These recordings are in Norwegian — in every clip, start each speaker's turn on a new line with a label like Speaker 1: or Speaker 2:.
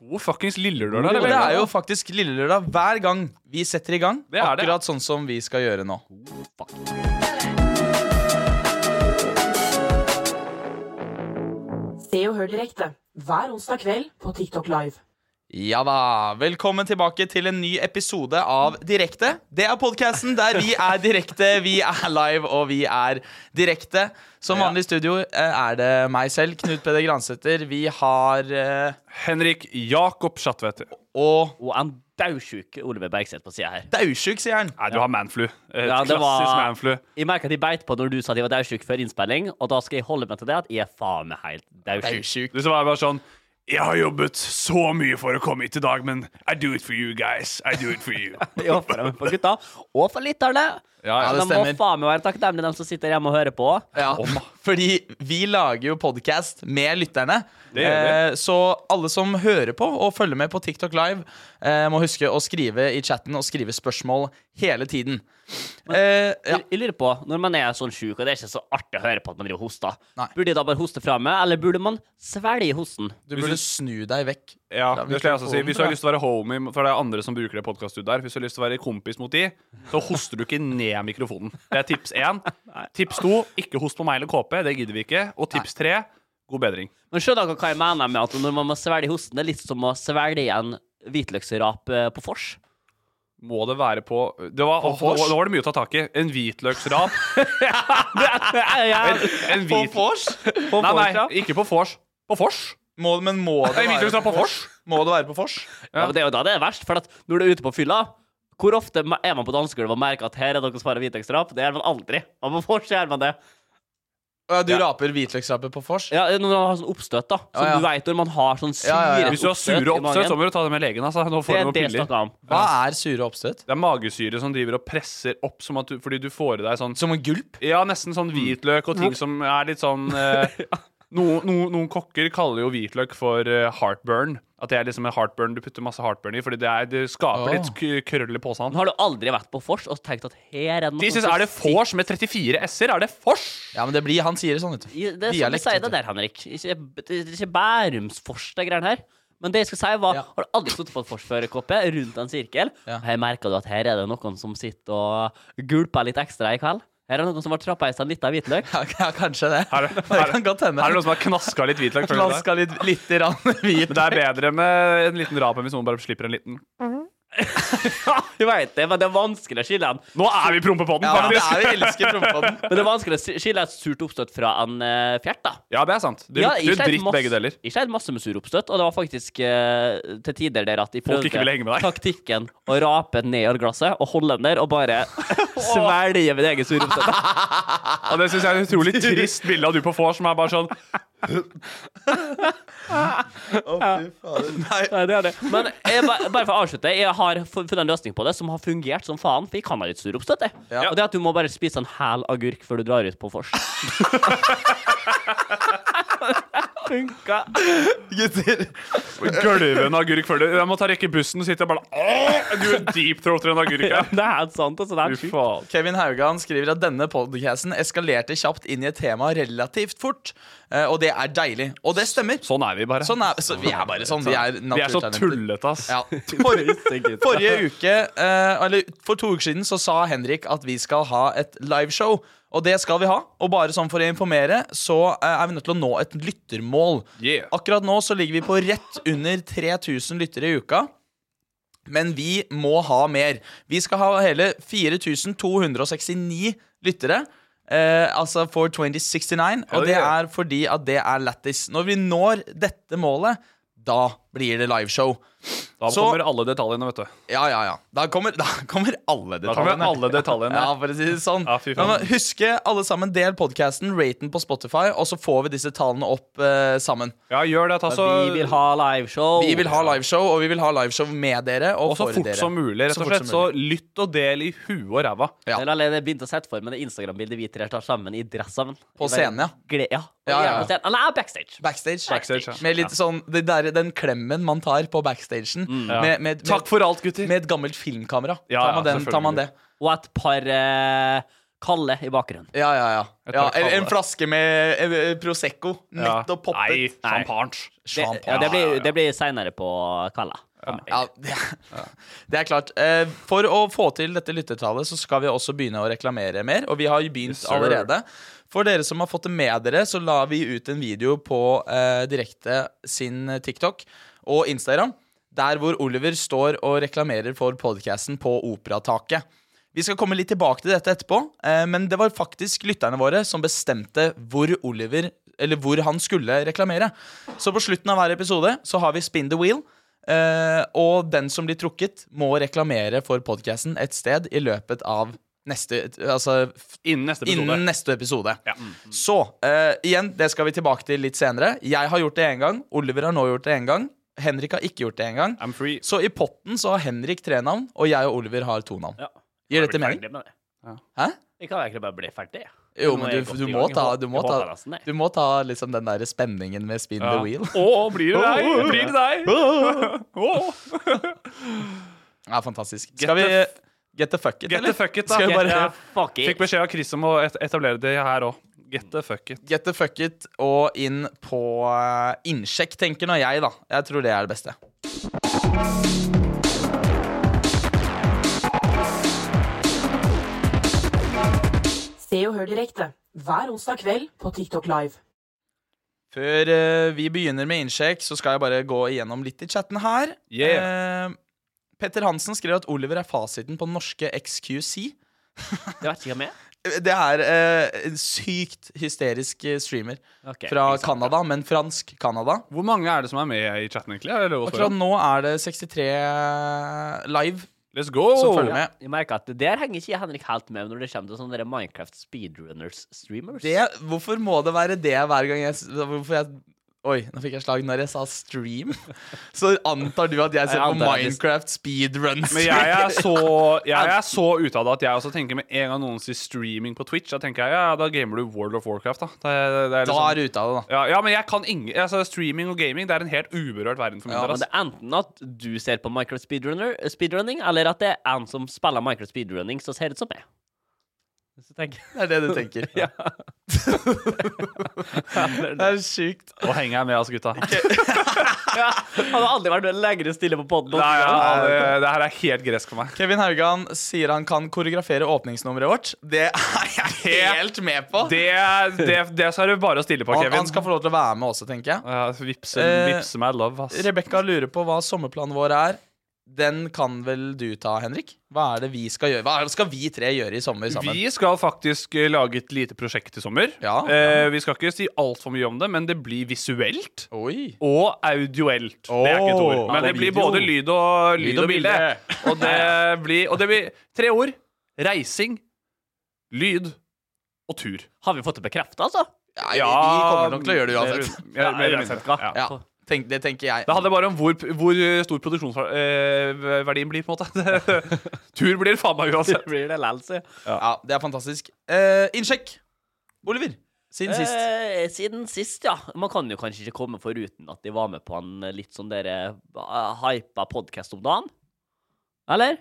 Speaker 1: God fuckings lillelørdag.
Speaker 2: Og det
Speaker 1: Rebecca.
Speaker 2: er jo faktisk lille lørdag hver gang vi setter i gang.
Speaker 1: Det er det.
Speaker 2: Akkurat sånn som vi skal gjøre nå.
Speaker 3: Se og hør direkte hver onsdag kveld på TikTok Live.
Speaker 2: Ja da. Velkommen tilbake til en ny episode av Direkte. Det er podkasten der vi er direkte, vi er live, og vi er direkte. Som vanlig i studio eh, er det meg selv, Knut Peder Gransæter. Vi har eh,
Speaker 1: Henrik Jakob Schatveter.
Speaker 2: Og
Speaker 4: Og en daudsjuk Oliver Bergseth på sida her.
Speaker 2: Daudsjuk, sier han.
Speaker 1: Nei, du har manflu. Et
Speaker 4: Ja, det
Speaker 1: klassisk
Speaker 4: var-
Speaker 1: manflu.
Speaker 4: Jeg merker at de beit på når du sa at jeg var daudsjuk før innspilling, og da skal jeg holde meg til det at jeg er faen meg helt daudsjuk.
Speaker 2: Daudsjuk.
Speaker 1: Du som var bare sånn Jeg har jobbet så mye for å komme hit i dag, men I do it for you guys. I do it for you.
Speaker 4: Jeg ofrer meg for gutta, og for lytterne.
Speaker 1: Ja, ja,
Speaker 4: Men
Speaker 2: det
Speaker 4: de
Speaker 2: stemmer.
Speaker 4: må faen meg være takknemlige, de som sitter hjemme og hører på.
Speaker 2: Ja, fordi vi lager jo podcast med lytterne.
Speaker 1: Det gjør
Speaker 2: Eh, Så alle som hører på og følger med på TikTok Live, eh, må huske å skrive i chatten og skrive spørsmål hele tiden. Eh, ja.
Speaker 4: Jeg, jeg lurer på, når man er sånn sjuk, og det er ikke så artig å høre på at man driver og hoster,
Speaker 2: Nei.
Speaker 4: burde jeg da bare hoste fra meg, eller burde man svelge hosten?
Speaker 2: Du burde snu deg vekk.
Speaker 1: Ja,
Speaker 2: Fra
Speaker 1: det skal jeg også si.
Speaker 2: mikrofonen,
Speaker 1: Hvis du har
Speaker 2: da.
Speaker 1: lyst til å være homie, for det er andre som bruker det podcastet der Hvis du har lyst til å være kompis mot de, så hoster du ikke ned mikrofonen. Det er tips én. Tips to ikke host på meg eller KP. Det gidder vi ikke. Og tips tre god bedring.
Speaker 4: Men skjønner dere hva jeg mener med at når man må svelge hosten, det er litt som å svelge en hvitløksrap eh, på fors?
Speaker 1: Må det være på Det var,
Speaker 2: På vors?
Speaker 1: nå var det mye å ta tak i. En hvitløksrap. En, en
Speaker 2: På
Speaker 1: hvit...
Speaker 2: vors?
Speaker 1: Nei,
Speaker 4: vors,
Speaker 1: nei,
Speaker 4: ja.
Speaker 1: ikke på vors. På vors?
Speaker 2: Må- Men må det
Speaker 1: Nei, hvitløksrap på vors.
Speaker 2: Må det være på vors?
Speaker 4: Ja. men det er jo da det er verst, for at når du er ute på fylla Hvor ofte ma- er man på dansegulvet og merker at her er noen som sparer hvitløksdrap? Det gjør man aldri. Og på vors gjør man det.
Speaker 2: Ja, Du raper hvitløksrape på vors?
Speaker 4: Ja, når man har sånn oppstøt, da.
Speaker 2: Ja,
Speaker 4: Som
Speaker 2: ja.
Speaker 4: du vet når man har sånn syre
Speaker 2: Ja, ja, ja.
Speaker 4: oppstøt
Speaker 1: Hvis du har sure
Speaker 4: i
Speaker 1: oppstøt, så
Speaker 4: magen.
Speaker 1: må du ta det med legen. Altså. Nå
Speaker 4: Det
Speaker 1: får du
Speaker 4: er
Speaker 1: noen
Speaker 4: det jeg
Speaker 1: piller.
Speaker 4: snakker om.
Speaker 2: Hva er sure oppstøt?
Speaker 1: Det er magesyre som driver og presser opp, som at du, fordi du får i deg sånn
Speaker 2: Som en gulp?
Speaker 1: Ja, nesten sånn hvitløk og ting som er litt sånn eh, no, no, Noen kokker kaller jo hvitløk for eh, heartburn. At det er liksom en heartburn du putter masse heartburn i, fordi det, er, det skaper
Speaker 2: Åh.
Speaker 1: litt k- krøll i posen.
Speaker 4: Men har du aldri vært på vors og tenkt at her er det noe
Speaker 1: De syns Er det vors med 34 s-er? Er det vors?
Speaker 2: Ja, men det blir Han sier det sånn, vet du.
Speaker 4: I- Det er sånn
Speaker 2: Dialekt,
Speaker 4: du sier
Speaker 2: vet
Speaker 4: det
Speaker 2: du.
Speaker 4: der, Henrik. Ikke, det er ikke Bærumsfors, det greiene her. Men det jeg skulle si, var
Speaker 2: Ja.
Speaker 4: Har du aldri stått på et forsførerkoppe rundt en sirkel?
Speaker 2: Ja.
Speaker 4: Her merker du at her er det noen som sitter og gulper litt ekstra i kveld. Her er det noen som har trappa i seg en liten hvitløk.
Speaker 2: Ja, ja, kanskje det.
Speaker 1: Er det,
Speaker 2: Det
Speaker 1: er,
Speaker 2: kan godt hende.
Speaker 1: er det noen som har knaska litt hvitløk? føler du det?
Speaker 2: Klaska litt, litt rann hvit.
Speaker 1: Men det er bedre med en liten rap enn hvis noen bare slipper en liten.
Speaker 4: Du vet det, men det er vanskelig å skille en
Speaker 1: Nå er vi prompepodden,
Speaker 2: Ja, men det
Speaker 1: faktisk!
Speaker 2: er vi elsker prompepodden.
Speaker 4: Men det er vanskelig å skille et surt oppstøt fra en eh, fjert, da.
Speaker 1: Ja, det er sant. Det
Speaker 4: Ja,
Speaker 1: lukter
Speaker 4: jeg
Speaker 1: jo
Speaker 4: sleit
Speaker 1: dritt
Speaker 4: masse-
Speaker 1: begge deler.
Speaker 4: Jeg sleit masse med sur oppstøt, og det var faktisk eh, til tider der at jeg
Speaker 1: Folk
Speaker 4: prøvde
Speaker 1: ikke ville henge med deg.
Speaker 4: taktikken å rape nedover glasset og holde den der og bare svelge min egen sur oppstøt.
Speaker 1: Ja, det syns jeg er et utrolig trist bilde av du på vors som er bare sånn
Speaker 4: Nei, det er det. Men jeg, ba- bare for å avslutte, jeg har fu- funnet en løsning på det som har fungert som faen. For jeg kan ha litt sur oppstøt, jeg. Og det er at du må bare spise en hel agurk før du drar ut på vors. funka.
Speaker 2: Gutter.
Speaker 1: Gulven agurk før du Jeg må ta rekke bussen, sitter jeg bare Åh, Du er deep-throater en agurk, ja.
Speaker 4: Det er helt sant. Altså, det er
Speaker 1: Fy
Speaker 4: sjukt.
Speaker 1: faen.
Speaker 2: Kevin Haugan skriver at denne podcasten eskalerte kjapt inn i et tema relativt fort, eh, og det er deilig. Og det stemmer.
Speaker 1: Sånn er vi bare.
Speaker 2: Sånn er, så vi er bare sånn. Vi er,
Speaker 1: Vi er så
Speaker 2: naturtalenter.
Speaker 1: tullete, ass.
Speaker 2: Ja. Forrige, forrige uke, eh, eller for to uker siden, så sa Henrik at vi skal ha et liveshow. Og det skal vi ha. Og bare sånn for å informere, så eh, er vi nødt til å nå et lyttermål.
Speaker 1: Yeah.
Speaker 2: Akkurat nå så ligger vi på rett under 3000 lyttere i uka. Men vi må ha mer. Vi skal ha hele 4269 lyttere. Eh, altså for 2069. Og
Speaker 1: Hell
Speaker 2: det
Speaker 1: yeah.
Speaker 2: er fordi at det er lættis. Når vi når dette målet, da blir det liveshow.
Speaker 1: Da
Speaker 2: Så-
Speaker 1: kommer alle detaljene, vet du.
Speaker 2: Ja, ja, ja. Da kommer, da kommer alle detaljene.
Speaker 1: kommer alle detaljene.
Speaker 2: Ja, for å si det sånn.
Speaker 1: Ja, fy
Speaker 2: Men
Speaker 1: faen.
Speaker 2: nå, huske, alle sammen, del podkasten, rate den på Spotify, og så får vi disse tallene opp eh, sammen.
Speaker 1: Ja, gjør det. Ta så
Speaker 4: Vi vil ha liveshow.
Speaker 2: Vi vil ha liveshow, og vi vil ha liveshow med dere og,
Speaker 1: Oh. og så
Speaker 2: for
Speaker 1: fort
Speaker 2: dere.
Speaker 1: som mulig, rett
Speaker 2: Så
Speaker 1: og
Speaker 2: fort
Speaker 1: slett. Så
Speaker 2: som
Speaker 1: lytt og del i huet og ræva.
Speaker 2: Ja.
Speaker 4: Det er allerede begynt å sette for meg det Instagram-bildet vi tre tar sammen i dress sammen.
Speaker 2: På
Speaker 4: I bare
Speaker 2: scenen, ja.
Speaker 4: Gle ja.
Speaker 2: Ja,
Speaker 4: Og
Speaker 2: ja,
Speaker 4: gjerne
Speaker 2: ja.
Speaker 4: på scenen. Nei, backstage.
Speaker 2: Backstage.
Speaker 1: Backstage, ja. Mm.
Speaker 2: Med litt sånn det der, Den klemmen man tar på backstagen. med, med,
Speaker 1: Takk for alt, gutter.
Speaker 2: med et gammelt filmkamera.
Speaker 1: Ja,
Speaker 2: tar, man
Speaker 1: ja,
Speaker 2: den, tar man det?
Speaker 4: Og et par eh, Kalle i bakgrunnen.
Speaker 2: Ja, ja, ja.
Speaker 1: Jeg tar
Speaker 2: ja eller en
Speaker 1: kallet.
Speaker 2: flaske med eh, Prosecco.
Speaker 1: Ja.
Speaker 2: Nettopp
Speaker 1: Nei,
Speaker 2: poppet.
Speaker 1: champagne.
Speaker 4: Det,
Speaker 2: Champagne.
Speaker 4: ja, det blir, det blir seinere på Kalla.
Speaker 2: Ja, det, det er klart. Eh, For å få til dette lyttertallet, så skal vi også begynne å reklamere mer. Og vi har jo begynt
Speaker 1: Yes, sir.
Speaker 2: allerede. For dere som har fått det med dere, så la vi ut en video på eh, direkte sin TikTok og Instagram. Der hvor Oliver står og reklamerer for podkasten på Operataket. Vi skal komme litt tilbake til dette etterpå, eh, men det var faktisk lytterne våre som bestemte hvor Oliver Eller hvor han skulle reklamere. Så på slutten av hver episode så har vi Spin the Wheel. Eh, og den som blir trukket, må reklamere for podkasten et sted i løpet av neste Altså f-
Speaker 1: Innen neste episode.
Speaker 2: innen neste episode.
Speaker 1: Ja.
Speaker 2: Så eh, igjen, det skal vi tilbake til litt senere. Jeg har gjort det én gang. Oliver har nå gjort det én gang. Henrik har ikke gjort det én gang.
Speaker 1: I'm free.
Speaker 2: Så i potten så har Henrik tre navn, og jeg og Oliver har to navn.
Speaker 4: Ja.
Speaker 2: Gir dette mening? Hæ?
Speaker 4: Vi kan egentlig bare bli ferdig.
Speaker 2: Jo,
Speaker 4: Nå er
Speaker 2: men
Speaker 4: jeg
Speaker 2: du,
Speaker 4: godt
Speaker 2: du
Speaker 4: i
Speaker 2: må
Speaker 4: gang. Jeg
Speaker 2: ta,
Speaker 4: hå-
Speaker 2: du må
Speaker 4: jeg håper
Speaker 2: ta,
Speaker 4: nesten det.
Speaker 2: du må ta liksom den der spenningen med spin the wheel.
Speaker 1: Å, blir det deg? Blir det deg? Å.
Speaker 2: Det er fantastisk. Skal vi
Speaker 1: the
Speaker 2: Get the fuck it,
Speaker 1: Get the fuck it, da.
Speaker 2: Skal vi
Speaker 1: Get
Speaker 2: bare
Speaker 1: the
Speaker 4: Fuck it.
Speaker 1: Fikk beskjed av Chris om å et- etablere det her òg. Get the fuck it.
Speaker 2: Get the fuck it og inn på eh, innsjekk, tenker nå jeg, da. Jeg tror det er det beste.
Speaker 3: Se og hør direkte hver onsdag kveld på TikTok Live.
Speaker 2: Før eh, vi begynner med innsjekk, så skal jeg bare gå igjennom litt i chatten her.
Speaker 1: Yeah.
Speaker 2: Eh, Petter Hansen skrev at Oliver er fasiten på norske XQC.
Speaker 4: Det vet ikke hvem jeg er.
Speaker 2: Det er eh, en sykt hysterisk eh, streamer
Speaker 4: Ok,
Speaker 2: fra
Speaker 4: ikke sant.
Speaker 2: Canada, men fransk Canada.
Speaker 1: Hvor mange er det som er med i chatten, egentlig? Er det lov å spørre
Speaker 2: Akkurat
Speaker 1: om?
Speaker 2: nå er det 63 live
Speaker 1: Let's go!
Speaker 2: som følger med.
Speaker 4: Jeg merker at Der henger ikke Henrik helt med når det kommer til sånne der Minecraft speedrunners-streamers.
Speaker 2: det, hvorfor må det være det hver gang jeg s- Hvorfor jeg Oi, nå fikk jeg slag når jeg sa stream. Så antar du at jeg ser
Speaker 4: Jeg
Speaker 2: på
Speaker 4: antar jeg visst-
Speaker 2: Minecraft speedruns.
Speaker 1: Men jeg er så, jeg er så ute av det at jeg også tenker med en gang noen sier streaming på Twitch, da tenker jeg ja, da gamer du World of Warcraft, da. Det, er- det er
Speaker 2: Da
Speaker 1: liksom,
Speaker 2: er du ute av det, da.
Speaker 1: ja, ja, men jeg kan ingen altså, Streaming og gaming det er en helt uberørt verden for min
Speaker 2: Ja, altså.
Speaker 1: del. altså.
Speaker 4: Men det
Speaker 1: ass.
Speaker 4: er enten at du ser på Minecraft speedrunner, speedrunning, eller at det er en som spiller Minecraft speedrunning, som ser ut som meg. Så tenker jeg
Speaker 2: Det er det du tenker. det er sjukt.
Speaker 1: Nå henger jeg med, altså, gutta.
Speaker 4: Han har aldri vært lenger stille på poden.
Speaker 1: Nei, ja, det, det her er helt gresk for meg.
Speaker 2: Kevin Haugan sier han kan koreografere åpningsnummeret vårt. Det er jeg helt med på.
Speaker 1: Det, det, det så er det bare å stille på,
Speaker 2: han,
Speaker 1: Kevin.
Speaker 2: han skal få lov til å være med også, tenker jeg.
Speaker 1: Ja, vipse,
Speaker 2: Eh,
Speaker 1: vipse meg love, ass.
Speaker 2: Rebekka lurer på hva sommerplanen vår er. Den kan vel du ta, Henrik? Hva er det vi skal gjøre? Hva er det skal vi tre gjøre i sommer sammen?
Speaker 1: Vi skal faktisk eh, lage et lite prosjekt i sommer.
Speaker 2: Ja,
Speaker 1: eh, vi skal ikke si altfor mye om det, men det blir visuelt.
Speaker 2: Oi.
Speaker 1: Og audioelt. det er ikke et ord. Men
Speaker 2: og
Speaker 1: det blir
Speaker 2: video.
Speaker 1: både lyd og, lyd
Speaker 2: Lyd og
Speaker 1: og bilde. Og det, blir, og det blir tre ord. Reising, lyd og tur.
Speaker 4: Har vi fått det bekrefta, altså?
Speaker 2: Nei, vi vi kommer nok til å gjøre det uansett.
Speaker 1: mer- mer eller mindre.
Speaker 4: hva?
Speaker 2: Ja,
Speaker 1: Ja.
Speaker 2: tenk, det tenker jeg.
Speaker 1: Det handler bare om hvor, hvor stor produksjonsverdien blir, på en måte. tur blir det faen meg uansett.
Speaker 4: blir det likevel,
Speaker 2: Ja, det er fantastisk. Eh, innsjekk. Oliver, Siden sist.
Speaker 4: Eh, siden sist, ja. Man kan jo kanskje ikke komme foruten at de var med på en litt sånn dere eh, hypa podkast om dagen. Eller?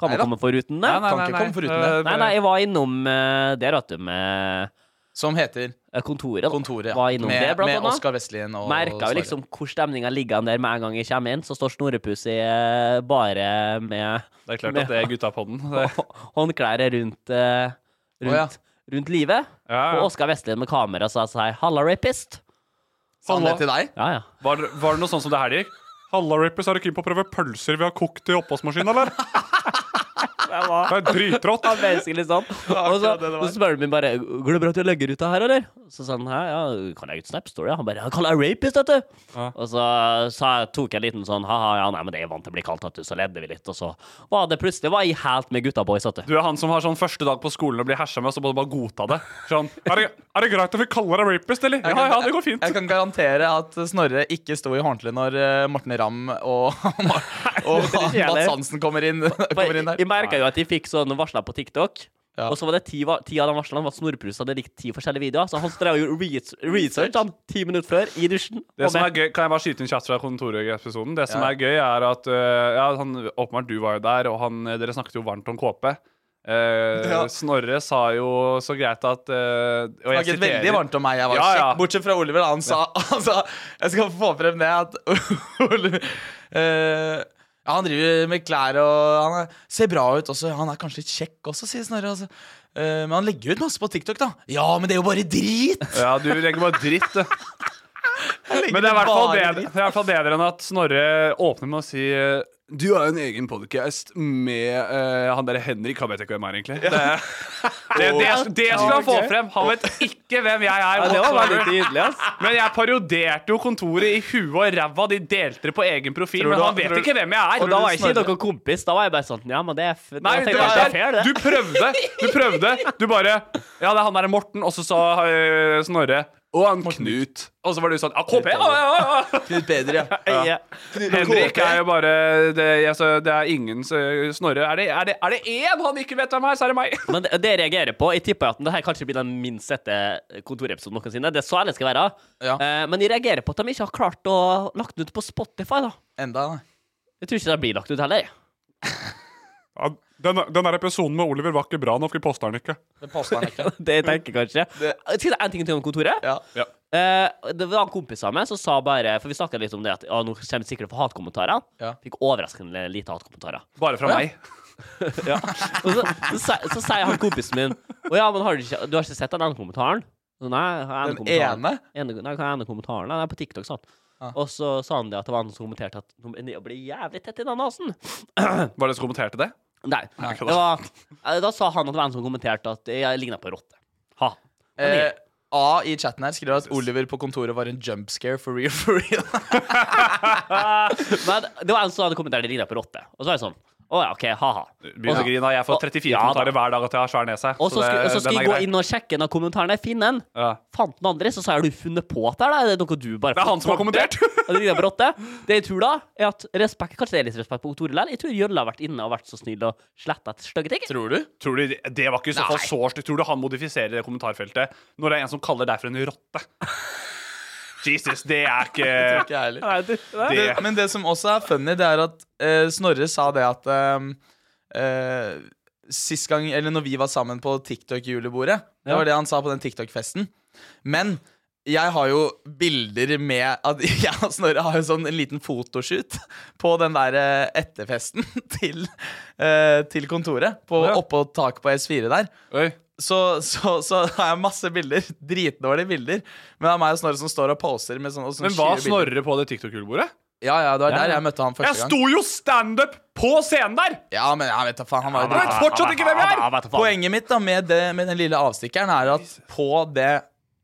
Speaker 4: Kan man
Speaker 2: Neida.
Speaker 4: komme foruten det?
Speaker 2: nei. Eh, Kan ikke komme foruten det.
Speaker 4: Nei, nei, jeg var innom eh, der, vet du, med
Speaker 2: Som heter
Speaker 4: eh, kontoret. da.
Speaker 2: Kontoret.
Speaker 4: Var innom
Speaker 2: med
Speaker 4: det, blant
Speaker 2: med
Speaker 4: annet.
Speaker 2: Oskar Vestlien og
Speaker 4: Merka
Speaker 2: Sverre.
Speaker 4: jo liksom hvor stemninga ligger an der med en gang jeg kommer inn. Så står Snorrepuss i eh, bare med
Speaker 1: Det er klart at det er gutta på den. Det,
Speaker 4: håndklær rundt, eh, rundt,
Speaker 2: Å,
Speaker 4: rundt livet.
Speaker 1: Ja, ja.
Speaker 4: Og Oskar Vestlien med kamera sa seg 'halla, rapist'.
Speaker 2: Sa han det til deg?
Speaker 4: Ja, ja.
Speaker 1: var, var det noe sånn som det her gikk? Halla, rappers, er du keen på å prøve pølser vi har kokt i oppvaskmaskinen, eller? Det er dritrått.
Speaker 4: Ja, basically sånn. Og så, så spør han meg bare Går det bra at jeg legger ut det her, eller? Så sa han hæ, ja, kan jeg legge ut Snap Story? Han bare ja, kall deg rapist, vet du. Og så, så tok jeg en liten sånn ha-ha, ja, nei, men det er vant til å bli kalt, vet du. Så ledde vi litt, og så var det plutselig var jeg helt med gutta boys, vet du.
Speaker 1: Du er han som har sånn første dag på skolen og blir hersa med, og så må du bare godta det. Sånn, er det, er det greit at vi kaller deg rapist, eller? Ja, ja, det går fint.
Speaker 2: Jeg kan garantere at Snorre ikke sto i håndkle når eh, Morten Ramm og, og
Speaker 4: Det er ikke jeg
Speaker 2: Mats
Speaker 4: heller.
Speaker 2: Hansen kommer inn, kommer inn
Speaker 4: For
Speaker 2: der.
Speaker 4: jeg merka jo at de fikk sånne varsler på TikTok.
Speaker 2: Ja.
Speaker 4: Og så var det ti, va- ti av de varslene var at Snorreprus hadde likt ti forskjellige videoer. Så han drev jo research, research han, ti minutter før i dusjen.
Speaker 1: Det
Speaker 4: Og
Speaker 1: som er
Speaker 4: med-
Speaker 1: gøy, Kan jeg bare skyte inn chat fra kontorepisoden? Det som er gøy, er at øh, ja, han, Åpenbart, du var jo der, og han, eh, dere snakket jo varmt om KP. Eh,
Speaker 2: Ja.
Speaker 1: Snorre sa jo så greit at eh, Og jeg
Speaker 2: Snakket veldig varmt om meg. Jeg var
Speaker 1: Ja, ja.
Speaker 2: kjekk, bortsett fra Oliver. da. Han sa, han sa Jeg skal få frem det at Oliver eh, ja, Han driver med klær og han er, ser bra ut også. Han er kanskje litt kjekk også, sier Snorre. Altså. Eh, men han legger ut masse på TikTok, da. Ja, men det er jo bare drit!
Speaker 1: Ja, du legger bare dritt, du.
Speaker 2: Han legger
Speaker 1: Men det er i hvert fall
Speaker 2: bare
Speaker 1: bedre, det er i hvert fall bedre enn at Snorre åpner med å si eh, Du har jo en egen podkast med eh, han derre Henrik, han vet ikke hvem er, egentlig. Det, det, det, det skal han få frem! Han vet ikke hvem jeg er.
Speaker 4: ja, det var veldig
Speaker 1: whatsoever.
Speaker 4: tydelig, ass.
Speaker 1: Men jeg parodierte jo kontoret i huet og ræva. De delte det på egen profil, men
Speaker 2: du-
Speaker 1: han vet
Speaker 2: tror-
Speaker 1: ikke hvem jeg er.
Speaker 4: Og da var jeg ikke noen kompis. Da var jeg bare sånn Ja, men det er f
Speaker 1: Nei,
Speaker 4: jeg
Speaker 1: det
Speaker 4: tenkte at det er fair,
Speaker 1: er,
Speaker 4: det.
Speaker 1: du prøvde. Du prøvde. Du bare Ja, det er han der Morten, og så sa eh, Snorre og han Knut. Og så var du sånn Ja, KP! Ja, ja, ja, ja.
Speaker 2: Litt bedre, ja.
Speaker 4: Ja.
Speaker 1: Henrik er jo bare Det, altså, det er ingen så- Snorre, er det, er, det, er det én han ikke vet hvem er, så er det meg.
Speaker 4: Men det, det jeg reagerer på Jeg tipper jo at det her kanskje blir den minst sette kontorepisoden noensinne. Det er så ærlig det skal være.
Speaker 2: Ja.
Speaker 4: Eh, men jeg reagerer på at de ikke har klart å lagt den ut på Spotify, da.
Speaker 1: Eh,
Speaker 2: Enda, nei.
Speaker 4: Jeg tror ikke det blir lagt ut heller.
Speaker 1: den, der episoden med Oliver var ikke bra nok, vi poster den ikke.
Speaker 2: Det passer han ikke.
Speaker 4: Det jeg tenker kanskje. Skal jeg si en ting til om kontoret?
Speaker 2: Ja.
Speaker 4: Eh, det var en kompis av meg som sa bare For vi snakka litt om det at ja, nå kommer det sikkert for hatkommentarer.
Speaker 2: Ja.
Speaker 4: Fikk overraskende lite hatkommentarer.
Speaker 1: Bare fra meg.
Speaker 4: Og så, så, sier- så sier han kompisen min Å ja, men har du, ikke, du har ikke sett den ene kommentaren? Så, nei, hva er
Speaker 2: Den
Speaker 4: kommentaren?
Speaker 2: ene?
Speaker 4: ene Nei, hva er ene kommentaren? Nei, den er på TikTok, sånn. Og så sa han det at det var han som kommenterte at Nå blir jævlig tett i den nasen.
Speaker 1: Var det som kommenterte det?
Speaker 4: Nei. det var, eh, da sa han at det var en som kommenterte at jeg ligna på en rotte. Ha. Men
Speaker 2: Eh,
Speaker 4: jeg-
Speaker 2: A i chatten her skriver at Oliver på kontoret var en jumpscare for real. For real.
Speaker 4: Men det var en som hadde kommentert at jeg ligna på en rotte. Og så var jeg sånn Å ja, OK, ha-ha.
Speaker 1: Begynner å grine. Jeg får 34
Speaker 4: Ja, da.
Speaker 1: kommentarer hver dag at jeg har svær nese.
Speaker 4: Og så
Speaker 1: det-
Speaker 4: skulle, så
Speaker 1: den
Speaker 4: skulle
Speaker 1: er
Speaker 4: jeg gå
Speaker 1: grei.
Speaker 4: inn og sjekke en av kommentarene. Finn en.
Speaker 1: Ja.
Speaker 4: Fant den andre, så sa jeg har du funnet på dette, eller er det noe du bare
Speaker 1: Det er han som har kommentert.
Speaker 4: Ja, det ligner på rotte. Det jeg tror da, er at respekt, kanskje det er litt respekt på Tore Lell. Jeg tror Jølle har vært inne og vært så snill og sletta et stygge ting.
Speaker 2: Tror du?
Speaker 1: Tror du, det- det var ikke i så fall så stygt. Tror du han modifiserer det kommentarfeltet når det er en som kaller deg for en rotte? Jesus, det er ikke
Speaker 2: Ikke jeg heller.
Speaker 4: Nei, du- nei.
Speaker 1: Det-
Speaker 2: det, men det som også er funny, det er at eh, Snorre sa det at eh, eh, Sist gang, eller når vi var sammen på TikTok-julebordet Det var det han sa på den TikTok-festen. Men jeg har jo bilder med at Jeg og Snorre har jo sånn en liten fotoshoot på den der eh, etterfesten til, eh, til kontoret. På,
Speaker 1: Ja.
Speaker 2: Oppå taket på S4 der
Speaker 1: Oi.
Speaker 2: så, så, så har jeg masse bilder. Dritdårlige bilder. Men det er meg og Snorre som står og poser. Med sånne, og sånne
Speaker 1: Men var
Speaker 2: 20 bilder.
Speaker 1: Snorre på det TikTok-julebordet?
Speaker 2: Ja, ja, det var
Speaker 4: Ja,
Speaker 2: der
Speaker 4: ja.
Speaker 2: jeg møtte han
Speaker 1: Jeg
Speaker 2: første gang.
Speaker 1: sto jo standup på scenen der!
Speaker 2: Ja, men jeg vet da faen, han var jo
Speaker 1: Jeg vet
Speaker 2: dritfett.
Speaker 1: fortsatt ikke hvem jeg
Speaker 4: Ja,
Speaker 1: er!
Speaker 4: vet du faen.
Speaker 2: Poenget mitt da med, det, med den lille avstikkeren er at på det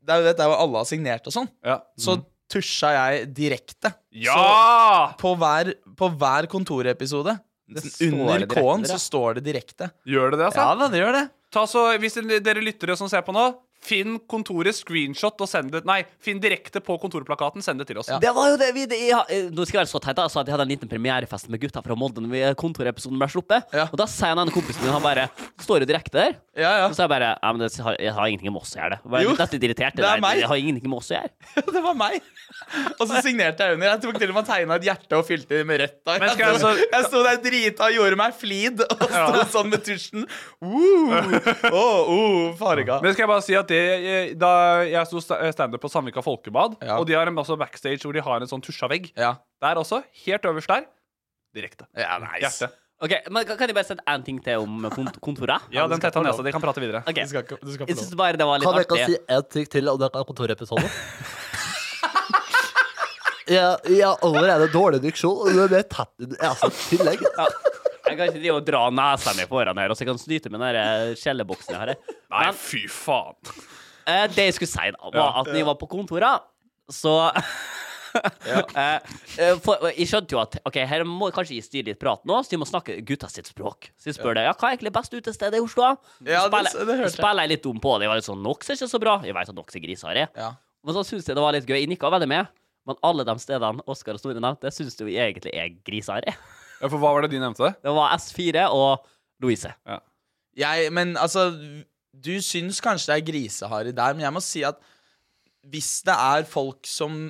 Speaker 2: Det er jo dette er jo alle har signert og sånn.
Speaker 1: Ja.
Speaker 2: Så tusja jeg direkte
Speaker 1: Ja!
Speaker 2: på hver, på hver kontorepisode.
Speaker 4: står
Speaker 2: Under
Speaker 4: det direkte
Speaker 2: K-en
Speaker 4: der, ja.
Speaker 2: så står det direkte.
Speaker 1: Gjør det det, altså?
Speaker 2: Ja da, det gjør det.
Speaker 1: Ta så, hvis dere lyttere som ser på nå, finn kontorets screenshot og send det Nei, finn direkte på kontorplakaten, send det til oss.
Speaker 4: Det var jo det vi det, jeg, eh, Nå skal jeg være så teit, da. Jeg sa at jeg hadde en liten premierefest med gutta fra Molde når vi- kontorepisoden ble sluppet.
Speaker 2: Ja.
Speaker 4: Og da sier han ene kompisen min, han bare Står jo direkte der.
Speaker 2: Ja, ja.
Speaker 4: Og så er jeg bare ja, men det har, Jeg har ingenting med oss å gjøre. det Bare
Speaker 2: Jo,
Speaker 4: litt litt irritert.
Speaker 2: det er
Speaker 4: der.
Speaker 2: meg.
Speaker 4: Jeg har ingenting med oss å gjøre.
Speaker 2: Det var meg. Og så signerte jeg under. Jeg tok til og med tegna et hjerte og fylte det med rødt. da.
Speaker 1: Men
Speaker 2: Jeg,
Speaker 1: skal jeg
Speaker 2: sto-
Speaker 1: altså-
Speaker 2: jeg sto der drita og gjorde meg flid og sto
Speaker 1: Ja.
Speaker 2: sånn med tusjen. Uh, oh, oh, farga.
Speaker 1: Men skal jeg bare si at det, jeg, da jeg sto sta- standup på Sandvika Folkebad,
Speaker 2: Ja.
Speaker 1: og de har en altså backstage hvor de har en sånn tusja vegg.
Speaker 2: Ja.
Speaker 1: Der også, helt øverst der, direkte.
Speaker 2: ja, nice.
Speaker 1: Hjerte.
Speaker 4: Ok, men Kan kan jeg bare sette én ting til om kont kontoret?
Speaker 1: Ja, den tetta nesa di kan prate videre.
Speaker 4: Ok,
Speaker 2: Du skal ikke, du skal
Speaker 4: Jeg
Speaker 2: få
Speaker 4: synes
Speaker 2: lov.
Speaker 4: bare det var litt
Speaker 5: Kan jeg
Speaker 4: artig.
Speaker 5: ikke si én ting til om denne kontorepisoden? Jeg jeg har allerede dårlig diksjon, og det er tett i nesa i tillegg.
Speaker 4: Ja. Jeg kan ikke drive og dra nesa mi foran her, og så jeg kan snyte med den der eh, skjelleboksen jeg har her.
Speaker 1: Nei, fy faen.
Speaker 4: Eh, det jeg skulle si, da, var at når jeg var på kontoret, så Eh, eh, for, jeg skjønte jo at Ok, her må kanskje jeg styre litt prat nå, så jeg må snakke gutta sitt språk. Så jeg spør deg ja, hva er egentlig best utested i Oslo.
Speaker 2: Ja, det-
Speaker 4: spiller,
Speaker 2: det hørte jeg.
Speaker 4: spiller jeg litt dum på det. Jeg var litt sånn Nox er ikke så bra. Jeg vet at Nox er grisehare.
Speaker 2: Ja.
Speaker 4: Men så syns jeg det var litt gøy. Jeg nikka veldig med, men alle de stedene Oskar og Store nevnte, det syns jeg jo egentlig er grisehare.
Speaker 1: Ja, for hva var det de nevnte?
Speaker 4: Det var S4 og Louise.
Speaker 2: Jeg, men altså, du syns kanskje det er griseharry der, men jeg må si at hvis det er folk som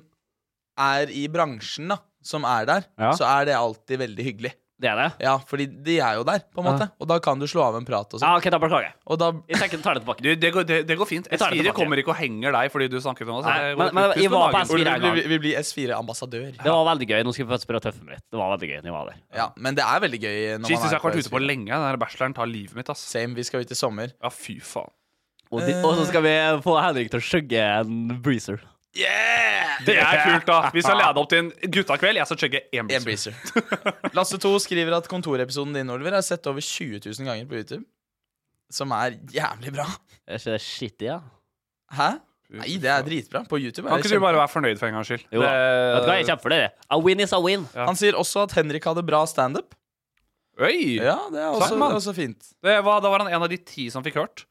Speaker 2: er i bransjen, da, som er der,
Speaker 1: Ja.
Speaker 2: så er det alltid veldig hyggelig.
Speaker 4: Det er det?
Speaker 2: Ja, fordi de er jo der, på en måte. Og da kan du slå av en prat og
Speaker 4: Ja,
Speaker 2: sånn.
Speaker 4: OK, da beklager jeg.
Speaker 2: Og da
Speaker 4: Jeg tenker, tar det tilbake.
Speaker 1: Du, det, går, det, det går fint.
Speaker 4: Vi tar det
Speaker 1: S4
Speaker 4: tilbake.
Speaker 1: kommer ikke og henger deg fordi du snakker til oss.
Speaker 4: Nei, men- men jeg var
Speaker 2: Vi
Speaker 4: på S4 en gang.
Speaker 2: blir, vi blir S4-ambassadør.
Speaker 4: Det var veldig gøy. Nå skal vi faktisk prøve å tøffe meg litt. Det var veldig gøy når jeg var der.
Speaker 2: Ja, men det er veldig gøy når
Speaker 1: Jesus, jeg har ikke
Speaker 2: man
Speaker 1: vært
Speaker 2: er
Speaker 1: ute på lenge. Den her bacheloren tar livet mitt, ass.
Speaker 2: Same, vi skal ut i sommer.
Speaker 1: Ja, fy faen.
Speaker 4: Og, de, og så skal vi få Henrik til å skjøgge en breezer.
Speaker 2: Yeah!
Speaker 1: Det er kult, da. Vi skal lede opp til en guttakveld. Jeg skal sjekke en
Speaker 2: En
Speaker 1: breeze.
Speaker 2: breezer. Lasse 2 skriver at kontorepisoden din Oliver, er sett over 20 000 ganger på YouTube. Som er jævlig bra.
Speaker 4: Er ikke det shitty, ja?
Speaker 2: Hæ? Nei, det er dritbra. På YouTube er
Speaker 1: Kan
Speaker 2: det
Speaker 1: ikke du
Speaker 2: kjempe-
Speaker 1: bare være fornøyd for en gangs skyld?
Speaker 4: Jo da. Vet du hva, jeg kjemper for det. det. A win is a win.
Speaker 1: ja.
Speaker 2: Han sier også at Henrik hadde bra standup.
Speaker 1: Oi!
Speaker 2: Ja, det er
Speaker 1: Takk,
Speaker 2: også,
Speaker 1: mann.
Speaker 2: også fint.
Speaker 1: Det var, da var han en av de ti som fikk hørt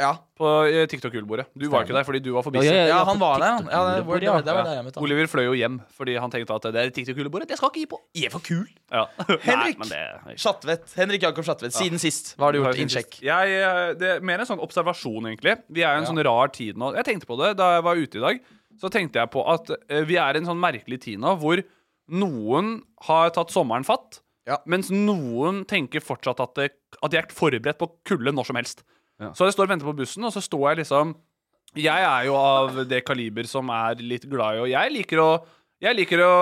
Speaker 2: Ja,
Speaker 1: på eh, TikTok-julebordet. Du var ikke der fordi du var for busy.
Speaker 4: Ja, ja,
Speaker 2: ja
Speaker 4: ja,
Speaker 2: han
Speaker 4: på
Speaker 2: var der, han. Ja, det var,
Speaker 4: TikTok-julebordet,
Speaker 2: det var, det
Speaker 4: ja.
Speaker 2: var der jeg møtte han.
Speaker 1: Oliver fløy jo hjem fordi han tenkte at det er TikTok-julebordet. Det skal ikke gi på.
Speaker 2: Jeg er for kul.
Speaker 1: Ja.
Speaker 2: Henrik!
Speaker 4: Nei, men det er
Speaker 2: Sjattvedt. Henrik Jakob Sjattvedt. Siden sist. Hva har du gjort? Innsjekk.
Speaker 1: Jeg, eh, det er mer en sånn observasjon, egentlig. Vi er i en sånn rar tid nå. Jeg tenkte på det da jeg var ute i dag. Så tenkte jeg på at eh, vi er i en sånn merkelig tid nå hvor noen har tatt sommeren fatt,
Speaker 2: Ja.
Speaker 1: mens noen tenker fortsatt at, det, at de er forberedt på kulde når som helst. Så jeg står og venter på bussen, og så står jeg liksom Jeg er jo av det kaliber som er litt glad i, og jeg liker å, jeg liker å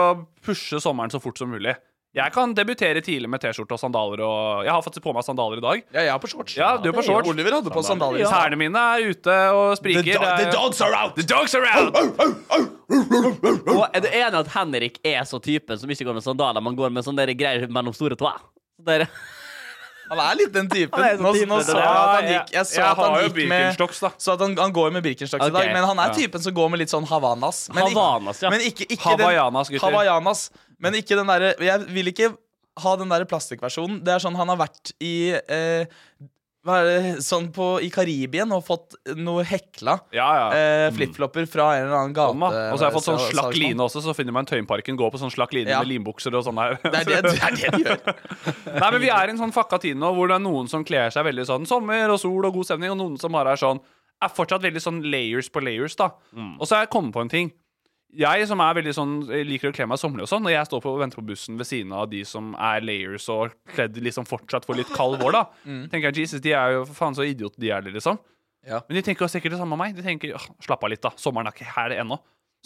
Speaker 1: pushe sommeren så fort som mulig. Jeg kan debutere tidlig med T-skjorte og sandaler og Jeg har fått på meg sandaler i dag.
Speaker 2: Ja, jeg er på shorts.
Speaker 1: Ja, du er på shorts.
Speaker 2: Oliver hadde på sandaler.
Speaker 1: Ja. Tærne mine er ute og
Speaker 2: The,
Speaker 1: spriker.
Speaker 2: do
Speaker 1: Det
Speaker 2: the
Speaker 1: er-
Speaker 2: dogs are out!
Speaker 1: eh. The dogs are out!
Speaker 4: Og er du enig at Henrik er så typen som ikke går med sandaler, men går med sånne der greier mellom store tåa? Der.
Speaker 2: Han er litt den typen.
Speaker 4: Han er sånn
Speaker 2: Nå,
Speaker 4: typen,
Speaker 2: nå
Speaker 4: det
Speaker 2: så
Speaker 4: der.
Speaker 2: jeg at han gikk Jeg
Speaker 1: Jeg-
Speaker 2: så
Speaker 1: jeg
Speaker 2: at han
Speaker 1: har jo
Speaker 2: gikk med
Speaker 1: Birkenstocks, da.
Speaker 2: Så at han, han går med Birkenstocks
Speaker 4: Ok.
Speaker 2: i dag, men han er typen som går med litt sånn Havanas. Men ikke-
Speaker 4: Havanas, ja.
Speaker 2: Men ikke, ikke
Speaker 1: Hawaiianas,
Speaker 2: den,
Speaker 1: gutter.
Speaker 2: Hawaiianas, men ikke den derre Jeg vil ikke ha den derre plastikkversjonen. Det er sånn han har vært i eh, hva er det, sånn på, I Karibien og fått noe hekla
Speaker 1: Ja, ja.
Speaker 2: eh, flipflopper fra en eller annen gate.
Speaker 1: Mamma. Og så har jeg fått sånn
Speaker 2: sal-
Speaker 1: slakk
Speaker 2: salgsmann.
Speaker 1: line også, så finner man Tøyenparken, går på sånn slakk line
Speaker 2: Ja.
Speaker 1: med limbukser og sånn her.
Speaker 2: Det er det, det, er det de gjør.
Speaker 1: Nei, men vi er i en sånn fucka tid nå hvor det er noen som kler seg veldig sånn sommer og sol og god stemning, og noen som har er sånn Er fortsatt veldig sånn layers på layers, da. Og så har jeg kommet på en ting. Jeg som er veldig sånn jeg liker å kle meg sommerlig og sånn, når jeg står på og venter på bussen ved siden av de som er layers og kledd liksom fortsatt for litt kald vår, da, tenker jeg Jesus, de er jo for faen så idioter de er, de, liksom.
Speaker 2: Ja.
Speaker 1: Men de tenker jo sikkert det samme om meg. De tenker «Åh, slapp av litt, da. Sommeren er ikke her ennå.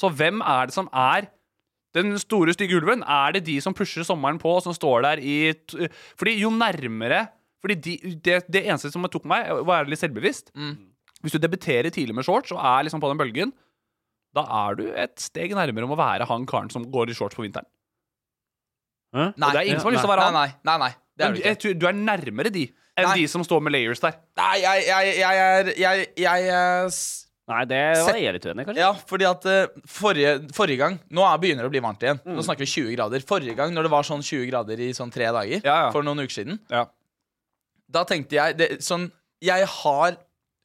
Speaker 1: Så hvem er det som er den store, stygge ulven? Er det de som pusher sommeren på, som står der i t Fordi jo nærmere Fordi de, det, det eneste som tok meg, var litt selvbevisst.
Speaker 2: Mm.
Speaker 1: Hvis du debuterer tidlig med shorts og er liksom på den bølgen, da er du et steg nærmere om å være han karen som går i shorts på vinteren.
Speaker 2: Nei,
Speaker 1: det er ingen som har lyst til å være han.
Speaker 2: Nei, nei, nei, nei, det er
Speaker 1: Men
Speaker 2: det
Speaker 1: jeg
Speaker 2: ikke.
Speaker 1: tror du er nærmere de enn
Speaker 2: Nei.
Speaker 1: de som står med layers der.
Speaker 2: Nei, jeg, jeg, jeg er Jeg, jeg, er s-
Speaker 4: Nei, det var jeg litt uenig i, kanskje.
Speaker 2: Ja, fordi at eh, forrige, forrige gang Nå er, begynner det å bli varmt igjen.
Speaker 1: Mm.
Speaker 2: Nå snakker vi 20 grader. Forrige gang, når det var sånn 20 grader i sånn tre dager,
Speaker 1: Ja, ja.
Speaker 2: for noen uker siden,
Speaker 1: Ja.
Speaker 2: da tenkte jeg det, sånn Jeg har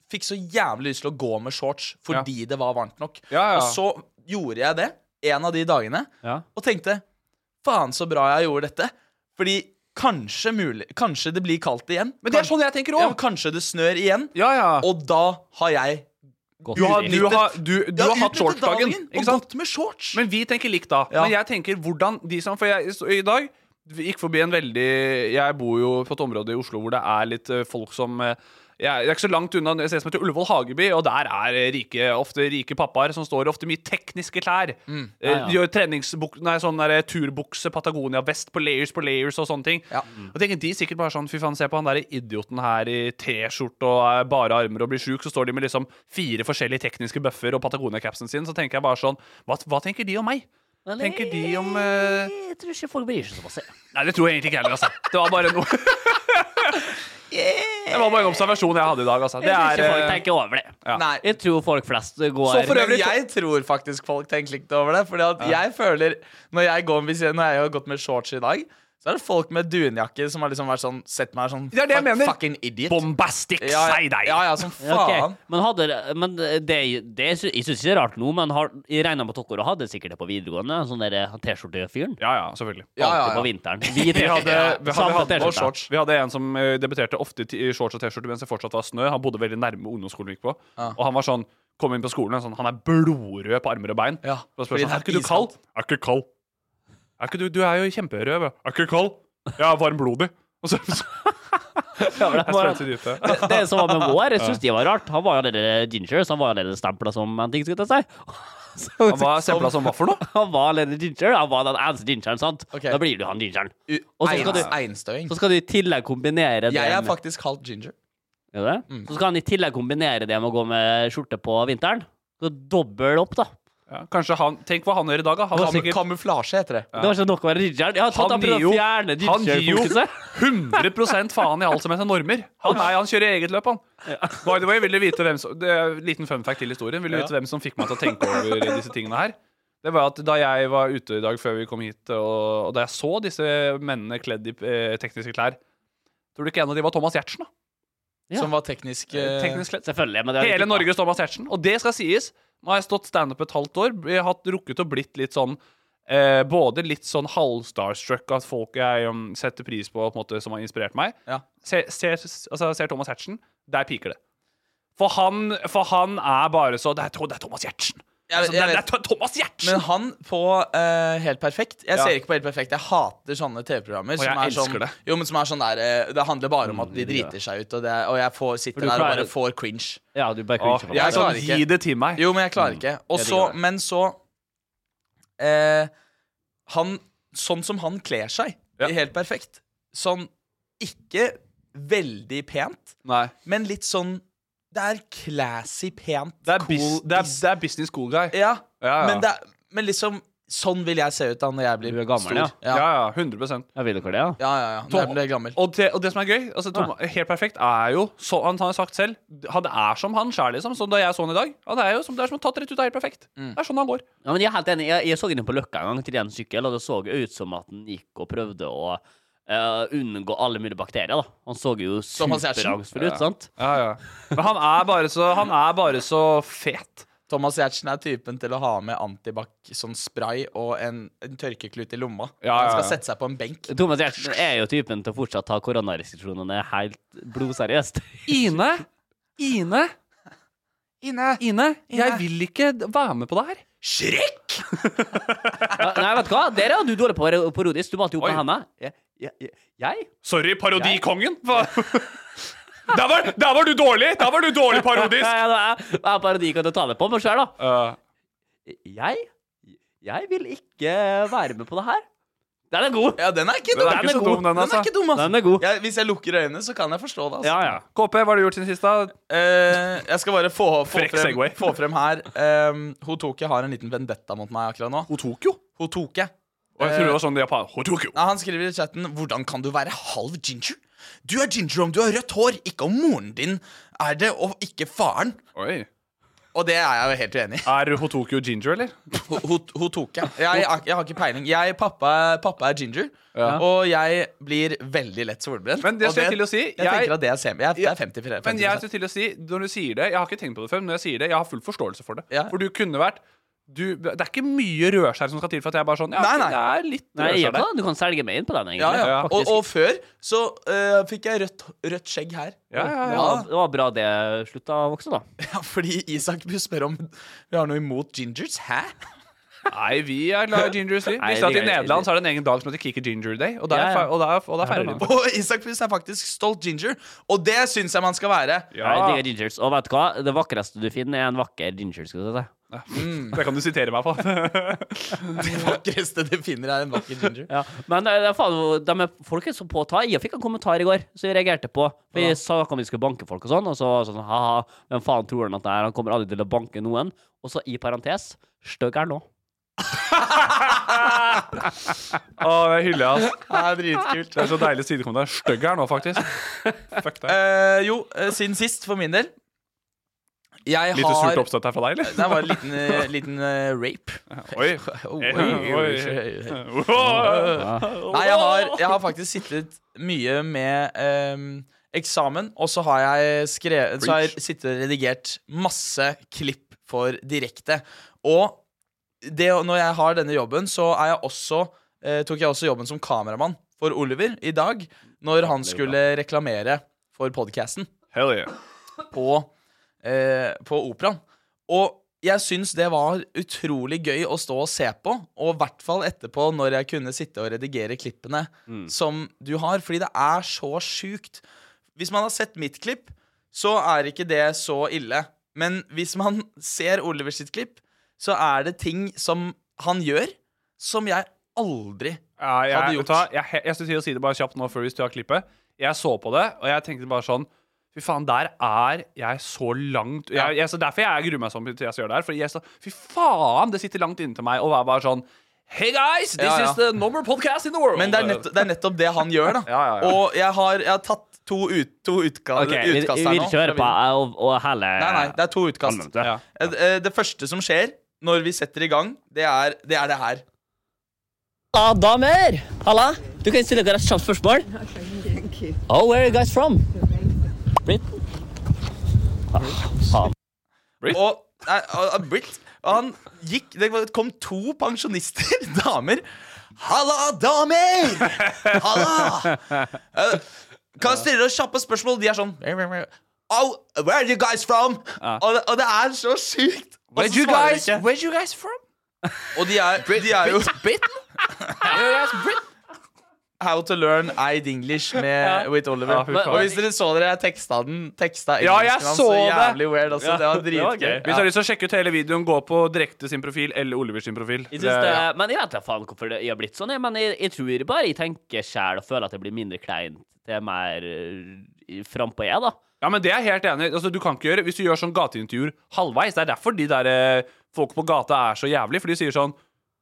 Speaker 2: Fikk så jævlig lyst til å gå med shorts fordi det var varmt nok.
Speaker 1: Ja, ja.
Speaker 2: Og så gjorde jeg det en av de dagene,
Speaker 1: Ja.
Speaker 2: og tenkte Faen, så bra jeg gjorde dette. Fordi Kanskje, mulig, kanskje det blir kaldt igjen.
Speaker 1: Men det er sånn jeg tenker også.
Speaker 2: Ja, kanskje det snør igjen.
Speaker 1: Ja, ja.
Speaker 2: Og da har jeg
Speaker 1: Du har, du har, du, du
Speaker 2: Ja,
Speaker 1: har hatt
Speaker 2: utnyttet
Speaker 1: shortsdagen.
Speaker 2: dagen
Speaker 1: Ikke
Speaker 2: Og
Speaker 1: sant?
Speaker 2: gått med shorts.
Speaker 1: Men vi tenker likt, da.
Speaker 2: Ja.
Speaker 1: Men jeg tenker hvordan de som For jeg, så, i dag vi gikk forbi en veldig Jeg bor jo på et område i Oslo hvor det er litt eh, folk som eh, jeg jeg er ikke så langt unna et sted som heter Ullevål Hageby, og der er eh, rike, ofte rike pappaer som står ofte i mye tekniske klær.
Speaker 2: Mm.
Speaker 1: Eh,
Speaker 4: Ja, ja.
Speaker 1: Gjør treningsbuk, nei, sånn der, eh, turbukse, Patagonia-vest på layers på layers og sånne ting. Og tenker de sikkert bare sånn Fy faen, se på han der idioten her i T-skjorte og eh, bare armer og blir sjuk. Så står de med liksom fire forskjellige tekniske bøffer og Patagonia-capsen sin. Så tenker jeg bare sånn Hva, hva tenker de om meg? Tenker de om eh,
Speaker 4: Jeg tror ikke folk bryr seg så masse.
Speaker 1: Nei, det tror jeg egentlig ikke heller, altså. Det var bare noe Det var bare en observasjon jeg hadde i dag, altså. Det er
Speaker 4: Jeg tror ikke folk
Speaker 1: eh,
Speaker 4: tenker over det.
Speaker 2: Nei.
Speaker 4: Jeg tror folk flest går
Speaker 1: Så for
Speaker 2: Men
Speaker 1: øvrig-
Speaker 2: jeg tror faktisk folk tenker likt over det. Fordi at jeg føler Når jeg går hvis jeg, Når jeg har gått med shorts i dag, så er det folk med dunjakke som har liksom vært sånn sett meg sånn
Speaker 1: Det er det jeg mener.
Speaker 2: Fucking idiot.
Speaker 1: Bombastic,
Speaker 2: ja, ja,
Speaker 1: si deg!
Speaker 2: ja, ja, som
Speaker 4: Ja, ok.
Speaker 2: faen.
Speaker 4: Men, hadde, men det, det, sy- jeg syns ikke det er rart nå, men har, jeg regna med at dere hadde sikkert det på videregående. Sånn der T-skjorte-fyren.
Speaker 1: Ja, ja, selvfølgelig.
Speaker 2: Ja, ja,
Speaker 4: Alltid
Speaker 2: ja.
Speaker 4: På vinteren. Hvit
Speaker 1: Vi hadde, vi
Speaker 4: T-skjorte.
Speaker 1: hadde, hatt-
Speaker 4: Samme
Speaker 1: og
Speaker 4: T-skjorte.
Speaker 1: shorts. vi hadde en som eh, debuterte ofte i t- i shorts og T-skjorte mens det fortsatt var snø. Han bodde veldig nærme ungdomsskolen vi gikk på. Og han var sånn Kom inn på skolen, og sånn, han er blodrød på armer og bein.
Speaker 2: Ja,
Speaker 1: og spør
Speaker 2: fordi
Speaker 1: sånn,
Speaker 2: det er
Speaker 1: er ikke du
Speaker 2: iskaldt."
Speaker 1: kald? Er ikke kald. Er ikke du, du er jo kjemperød. ja. Er ikke kald? Jeg er varmblodig. Og så, så,
Speaker 4: Ja,
Speaker 1: jeg
Speaker 4: det var-
Speaker 1: sprang til dypet.
Speaker 4: Det- Det som var med Vår, jeg syns det var rart. Han var jo allerede ginger, så han var allerede stempla som en ting, skulle jeg si. Så-
Speaker 1: Han var stempla som hva for noe?
Speaker 4: Han var allerede ginger. Han var den eneste gingeren, sant?
Speaker 2: Ok.
Speaker 4: Da blir du han gingeren.
Speaker 2: U-
Speaker 4: Og så skal
Speaker 2: Eins,
Speaker 4: du-
Speaker 2: einstøing.
Speaker 4: Så skal du i tillegg kombinere det
Speaker 2: Jeg er
Speaker 4: med-
Speaker 2: faktisk kalt ginger.
Speaker 4: Er det?
Speaker 1: Mm.
Speaker 4: Så skal han i tillegg kombinere det med å gå med skjorte på vinteren. Så dobbel opp, da.
Speaker 1: Ja, kanskje han, Tenk hva han gjør i dag, da. Han, var
Speaker 2: Kam
Speaker 1: sikkert,
Speaker 2: Kamuflasje heter det.
Speaker 4: Det var ikke nok å være gingeren. Jeg har tatt
Speaker 1: han
Speaker 4: han prøvd
Speaker 1: gir jo,
Speaker 4: å fjerne
Speaker 1: han gir jo
Speaker 4: ginger-fokuset.
Speaker 1: 100 faen i alt som heter normer. Han, er, han kjører eget løp, han. By the way, vil du vite hvem som, det er en Liten fun fact til historien. Vil du vite hvem som fikk meg til å tenke over disse tingene her? Det var at Da jeg var ute i dag før vi kom hit, og, og da jeg så disse mennene kledd i eh, tekniske klær Tror du ikke en av de var Thomas Giertsen? da?
Speaker 4: Ja.
Speaker 2: Som var teknisk, eh,
Speaker 1: Teknisk kledd.
Speaker 4: Selvfølgelig. Men det er
Speaker 1: Hele
Speaker 4: litt-
Speaker 1: Norges Thomas Hertzen. Og det skal sies. Nå har jeg stått standup et halvt år. Jeg har hatt rukket å blitt litt sånn eh, Både litt sånn halvstarstruck at folk jeg um, setter pris på, på en måte, som har inspirert meg.
Speaker 2: Ja.
Speaker 1: Ser, ser, altså, ser Thomas Hertzen, der piker det. For han, for han er bare så Det er, det er Thomas Giertsen!
Speaker 2: Jeg-
Speaker 1: Altså, det,
Speaker 2: jeg
Speaker 1: er- det
Speaker 2: vet-
Speaker 1: er Thomas Giertsen!
Speaker 2: Men han på eh, Helt perfekt Jeg
Speaker 1: Ja.
Speaker 2: ser ikke på Helt perfekt. Jeg hater sånne TV-programmer.
Speaker 1: Og jeg
Speaker 2: som er
Speaker 1: elsker
Speaker 2: sånn,
Speaker 1: det. Mm,
Speaker 2: Jo, men som er sånn der eh, Det handler bare om at de driter seg ut, og, det, er- og jeg får,
Speaker 4: For
Speaker 2: sitter
Speaker 4: du
Speaker 2: der og
Speaker 4: klarer-
Speaker 2: bare får cringe.
Speaker 4: Ja, du bare
Speaker 1: Åh,
Speaker 4: ikke
Speaker 1: jeg
Speaker 2: Jeg
Speaker 1: er sånn,
Speaker 2: klarer ikke.
Speaker 1: Gi det til meg.
Speaker 2: Jo, men jeg
Speaker 1: Mm,
Speaker 2: klarer ikke. Og
Speaker 4: Jeg
Speaker 2: så,
Speaker 4: digger det.
Speaker 2: men så eh, Han Sånn som han kler seg,
Speaker 1: Ja.
Speaker 2: i Helt perfekt Sånn ikke veldig pent,
Speaker 1: Nei.
Speaker 2: men litt sånn Det er classy pent.
Speaker 1: Det er, bis,
Speaker 2: cool,
Speaker 1: det, er,
Speaker 2: bis-
Speaker 1: det er business cool guy.
Speaker 2: Ja,
Speaker 1: Ja, ja.
Speaker 2: Men, det er, men liksom Sånn vil jeg se ut da når jeg blir
Speaker 4: Du er gammel,
Speaker 2: stor.
Speaker 4: ja.
Speaker 1: Ja, ja. 100
Speaker 4: Jeg vil ikke det, ja.
Speaker 2: Ja, ja, ja. Når jeg ble gammel.
Speaker 1: Og det, og det som er gøy, altså, Tom, helt perfekt, er jo så, Han har sagt selv Han er som han sjæl, liksom. Som da jeg så han i dag. Han er jo som, det er som tatt rett ut av helt perfekt.
Speaker 2: Mm.
Speaker 1: Det er sånn han går.
Speaker 4: ja men jeg er helt enig. Jeg, jeg så den på Løkka en gang til en sykkel, og det så ut som at den gikk og prøvde å eh, unngå alle mulige bakterier. da Han så jo
Speaker 2: Thomas Giertsen.
Speaker 4: superangstfull ut, sant?
Speaker 1: Ja, ja. Men han er bare så, han er bare så fet.
Speaker 2: Thomas Giertsen er typen til å ha med antibac, sånn spray og en, en tørkeklut i lomma.
Speaker 1: Ja, ja,
Speaker 2: Han
Speaker 1: ja.
Speaker 2: skal sette seg på en benk.
Speaker 4: Thomas Giertsen er jo typen til å fortsatt ta koronarestriksjonene helt blodseriøst.
Speaker 1: Ine! Ine! Ine! Ine! Jeg vil ikke være med på det her.
Speaker 2: Shrek!
Speaker 4: Ja, Nei, vet du hva? Der er du dårlig på å være parodisk. Du malte jo opp
Speaker 1: Oi.
Speaker 4: med handa. Jeg, jeg, jeg- jeg?
Speaker 1: Sorry, parodikongen. Der var, der var du dårlig! Der var du dårlig
Speaker 4: Ja,
Speaker 1: parodisk!
Speaker 4: ja, det er- det er parodi kan du ta det på meg sjøl, da.
Speaker 1: Uh,
Speaker 4: Jeg Jeg vil ikke være med på det her. Den er god!
Speaker 2: Ja, den er ikke
Speaker 1: Den
Speaker 2: dum.
Speaker 1: er ikke så dum, den, altså.
Speaker 2: er ikke dum, altså.
Speaker 4: Den er god.
Speaker 2: Jeg, hvis jeg lukker øynene, så kan jeg forstå det. altså
Speaker 4: Ja, ja.
Speaker 1: KP, hva har du gjort siden sist? da?
Speaker 2: Eh, Jeg skal bare få, få,
Speaker 1: Frekk
Speaker 2: frem,
Speaker 1: segway.
Speaker 2: få frem her um, Hotoke har en liten vendetta mot meg akkurat nå.
Speaker 1: Otokyo.
Speaker 2: Hotoke.
Speaker 1: Og jeg tror det var sånn de er på Otokyo.
Speaker 2: Nei, han skriver i chatten Hvordan kan du være halv ginger? Du er ginger om du har rødt hår, ikke om moren din er det, og ikke faren.
Speaker 1: Oi.
Speaker 2: Og det er jeg jo helt uenig i.
Speaker 1: Er Hotokyo ginger, eller?
Speaker 2: Hun- Hun hun tok jeg. Jeg, har- jeg har ikke peiling. Jeg, pappa, pappa er ginger, og jeg blir veldig lett solbrent.
Speaker 1: Men det
Speaker 2: Og
Speaker 1: skal jeg til å si,
Speaker 2: Jeg,
Speaker 1: jeg-
Speaker 2: tenker at det er, sem, jeg, det er 50 50
Speaker 1: Men jeg er til å si, når du sier det, jeg har ikke tenkt på det før, men når jeg sier det, jeg har full forståelse for det.
Speaker 2: Ja.
Speaker 1: For du kunne vært du, det er ikke mye rødskjær som skal til for at jeg bare sånn ja,
Speaker 2: Nei, nei.
Speaker 1: Det er litt
Speaker 4: Nei, jeg
Speaker 1: rødskjær
Speaker 4: gjør
Speaker 1: der.
Speaker 4: ikke det. Du kan selge meg inn på den, egentlig.
Speaker 2: Ja, ja.
Speaker 4: faktisk.
Speaker 2: Og, og før så eh, fikk jeg rødt, rødt skjegg her.
Speaker 1: Ja, ja,
Speaker 4: Det
Speaker 1: ja.
Speaker 4: var- Det var bra det slutta å vokse, da.
Speaker 2: Ja, fordi Isak vil spørre om vi har noe imot gingers. Hæ?
Speaker 1: Nei, vi er glad i ginger sleep.
Speaker 4: Nei,
Speaker 1: Visste at
Speaker 4: det
Speaker 1: I
Speaker 4: er-
Speaker 1: Nederland så er det en egen dag som heter Kicker Ginger Day, og der,
Speaker 4: Ja, ja.
Speaker 1: fe- Og der, og der feirer de. det.
Speaker 2: Og Isak Pus er faktisk stolt ginger, og det syns jeg man skal være.
Speaker 1: Ja,
Speaker 4: Nei, Jeg digger gingers. Og vet du hva? Det vakreste du finner, er en vakker ginger. Skal du si.
Speaker 1: det kan du sitere meg på.
Speaker 2: Det vakreste du finner, er en vakker ginger.
Speaker 4: Ja. Men eh, det er faen, de er, folk er så på å ta. Jeg fikk en kommentar i går som jeg reagerte på. For jeg sa om vi skulle banke folk og sånn, og så var det sånn ha-ha, hvem faen tror han at det er? Han kommer aldri til å banke noen. Og så i parentes stygg er han nå.
Speaker 1: Å, det hyller jeg, ass.
Speaker 2: Det er dritkult.
Speaker 1: Det er så deilig sidekommentar. Stygg er han nå, faktisk. Fuck deg.
Speaker 2: Eh, jo, eh, siden sist, for min del. Jeg
Speaker 1: Lite
Speaker 2: har
Speaker 1: surt oppstøtt her fra deg,
Speaker 2: Det var en liten, eh, liten eh, rape.
Speaker 1: eller?
Speaker 2: Oi,
Speaker 1: Oi.
Speaker 2: oi, oi. Nei, jeg har, jeg har faktisk sittet mye med ehm, eksamen, og så har jeg skrevet Så har jeg sittet og redigert masse klipp for direkte. Og det, å- når jeg har denne jobben, så er jeg også eh, tok jeg også jobben som kameramann for Oliver i dag, når han skulle reklamere for podkasten
Speaker 1: Hell yeah.
Speaker 2: på, eh, på operaen. Og jeg syns det var utrolig gøy å stå og se på, og i hvert fall etterpå når jeg kunne sitte og redigere klippene
Speaker 1: Mm.
Speaker 2: som du har, fordi det er så sjukt. Hvis man har sett mitt klipp, så er ikke det så ille. Men hvis man ser Oliver sitt klipp, så er det ting som han gjør, som jeg aldri
Speaker 1: Ja,
Speaker 2: Hadde
Speaker 1: jeg,
Speaker 2: gjort.
Speaker 1: vet du hva, jeg, jeg, skulle til å si det bare kjapt nå før vi tar klippet. Jeg så på det, og jeg tenkte bare sånn Fy faen, der er jeg så langt jeg, jeg, så Derfor jeg gruer meg sånn til jeg skal gjøre det her. Fordi jeg så, Fy faen, det sitter langt inntil meg å være bare sånn Hey guys, this
Speaker 2: Ja, ja.
Speaker 1: is the number podcast in the world.
Speaker 2: Men det er, nett, det er nettopp det han gjør, da.
Speaker 1: Ja, ja, ja.
Speaker 2: Og jeg har, jeg har tatt to, ut, to utga
Speaker 4: Ok, vi,
Speaker 2: utkast
Speaker 4: vi
Speaker 2: her
Speaker 4: vil
Speaker 2: nå.
Speaker 4: kjøre på eh, og, og hele
Speaker 2: Nei, nei, det er to utkast.
Speaker 4: Allmenn, ja.
Speaker 2: Eh, eh, Det første som skjer når vi setter i gang, det er det, er det her.
Speaker 4: Adamer! Ah, Halla! Du kan stille dere et kjapt spørsmål. Oh, where are you guys from? Britain?
Speaker 2: Og, nei, og- og Britt og han gikk Det var- kom to pensjonister, damer. Halla, damer! Halla! Eh, Kan jeg stille dere kjappe spørsmål? De er sånn Oh, where are you guys from? Og, det- og det er så sykt. Og så
Speaker 1: Where'd
Speaker 2: svarer
Speaker 1: you
Speaker 2: de
Speaker 1: guys,
Speaker 2: ikke.
Speaker 1: where'd you guys from?
Speaker 2: Og de er, de er jo
Speaker 1: Where you guys Brit?
Speaker 2: How to learn Eid English med, with Oliver.
Speaker 1: Ja, fy faen.
Speaker 2: og hvis dere så dere, jeg teksta den. Teksta
Speaker 1: Ja, jeg
Speaker 2: engelsken hans,
Speaker 1: så det.
Speaker 2: jævlig weird. Altså. det var
Speaker 1: Det var
Speaker 2: dritgøy.
Speaker 1: gøy. Hvis du har lyst til å sjekke ut hele videoen, gå på direkte sin profil eller Oliver sin profil.
Speaker 4: Jeg synes det, men jeg vet da faen hvorfor det jeg har blitt sånn, jeg, men jeg, jeg tror bare jeg tenker sjæl og føler at jeg blir mindre klein til mer eh, frampå jeg, da.
Speaker 1: Ja, men det er jeg helt enig i. altså, du kan ikke gjøre, Hvis du gjør sånn gateintervjuer halvveis Det er derfor de der eh, folk på gata er så jævlig. For de sier sånn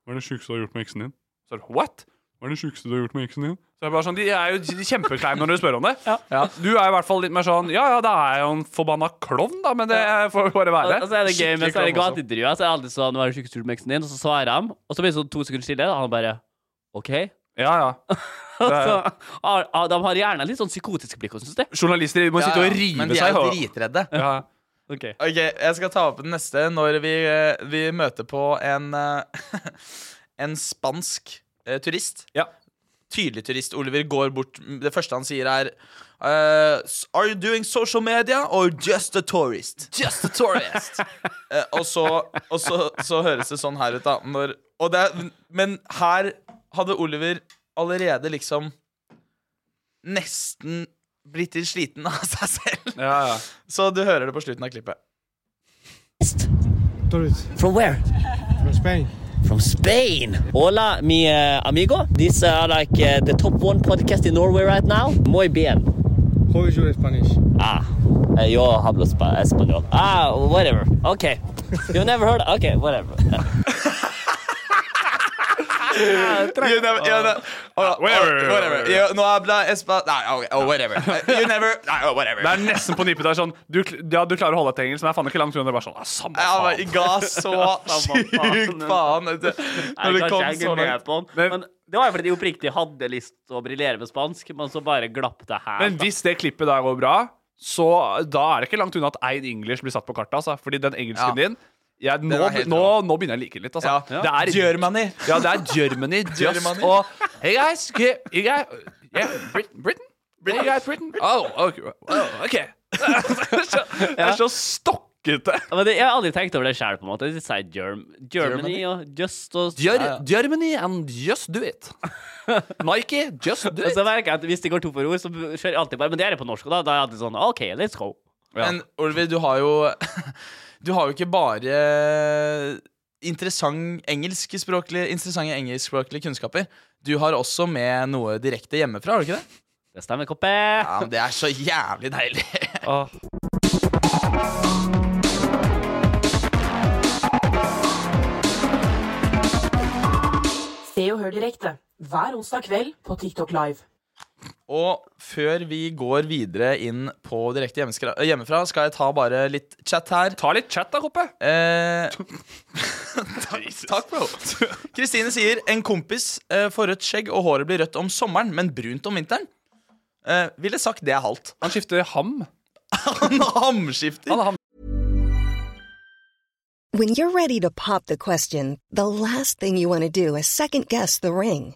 Speaker 1: Hva er det sjukeste du har gjort med eksen din? Så er det what? Hva er det sjukeste du har gjort med eksen din? Så er det bare sånn, De er jo kjempekleine når du spør om det. Du er i hvert fall litt mer sånn Ja ja, da er jeg jo en forbanna klovn, da, men det får bare
Speaker 4: Og
Speaker 1: være.
Speaker 4: og så er det gøy med
Speaker 1: Skikkelig
Speaker 4: sånne
Speaker 1: klovn også.
Speaker 4: gateintervjuer. Så er det alltid sånn 'Hva er det sjukeste du gjorde med eksen din?' Og så svarer han, og så blir det sånn to sekunder stille, og han bare OK.
Speaker 1: Ja, ja. Det
Speaker 4: Så,
Speaker 1: er,
Speaker 4: har- har- de har gjerne litt sånn psykotiske blikk, syns jeg.
Speaker 1: journalister de må sitte
Speaker 2: Ja, ja,
Speaker 1: og rive
Speaker 2: Men de er
Speaker 1: seg
Speaker 2: jo
Speaker 1: i hodet.
Speaker 2: dritredde.
Speaker 1: Ja.
Speaker 2: Ok, Jeg skal ta opp den neste når vi, eh, vi møter på en eh, En spansk eh, turist.
Speaker 1: Ja.
Speaker 2: Tydelig turist. Oliver går bort Det første han sier, er eh, s- Are you doing social media or just a tourist? Just a tourist Eh, Og, så, og så, så høres det sånn her ut, da. Når, og det, er- men her hadde Oliver allerede liksom nesten blitt litt sliten av seg selv.
Speaker 1: Ja, ja.
Speaker 2: Så du hører det på slutten av klippet.
Speaker 4: From where? From Spain. From Spain. Hola, mi eh, amigo. These are like eh, the top one podcast in Norway right now. Muy bien.
Speaker 6: How is your Spanish?
Speaker 4: Ah, uh, yo hablo spa- español. Ah, whatever. Okay. You've never heard? Okay, whatever.
Speaker 2: You never, you never, oh,
Speaker 1: Whatever.
Speaker 2: oh, whatever. You, no habla espa... Nei, ok, oh, whatever. You never Nei, oh, whatever.
Speaker 1: Det er nesten på nippet. Det er sånn, du, kl- ja, du klarer å holde deg til engelsk, men det er faen ikke langt unna. Det er bare sånn, ah, samme
Speaker 2: Jeg
Speaker 1: faen.
Speaker 2: bare ga så sykt faen vet du, når det kom sånn- så langt.
Speaker 1: Men-
Speaker 4: det var jo fordi de oppriktig hadde lyst til å briljere med spansk, men så bare glapp det her.
Speaker 1: Men hvis det klippet der går bra, så da er det ikke langt unna at Eid English blir satt på kartet. Altså. Fordi den
Speaker 2: Ja.
Speaker 1: engelsken din Ja, nå,
Speaker 2: var helt
Speaker 1: nå, nå begynner jeg å like det litt, altså.
Speaker 2: Ja.
Speaker 1: Det er
Speaker 2: Germany.
Speaker 1: Ja, det er Germany. Just
Speaker 2: Germany.
Speaker 1: og Hey guys, ge- you guys yeah, Britain? Britain? Hey guys, Britain? Oh, okay. Oh, okay. Det er så stokkete.
Speaker 4: Ja, men det, jeg har aldri tenkt over det sjøl, på en måte. De sier germ, Germany
Speaker 1: Germany.
Speaker 4: og just og
Speaker 1: Ger Germany and just do it. Nike, just do
Speaker 4: Og
Speaker 2: Altså,
Speaker 1: it.
Speaker 4: så merker jeg at hvis de går to for ord, så kjører jeg alltid bare Men det er på norsk, og da, da er jeg alltid sånn OK, let's go.
Speaker 2: Men Oliver, du har jo Du har jo ikke bare interessant engelskspråklig, interessante engelskspråklige kunnskaper. Du har også med noe direkte hjemmefra, har du ikke det?
Speaker 4: Det stemmer, Koppe.
Speaker 2: Ja, men Det er så jævlig deilig.
Speaker 3: Se og hør direkte hver onsdag kveld på TikTok Live.
Speaker 2: Og før vi går videre inn på direkte hjemmeskra- eh, hjemmefra, skal jeg ta bare litt chat her.
Speaker 1: Ta litt chat, da, Koppe.
Speaker 2: Eh, takk, bro. Kristine sier en kompis eh, får rødt skjegg, og håret blir rødt om sommeren, men brunt om vinteren. Eh, ville sagt det er halvt.
Speaker 1: Han skifter ham.
Speaker 2: Han hamskifter.
Speaker 7: When you're ready to pop the question, the last thing you want to do is second guess the ring.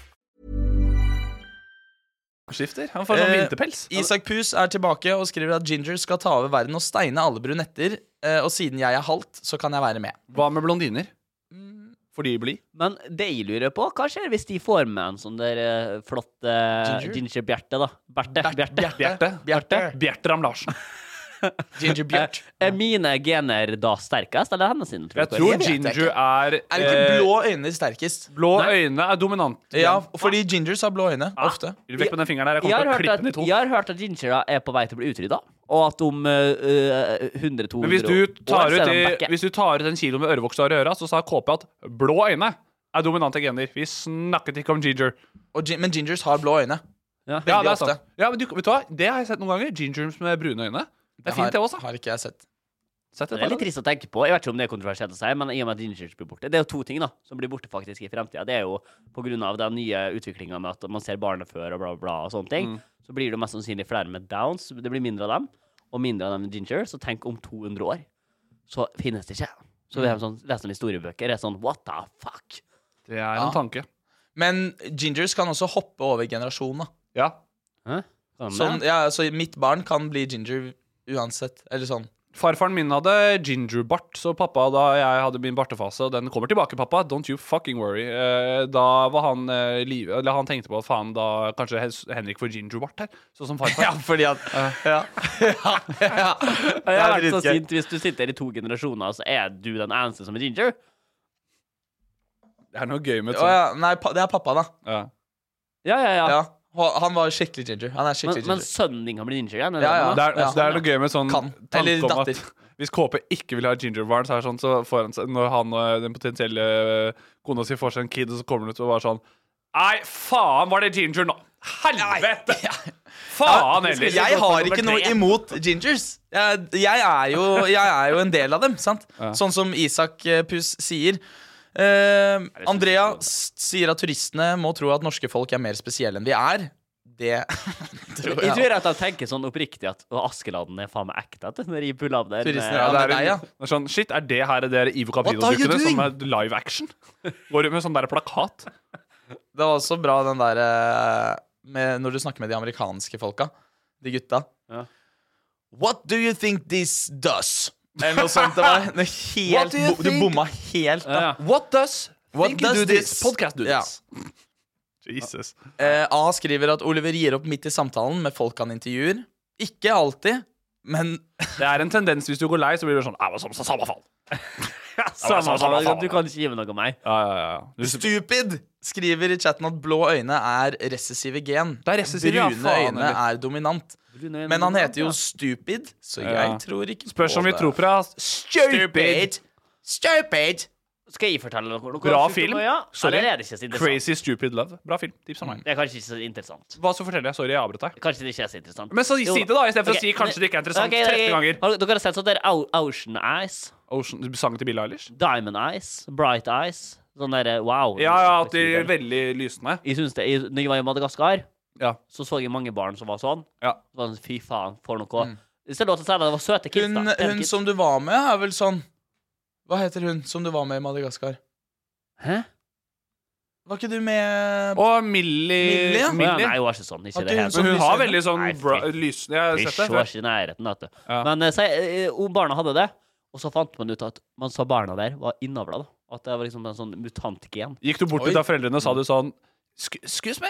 Speaker 1: Skifter. Han får sånn
Speaker 2: Eh,
Speaker 1: vinterpels.
Speaker 2: Isak Pus er tilbake og skriver at Ginger skal ta over verden og steine alle brunetter. eh, Og siden jeg er halvt, så kan jeg være med.
Speaker 1: Hva med blondiner? Får de bli?
Speaker 4: Men det jeg lurer på, hva skjer hvis de får med en sånn der eh, flott eh,
Speaker 1: Ginger?
Speaker 4: Ginger Bjerte, da? Berte. Bjerte.
Speaker 1: Bjerte. Bjerte. Bjertram Larsen.
Speaker 2: Ginger Bjert.
Speaker 4: Eh, Er mine gener da sterkest, eller hennes sine?
Speaker 1: Jeg tror Ginger er eh,
Speaker 2: Er det ikke blå øyne sterkest?
Speaker 1: Blå øyne er dominant.
Speaker 2: Ja, fordi gingers har blå øyne. Ofte.
Speaker 1: Vekk med den fingeren her. Jeg
Speaker 4: Jeg
Speaker 1: kommer
Speaker 4: har,
Speaker 1: til å
Speaker 4: hørt
Speaker 1: klippe
Speaker 4: at,
Speaker 1: den i to.
Speaker 4: jeg har hørt at gingera er på vei til å bli utrydda, og at om eh, eh, 100-200 år
Speaker 1: Men hvis du, tar
Speaker 4: så
Speaker 1: ut
Speaker 4: er de
Speaker 1: i,
Speaker 4: back.
Speaker 1: hvis du tar ut en kilo med ørevokser i øra, så sa KP at blå øyne er dominante gener. Vi snakket ikke om ginger.
Speaker 2: Og, gi- men gingers har blå øyne.
Speaker 4: Ja,
Speaker 1: Ja, det
Speaker 2: Veldig
Speaker 1: er sant.
Speaker 2: ofte.
Speaker 1: Ja, men du, vet du hva? Det har jeg sett noen ganger. Gingers med brune øyne. Det er fint, det
Speaker 2: har,
Speaker 1: også.
Speaker 2: har ikke jeg sett.
Speaker 1: Sett
Speaker 4: Det er litt trist å tenke på. Jeg vet ikke om det er kontroversielt å si, men i og med at gingers blir borte Det er jo to ting da som blir borte faktisk i fremtida. Det er jo på grunn av den nye utviklinga med at man ser barnet før og bla, bla, og sånne ting.
Speaker 1: Mm.
Speaker 4: Så blir det jo mest sannsynlig flere med downs. Det blir mindre av dem, og mindre av dem med ginger. Så tenk om 200 år, så finnes det ikke. Så
Speaker 2: Mm.
Speaker 4: det er sånn, leser om historiebøker, er sånn what the fuck?
Speaker 1: Det er en tanke.
Speaker 2: Men gingers kan også hoppe over generasjoner.
Speaker 1: Ja.
Speaker 4: Hæ? Kan de
Speaker 2: Sånn,
Speaker 4: det?
Speaker 2: ja, så mitt barn kan bli ginger uansett. Eller sånn.
Speaker 1: Farfaren min hadde gingerbart, så pappa da jeg hadde min bartefase Og den kommer tilbake, pappa. Don't you fucking worry. Eh, Da var han eh, liv... Eller han tenkte på at faen, da kanskje Hen- Henrik får gingerbart her. Sånn som farfar.
Speaker 2: Ja, fordi at Ja. ja, ja.
Speaker 4: Jeg
Speaker 2: Det er
Speaker 4: har vært
Speaker 2: dritgøy.
Speaker 4: så sint hvis du sitter i to generasjoner, så er du den eneste som er ginger.
Speaker 1: Det er noe gøy med sånn-
Speaker 2: Å, ja. Nei, pa, det er pappa, da.
Speaker 1: Ja.
Speaker 4: Ja, ja, ja.
Speaker 2: Ja. Ho- Han var skikkelig ginger. Han er
Speaker 4: Men,
Speaker 2: skikkelig
Speaker 4: men
Speaker 2: ginger.
Speaker 4: sønnen din kan bli ginger igjen? er
Speaker 2: Ja, ja.
Speaker 4: det
Speaker 1: Det er,
Speaker 2: Ja.
Speaker 1: det er noe gøy med sånn
Speaker 2: Kan.
Speaker 1: tanke
Speaker 2: Eller
Speaker 1: om at
Speaker 2: datter.
Speaker 1: hvis KP ikke vil ha gingerbaren, så er det sånn, så får han, seg- når han og den potensielle eh, kona si får seg en kid, og så kommer hun ut og bare sånn Nei, faen, var det ginger nå? Helvete! Faen
Speaker 2: Ja,
Speaker 1: heller.
Speaker 2: jeg har ikke noe imot gingers. Jeg, jeg, er, jo, jeg er jo en del av dem, sant?
Speaker 1: Ja.
Speaker 2: Sånn som Isak eh, Pus sier. Eh, Andrea s- sier at turistene må tro at norske folk er mer spesielle enn vi er. Det tror
Speaker 4: Jeg
Speaker 2: jeg.
Speaker 4: tror at de tenker sånn oppriktig at «Å, Askeladden er faen meg ekte. At den river av
Speaker 2: eh,
Speaker 4: der.
Speaker 1: Turistene, ja, det er en- det er sånn, Shit, er det her det der Ivo
Speaker 4: What are you
Speaker 1: Caprido-dukkene
Speaker 4: doing?
Speaker 1: som er live action? Går ut med sånn der plakat.
Speaker 2: Det var også bra den der eh, med, Når du snakker med de amerikanske folka. De gutta. What do you think this does? Eller noe sånt. Det var det helt,
Speaker 1: What do you
Speaker 2: bo, du
Speaker 1: think-
Speaker 2: bomma helt. Da.
Speaker 1: What does
Speaker 2: What
Speaker 1: think you
Speaker 2: does
Speaker 1: do
Speaker 2: this,
Speaker 1: this? Podcast do
Speaker 2: Ja.
Speaker 1: this? Jesus.
Speaker 2: Eh, A skriver at Oliver gir opp midt i samtalen med folk han intervjuer. Ikke alltid, men
Speaker 1: Det er en tendens hvis du går lei, så blir du sånn «Ah, samme, samme fall.
Speaker 4: Samme, faen, du kan ikke gi meg noe meg.
Speaker 1: Ja, ja, ja. Du-
Speaker 2: Stupid skriver i chatten at blå øyne er recessive gen.
Speaker 1: Det er recessive, ja,
Speaker 2: Brune
Speaker 1: faen,
Speaker 2: øyne
Speaker 1: eller?
Speaker 2: er dominant.
Speaker 4: Brune øyne er
Speaker 2: Men han
Speaker 4: dominant,
Speaker 2: heter jo
Speaker 4: ja.
Speaker 2: Stupid, så jeg
Speaker 1: Ja.
Speaker 2: tror ikke
Speaker 1: Spørs
Speaker 2: på
Speaker 1: om vi
Speaker 2: det.
Speaker 1: tror på deg.
Speaker 2: Stupid! Stupid!
Speaker 4: Skal jeg fortelle dere noe?
Speaker 1: Bra
Speaker 4: Synes du
Speaker 1: film.
Speaker 4: det, ja?
Speaker 1: Sorry.
Speaker 4: Eller er det Mm. ikke så interessant?
Speaker 1: Crazy Stupid Love. Bra film. Tips av meg.
Speaker 4: Det er kanskje ikke så interessant.
Speaker 1: Hva så forteller jeg? Sorry, jeg avbrøt deg.
Speaker 4: Kanskje det ikke er så interessant.
Speaker 1: Men så si
Speaker 4: Jo da.
Speaker 1: det, da, i stedet for å
Speaker 4: Ok,
Speaker 1: si kanskje
Speaker 4: men-
Speaker 1: det ikke er interessant
Speaker 4: ok,
Speaker 1: 30 ganger.
Speaker 4: Har, dere har sett sånn der Au- Ocean Eyes?
Speaker 1: Ocean, Sangen til Billie Eilish?
Speaker 4: Diamond Eyes? Bright Eyes? Sånn derre wow.
Speaker 1: Ja, ja, at de er veldig lysende.
Speaker 4: Jeg synes det, jeg, Når jeg var i Madagaskar,
Speaker 1: Ja.
Speaker 4: så så jeg mange barn som var sånn.
Speaker 1: Ja. Mm.
Speaker 4: Sånn, Fy faen, for noe. Det er lov til å si det, det var søte kids.
Speaker 2: Hun,
Speaker 4: da. Pene
Speaker 2: hun
Speaker 4: kids.
Speaker 2: som du var med, er vel sånn Hva heter hun som du var med i Madagaskar?
Speaker 4: Hæ?
Speaker 2: Var ikke du med
Speaker 1: Og Millie,
Speaker 2: Millie, ja.
Speaker 4: Å, ja, nei, hun var ikke sånn. Ikke
Speaker 2: Har
Speaker 4: det
Speaker 2: ikke
Speaker 4: helt.
Speaker 1: Men hun har veldig sånn
Speaker 4: Nei,
Speaker 1: bra, lysende Jeg har
Speaker 4: Hysj,
Speaker 1: sett det
Speaker 4: hun var
Speaker 1: før.
Speaker 4: ikke i nærheten. Vet du. Men eh, si, eh, om barna hadde det, og så fant man ut at man sa barna der var innavla. da. At det var liksom en sånn mutantgen.
Speaker 1: Gikk du bort til
Speaker 4: Oi.
Speaker 1: da foreldrene og sa du sånn "Sc- Excuse me?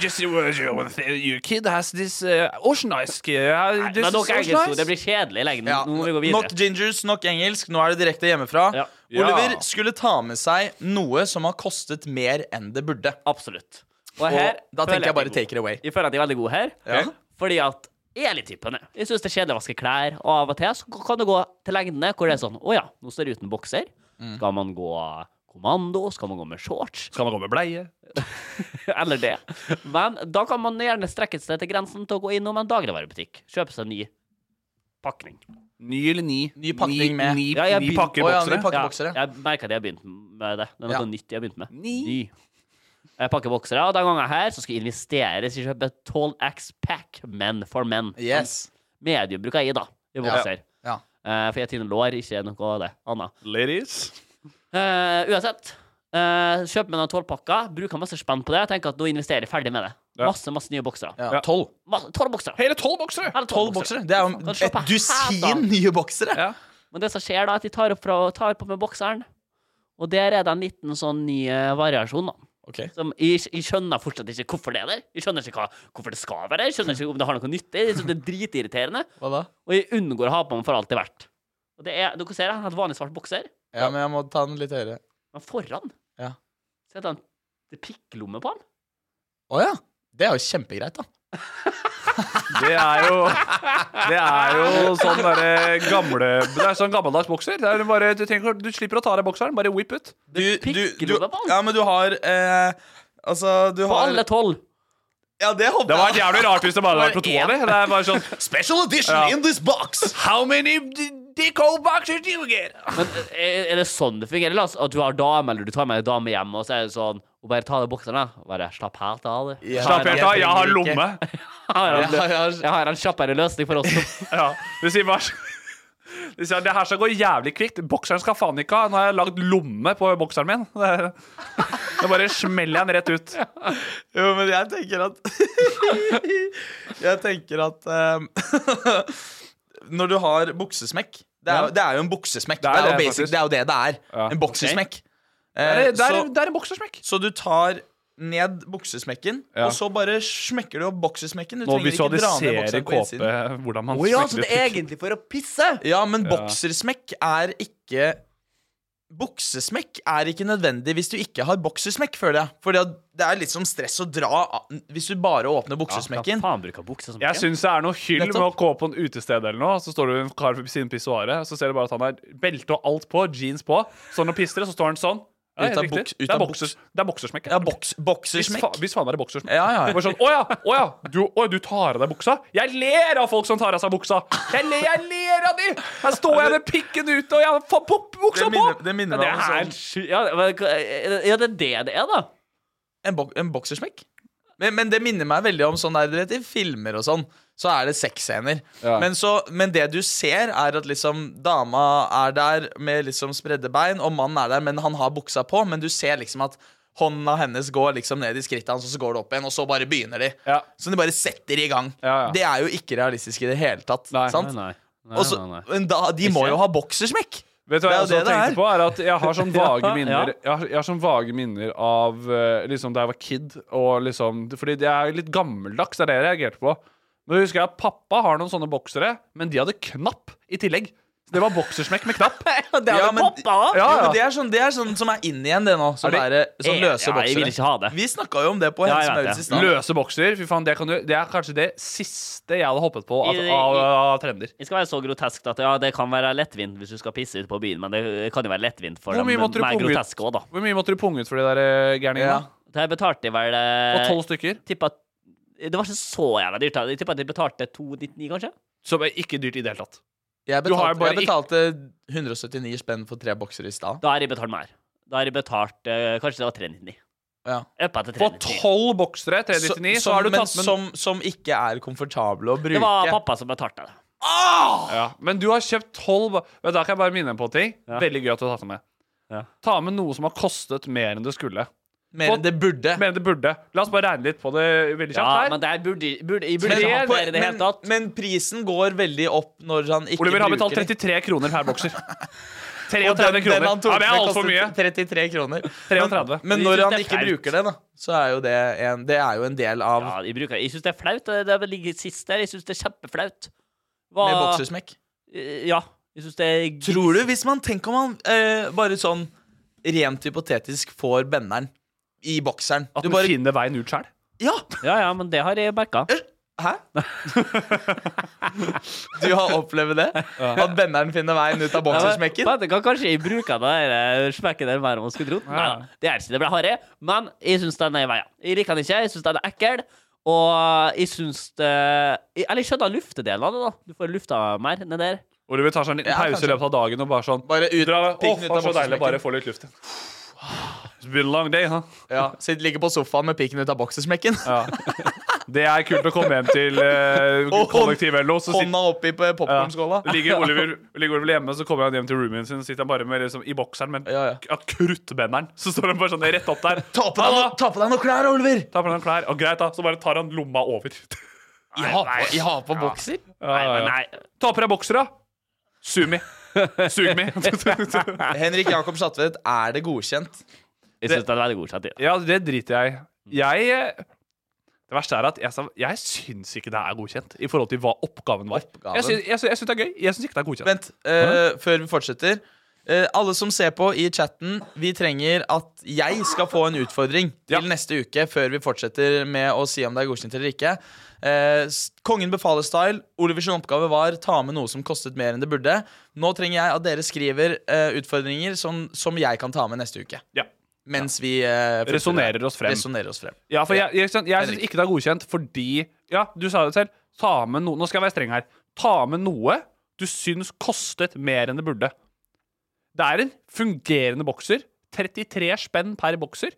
Speaker 1: Just your, your, your kid has this uh, ocean ice uh,
Speaker 4: Det
Speaker 1: this
Speaker 4: er
Speaker 1: is
Speaker 4: nok
Speaker 1: ocean
Speaker 4: engelsk,
Speaker 1: ice."
Speaker 4: det blir kjedelig i lengden.
Speaker 2: Ja,
Speaker 4: Nå må vi gå videre.
Speaker 2: Nok gingers, nok engelsk. Nå er det direkte hjemmefra. Oliver
Speaker 4: Ja.
Speaker 2: skulle ta med seg noe som har kostet mer enn det burde.
Speaker 4: Absolutt. Og
Speaker 2: Og,
Speaker 4: her
Speaker 2: da
Speaker 4: føler
Speaker 2: tenker jeg bare
Speaker 4: god.
Speaker 2: take it away.
Speaker 4: Jeg føler at jeg er veldig god her,
Speaker 2: Ja.
Speaker 4: fordi at jeg er litt typen. jeg. Jeg syns det er kjedelig å vaske klær, og av og til så kan det gå til lengdene hvor det er sånn Å ja, nå står jeg uten bokser.
Speaker 1: Mm.
Speaker 4: Skal man gå kommando? Skal man gå med shorts?
Speaker 1: Skal man gå med bleie?
Speaker 4: Eller det. Men da kan man gjerne strekke seg til grensen til å gå innom en dagligvarebutikk. Kjøpe seg en ny pakning.
Speaker 1: Ny eller ni?
Speaker 2: Ny pakning
Speaker 4: Ni-
Speaker 2: med-
Speaker 4: ni,
Speaker 2: Ja, jeg
Speaker 4: ni
Speaker 2: begynte-
Speaker 4: pakker
Speaker 2: Å ja,
Speaker 4: boksere.
Speaker 2: ny pakkeboksere.
Speaker 4: Ja, jeg merker at jeg har begynt med det. Det er noe
Speaker 2: Ja.
Speaker 4: nytt jeg har begynt med. Ny. Eh, pakkeboksere. Og denne gangen her så skal jeg investere i å kjøpe 12X Pack Men for menn.
Speaker 2: Yes.
Speaker 4: Medium bruker jeg, da. I
Speaker 2: Ja.
Speaker 4: bokser.
Speaker 2: Ja.
Speaker 4: Eh, for jeg tynner lår, ikke noe av det annet.
Speaker 1: Ladies?
Speaker 4: Eh, uansett. eh, kjøper meg noen tolvpakker, bruker masse spenn på det. Tenker at nå investerer jeg ferdig med det.
Speaker 2: Ja.
Speaker 4: Masse masse nye boksere.
Speaker 2: Ja, tolv.
Speaker 4: Masse- Tolv boksere.
Speaker 1: Hele tolv boksere!
Speaker 2: Tolv boksere. Det er
Speaker 4: Kan
Speaker 2: jo
Speaker 4: kjøpe
Speaker 2: et
Speaker 4: her, da.
Speaker 2: dusin nye boksere.
Speaker 4: Men det som skjer, da, er at de tar, opp fra, tar på med bokseren, og der er det en liten sånn ny eh, variasjon, da.
Speaker 2: Ok.
Speaker 4: Som jeg, jeg skjønner fortsatt ikke hvorfor det er der. Jeg skjønner ikke hva, hvorfor det skal være der. Jeg skjønner ikke om det har noe nytte. Jeg synes det er dritirriterende.
Speaker 2: Hva da?
Speaker 4: Og jeg unngår å ha på meg for alt det er verdt. Og det er, dere ser, han har et vanlig svart bokser,
Speaker 2: Ja, men jeg må ta den litt høyere.
Speaker 4: men foran
Speaker 2: Ja.
Speaker 4: så er det en det er pikklomme på han.
Speaker 2: Å ja. Det er jo kjempegreit, da.
Speaker 1: Det er jo Det er jo sånn derre gamle Det er sånn gammeldags bokser. Det er bare, du, trenger, ikke- du slipper å ta deg bokseren, bare whip ut.
Speaker 2: Du, du, du, ja, men du har eh, Altså, du
Speaker 4: På
Speaker 2: har
Speaker 4: alle tolv.
Speaker 2: Ja, det håper jeg.
Speaker 1: Det var jævlig rart hvis det bare var på to av de. Det er bare sånn
Speaker 2: Special edition
Speaker 1: Ja.
Speaker 2: in this box!
Speaker 1: How many deco boxes do you get?
Speaker 4: Men er, er det sånn det fungerer? Altså, at du har dame, eller du tar med ei dame hjem, og så er det sånn Og bare ta av deg bokseren, da. Og Bare slapp helt av, du.
Speaker 2: Ja.
Speaker 1: Slapp helt av, jeg har lomme.
Speaker 4: Jeg har en,
Speaker 2: Jeg har-
Speaker 4: jeg har en kjappere løsning for oss. som-
Speaker 1: Ja, du sier bare du sier, Det her skal gå jævlig kvikt. Bokseren skal faen ikke ha. Nå har jeg lagd lomme på bokseren min. Det er- Nå bare smeller jeg den rett ut.
Speaker 2: Jo, men jeg tenker at Jeg tenker at ehm, Når du har buksesmekk Det er,
Speaker 1: Ja.
Speaker 2: det er jo en buksesmekk. Det
Speaker 1: er
Speaker 2: er, jo,
Speaker 1: det,
Speaker 2: basic,
Speaker 1: faktisk.
Speaker 2: det er jo det det er. En boksesmekk. Eh,
Speaker 1: Det er, det er,
Speaker 2: så,
Speaker 1: det er en boksersmekk.
Speaker 2: så du tar ned buksesmekken,
Speaker 1: Ja.
Speaker 2: og så bare smekker du opp buksesmekken. Du
Speaker 1: Nå
Speaker 2: trenger ikke dra ned
Speaker 1: visualiserer
Speaker 2: bokseren på innsiden.
Speaker 1: Kåpe hvordan man
Speaker 4: Å ja, så
Speaker 1: smekker
Speaker 4: det
Speaker 1: ut
Speaker 4: er egentlig for å pisse?
Speaker 2: Ja, men
Speaker 1: Ja.
Speaker 2: boksersmekk er ikke Buksesmekk er ikke nødvendig hvis du ikke har boksersmekk, føler jeg. For det er litt som stress å dra av- hvis du bare åpner buksesmekken.
Speaker 4: Faen, bruker buksa som
Speaker 1: Jeg syns det er noe hyll med å
Speaker 2: Nettopp.
Speaker 1: gå på en utested eller noe, så står det en kar ved siden av pissoaret, så ser du bare at han har belte og alt på, jeans på. Så når han pisser, så står han sånn. Ja,
Speaker 2: Ut
Speaker 1: helt
Speaker 2: av
Speaker 1: riktig.
Speaker 2: boks- ut
Speaker 1: det, er
Speaker 2: av
Speaker 1: boksers, det er boksersmekk. Ja,
Speaker 2: boksersmekk.
Speaker 1: Hvis, fa hvis faen er det boksersmekk.
Speaker 2: Ja, ja.
Speaker 1: Bare sånn, å ja, å ja, du, å, du tar av deg buksa? Jeg ler av folk som tar av seg buksa! Jeg ler, jeg ler av de! Her står jeg med pikken ute, og jeg har faen pop-
Speaker 2: Det
Speaker 1: buksa
Speaker 2: minner-
Speaker 1: på!
Speaker 2: det minner
Speaker 1: Ja,
Speaker 2: meg om
Speaker 1: er
Speaker 2: sånn-
Speaker 1: helt sjukt.
Speaker 4: Ja, men, eh, ja, det er det det er, da.
Speaker 2: En, bok, en boksersmekk. Men, men det minner meg veldig om sånn der, du vet, i filmer og sånn. Så er det sexscener.
Speaker 1: Ja.
Speaker 2: Men, så- men det du ser, er at liksom dama er der med liksom spredde bein, og mannen er der, men han har buksa på. Men du ser liksom at hånda hennes går liksom ned i skrittet hans, og så går det opp igjen, og så bare begynner de. Så de bare setter i gang.
Speaker 1: Ja, ja.
Speaker 2: Det er jo ikke realistisk i det hele tatt. sant?
Speaker 1: Nei, nei. Nei,
Speaker 2: Og så-
Speaker 1: nei, nei.
Speaker 2: Men da, de må jo ha boksersmekk!
Speaker 1: Vet du hva jeg
Speaker 2: Det er
Speaker 1: også
Speaker 2: jo det det
Speaker 1: tenkte
Speaker 2: er.
Speaker 1: på, er at jeg har sånn vage
Speaker 2: Ja,
Speaker 1: minner
Speaker 2: ja.
Speaker 1: Jeg, har, jeg har sånn vage minner av eh, liksom da jeg var kid, og liksom Fordi jeg er litt gammeldags, det er det jeg reagerte på. Nå husker jeg at pappa har noen sånne boksere, men de hadde knapp i tillegg. Så det var boksersmekk med knapp.
Speaker 2: det hadde poppet av.
Speaker 1: Ja,
Speaker 2: Jo, men det
Speaker 1: ja.
Speaker 2: er sånn, det er sånn som er inn igjen, det nå. Som, er,
Speaker 1: Er
Speaker 2: eh,
Speaker 1: det-
Speaker 2: som løse
Speaker 4: Eh, Ja,
Speaker 2: boksere.
Speaker 4: jeg vil ikke ha det.
Speaker 2: Vi snakka jo om det på
Speaker 4: Ja,
Speaker 2: Helse
Speaker 4: jeg vet
Speaker 2: Maurits i
Speaker 4: det.
Speaker 2: stad.
Speaker 1: Løse bokser, fy faen, det, kan, du- det er kanskje det siste jeg hadde hoppet på av,
Speaker 4: I-
Speaker 1: av,
Speaker 4: i-
Speaker 1: av trender.
Speaker 4: Det skal være så groteskt at ja, det kan være lettvint hvis du skal pisse ut på byen, men det kan jo være lettvint for
Speaker 1: Hvor
Speaker 4: de
Speaker 1: mye måtte du
Speaker 4: mer
Speaker 1: punge ut?
Speaker 4: groteske òg, da.
Speaker 1: Hvor mye måtte du punge ut for de der eh,
Speaker 4: Ja.
Speaker 1: gærningene?
Speaker 4: Det her betalte jeg vel
Speaker 1: Og
Speaker 4: eh,
Speaker 1: tolv stykker?
Speaker 4: tippa, Det var ikke så jævla dyrt. da. Jeg tippa at de betalte 299, kanskje?
Speaker 1: Som er ikke dyrt i det hele tatt.
Speaker 2: Jeg
Speaker 4: Du har
Speaker 2: betalte,
Speaker 4: bare
Speaker 2: jeg betalte 179 spenn for tre boksere i stad.
Speaker 4: Da har jeg betalt mer. Da har jeg betalt eh, Kanskje det var 399.
Speaker 2: Ja.
Speaker 4: Uppa til
Speaker 2: For
Speaker 4: 399.
Speaker 1: Tolv boksere, 399, så,
Speaker 2: Som-
Speaker 1: har du
Speaker 2: men
Speaker 1: tatt med
Speaker 2: som, som ikke er komfortable å bruke.
Speaker 4: Det var pappa som betalte det.
Speaker 1: Ja, men du har kjøpt tolv Da kan jeg bare minne deg på en ting. Veldig gøy at du har tatt det med. Ta med noe som har kostet mer enn det skulle.
Speaker 2: Mer enn det burde.
Speaker 1: Mer enn det burde. La oss bare regne litt på det veldig kjapt
Speaker 4: Ja,
Speaker 1: her.
Speaker 4: men det her burde, burde, jeg burde
Speaker 2: Men,
Speaker 4: ikke hatt
Speaker 2: på-
Speaker 4: mer i det hele
Speaker 2: men,
Speaker 4: tatt.
Speaker 2: men prisen går veldig opp når han ikke
Speaker 1: Oliver har
Speaker 2: bruker
Speaker 1: betalt
Speaker 2: det.
Speaker 1: 33 kroner per bokser.
Speaker 2: Og den-
Speaker 1: 33
Speaker 2: den
Speaker 1: kroner.
Speaker 2: han tok
Speaker 1: Ja, det er
Speaker 2: med
Speaker 1: altfor mye.
Speaker 2: kostet 33 kroner. Men, men
Speaker 1: 33.
Speaker 4: Jeg synes
Speaker 2: når
Speaker 4: det
Speaker 2: han
Speaker 4: er
Speaker 2: ikke
Speaker 4: flaut.
Speaker 2: bruker det, da, så er jo det en, det er jo en del av
Speaker 4: Ja, jeg bruker, jeg syns det er flaut. Det, det ligger sist der. Jeg syns det er kjempeflaut. Hva-
Speaker 2: Med boksersmekk.
Speaker 4: Eh, Ja. Jeg syns det er gris.
Speaker 2: Tror du, hvis man tenker om han eh, bare sånn rent hypotetisk får benderen i bokseren
Speaker 1: At
Speaker 2: du
Speaker 1: du
Speaker 2: bare,
Speaker 1: finner veien ut sjøl.
Speaker 2: Ja!
Speaker 4: Ja, ja, men det har jeg merka.
Speaker 2: Hæ? Du har opplevd det? At benderen finner veien ut av boksersmekken?
Speaker 4: Det kan kanskje jeg bruker den der eh, smekken der mer enn man skulle trodd. Nei, da, det er ikke det ble harry, men jeg syns den er i veien. Jeg liker den ikke, jeg syns den er ekkel. Og jeg syns det jeg- Eller jeg skjønner luftedelen av det, da. Du får lufta mer ned der.
Speaker 1: Oliver tar seg en liten
Speaker 4: Ja,
Speaker 1: pause i
Speaker 4: kanskje.
Speaker 1: løpet av dagen og bare sånn
Speaker 2: Bare ut,
Speaker 1: dra, Å,
Speaker 2: pikken ut
Speaker 1: var
Speaker 2: av
Speaker 1: så deilig.
Speaker 2: boksersmekken.
Speaker 1: Bare få litt luft. It's been a long day, huh?
Speaker 2: Ja, Sitt ligger på sofaen med pikken ut av boksersmekken.
Speaker 1: Det er kult å komme hjem til eh,
Speaker 2: Og hånd-
Speaker 1: kollektiv-LO. så sitter-
Speaker 2: Hånda oppi på popkornskåla.
Speaker 1: Ja. Ligger, Oliver, ligger Oliver hjemme, så kommer han hjem til roomien sin. Sitter han bare med liksom, i bokseren, men k- at kruttbenderen. Så står han bare sånn rett opp der.
Speaker 2: Ta på deg noe- ta på deg noen klær, Oliver!
Speaker 1: Ta på deg noen klær, og Greit, da. Så bare tar han lomma over.
Speaker 2: I har på, jeg har på bokser?
Speaker 1: Ja, ja, ja. Ta på deg bokser, da. Sumi. Sug meg.
Speaker 2: Henrik Jakob Satvedt, er det godkjent?
Speaker 4: Jeg syns den er veldig godkjent. Ja.
Speaker 1: Ja, det driter jeg i.
Speaker 2: Mm.
Speaker 1: Jeg eh, Det verste er at jeg, sa- jeg syns ikke det er godkjent i forhold til hva oppgaven var.
Speaker 2: Oppgaven.
Speaker 1: Jeg syns- Jeg syns jeg syns det er gøy. Jeg syns ikke det er godkjent.
Speaker 2: Vent, eh, før vi fortsetter. Eh, alle som ser på i chatten, vi trenger at jeg skal få en utfordring til neste uke før vi fortsetter med å si om det er godkjent eller ikke. Eh, s- Kongen befaler-style. Olivers oppgave var ta med noe som kostet mer enn det burde. Nå trenger jeg at dere skriver eh, utfordringer som, som jeg kan ta med neste uke.
Speaker 1: Ja.
Speaker 2: Mens vi uh,
Speaker 1: Resonerer oss frem.
Speaker 2: Resonerer oss frem.
Speaker 1: Ja, for jeg, jeg, jeg, jeg syns ikke det er godkjent fordi Ja, du sa det selv. Ta med noe Nå skal jeg være streng her. Ta med noe du syns kostet mer enn det burde. Det er en fungerende bokser. 33 spenn per bokser.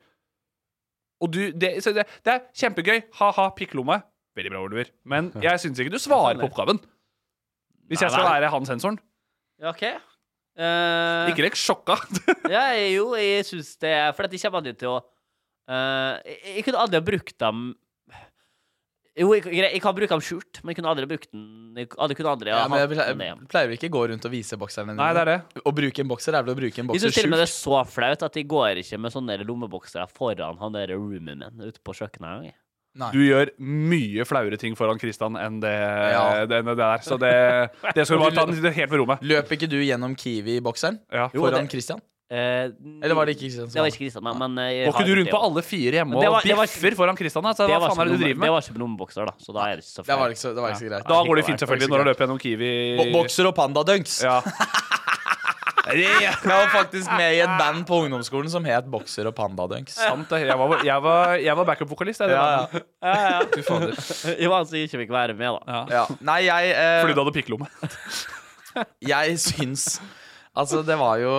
Speaker 1: Og du Det, så det, det er kjempegøy. Ha-ha, pikklomme. Veldig bra, Oliver. Men jeg syns ikke du svarer på oppgaven. Hvis jeg skal
Speaker 4: Nei,
Speaker 1: være han sensoren.
Speaker 4: Ja, OK. Eh,
Speaker 1: Ikke lekk sjokka.
Speaker 4: ja, jeg- jo, jeg syns det er For at jeg kommer aldri til å eh, jeg, jeg kunne aldri ha brukt dem Jo, jeg, greit, jeg kan bruke dem skjult, men jeg kunne aldri ha brukt den Jeg aldri- kunne aldri ha
Speaker 2: Ja, men jeg
Speaker 4: hatt den med
Speaker 2: pleier,
Speaker 4: hjem.
Speaker 2: pleier ikke gå rundt og vise bokserne dine.
Speaker 1: Nei, det er det.
Speaker 2: Å bruke en bokser er vel å bruke en
Speaker 4: Jeg
Speaker 2: bokser
Speaker 4: syns til og med det
Speaker 2: skjult.
Speaker 4: er så flaut at jeg går ikke med sånne der lommeboksere foran han der roomien min ute på kjøkkenet en gang. jeg.
Speaker 1: Du gjør mye flauere ting foran Kristian enn det,
Speaker 2: Ja.
Speaker 1: det, det der. Så det, det skal du bare ta den helt ved rommet.
Speaker 2: Løp ikke du gjennom Kiwi-bokseren
Speaker 1: Ja. Jo,
Speaker 2: foran
Speaker 4: det-
Speaker 2: Christian?
Speaker 4: Eh,
Speaker 2: Eller var det ikke Kristian som
Speaker 4: Det var ikke Kristian, da, men eh, jeg
Speaker 1: Går
Speaker 4: har
Speaker 1: ikke du
Speaker 4: gjort
Speaker 1: rundt
Speaker 4: det
Speaker 1: på
Speaker 4: også.
Speaker 1: alle fire hjemme
Speaker 4: Men det
Speaker 1: og
Speaker 4: var- det var ikke-
Speaker 1: bjeffer foran Kristian? Altså, hva faen er det
Speaker 4: var ikke
Speaker 1: du
Speaker 4: lomme-
Speaker 1: driver
Speaker 4: Det
Speaker 1: med?
Speaker 4: var ikke på lommebokser, da, så da er det ikke så
Speaker 2: Det
Speaker 4: flaut.
Speaker 2: var ikke så, det var ikke så greit.
Speaker 1: Da går det fint, selvfølgelig, når du løper gjennom Kiwi.
Speaker 2: Bo- Bokser og pandadunks.
Speaker 1: Ja.
Speaker 2: Jeg var faktisk med i et band på ungdomsskolen som het Bokser og Pandadunks.
Speaker 1: Sant det. Jeg var, jeg var, jeg var backup-vokalist. jeg, det
Speaker 2: Ja,
Speaker 1: var-
Speaker 4: ja.
Speaker 1: Fy fader.
Speaker 4: Det var han som ikke fikk være med, da.
Speaker 2: Ja. Nei, jeg eh,
Speaker 1: Fordi du hadde pikkelomme.
Speaker 2: Jeg syns Altså, det var jo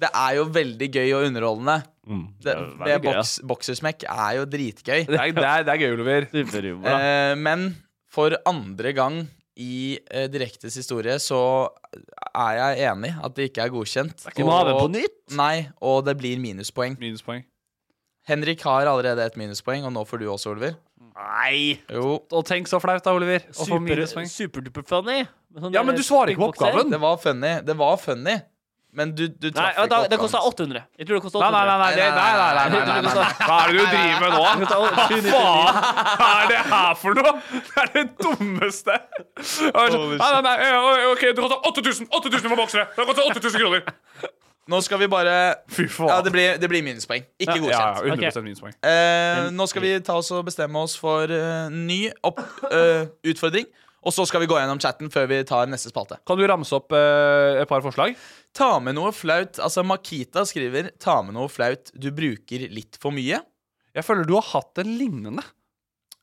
Speaker 2: Det er jo veldig gøy og underholdende. det
Speaker 1: Mm, veldig
Speaker 2: det
Speaker 1: gøy, ja.
Speaker 2: boks, boksersmekk er jo dritgøy.
Speaker 1: Det er, det er, det er gøy, Oliver.
Speaker 2: Eh, men for andre gang i eh, Direktes historie så er jeg enig at det ikke er godkjent.
Speaker 4: ikke noe å ha det på
Speaker 2: nytt? Nei, og det blir minuspoeng. Henrik har allerede et minuspoeng, og nå får du også, Oliver.
Speaker 4: Nei!
Speaker 2: Jo.
Speaker 1: Og tenk så flaut, da, Oliver. å få
Speaker 4: Super-
Speaker 1: minuspoeng.
Speaker 4: Superduper funny. Sånn
Speaker 1: Ja,
Speaker 4: der
Speaker 1: men du svarer ikke på
Speaker 4: bokser.
Speaker 1: oppgaven.
Speaker 2: Det var funny. Det var funny. Men du, du
Speaker 4: Nei,
Speaker 2: traff
Speaker 4: ja,
Speaker 2: ikke
Speaker 4: da, det
Speaker 2: oppgaven.
Speaker 4: kosta 800. Jeg tror det kosta
Speaker 2: Nei, nei,
Speaker 4: 800.
Speaker 2: nei, nei, det- nei, nei, nei, nei, nei, nei, nei.
Speaker 1: Hva er det du driver med nå? Hva faen er det her for noe?! Det er det dummeste! Jeg var sånn, Nei, nei, nei, eh, OK, det koster 8000 8000 for boksere! Det koster 8000 kroner!
Speaker 2: Nå skal vi bare Ja, det blir, det blir minuspoeng. Ikke
Speaker 1: Ja,
Speaker 2: godkjent.
Speaker 1: ja, 100% minuspoeng.
Speaker 2: Eh, nå skal vi ta oss og bestemme oss for eh, ny opp, eh, utfordring. Og så skal vi gå gjennom chatten før vi tar neste spalte.
Speaker 1: Kan du ramse opp eh, et par forslag?
Speaker 2: Ta med noe flaut. Altså, Makita skriver 'ta med noe flaut du bruker litt for mye'.
Speaker 1: Jeg føler du har hatt en lignende.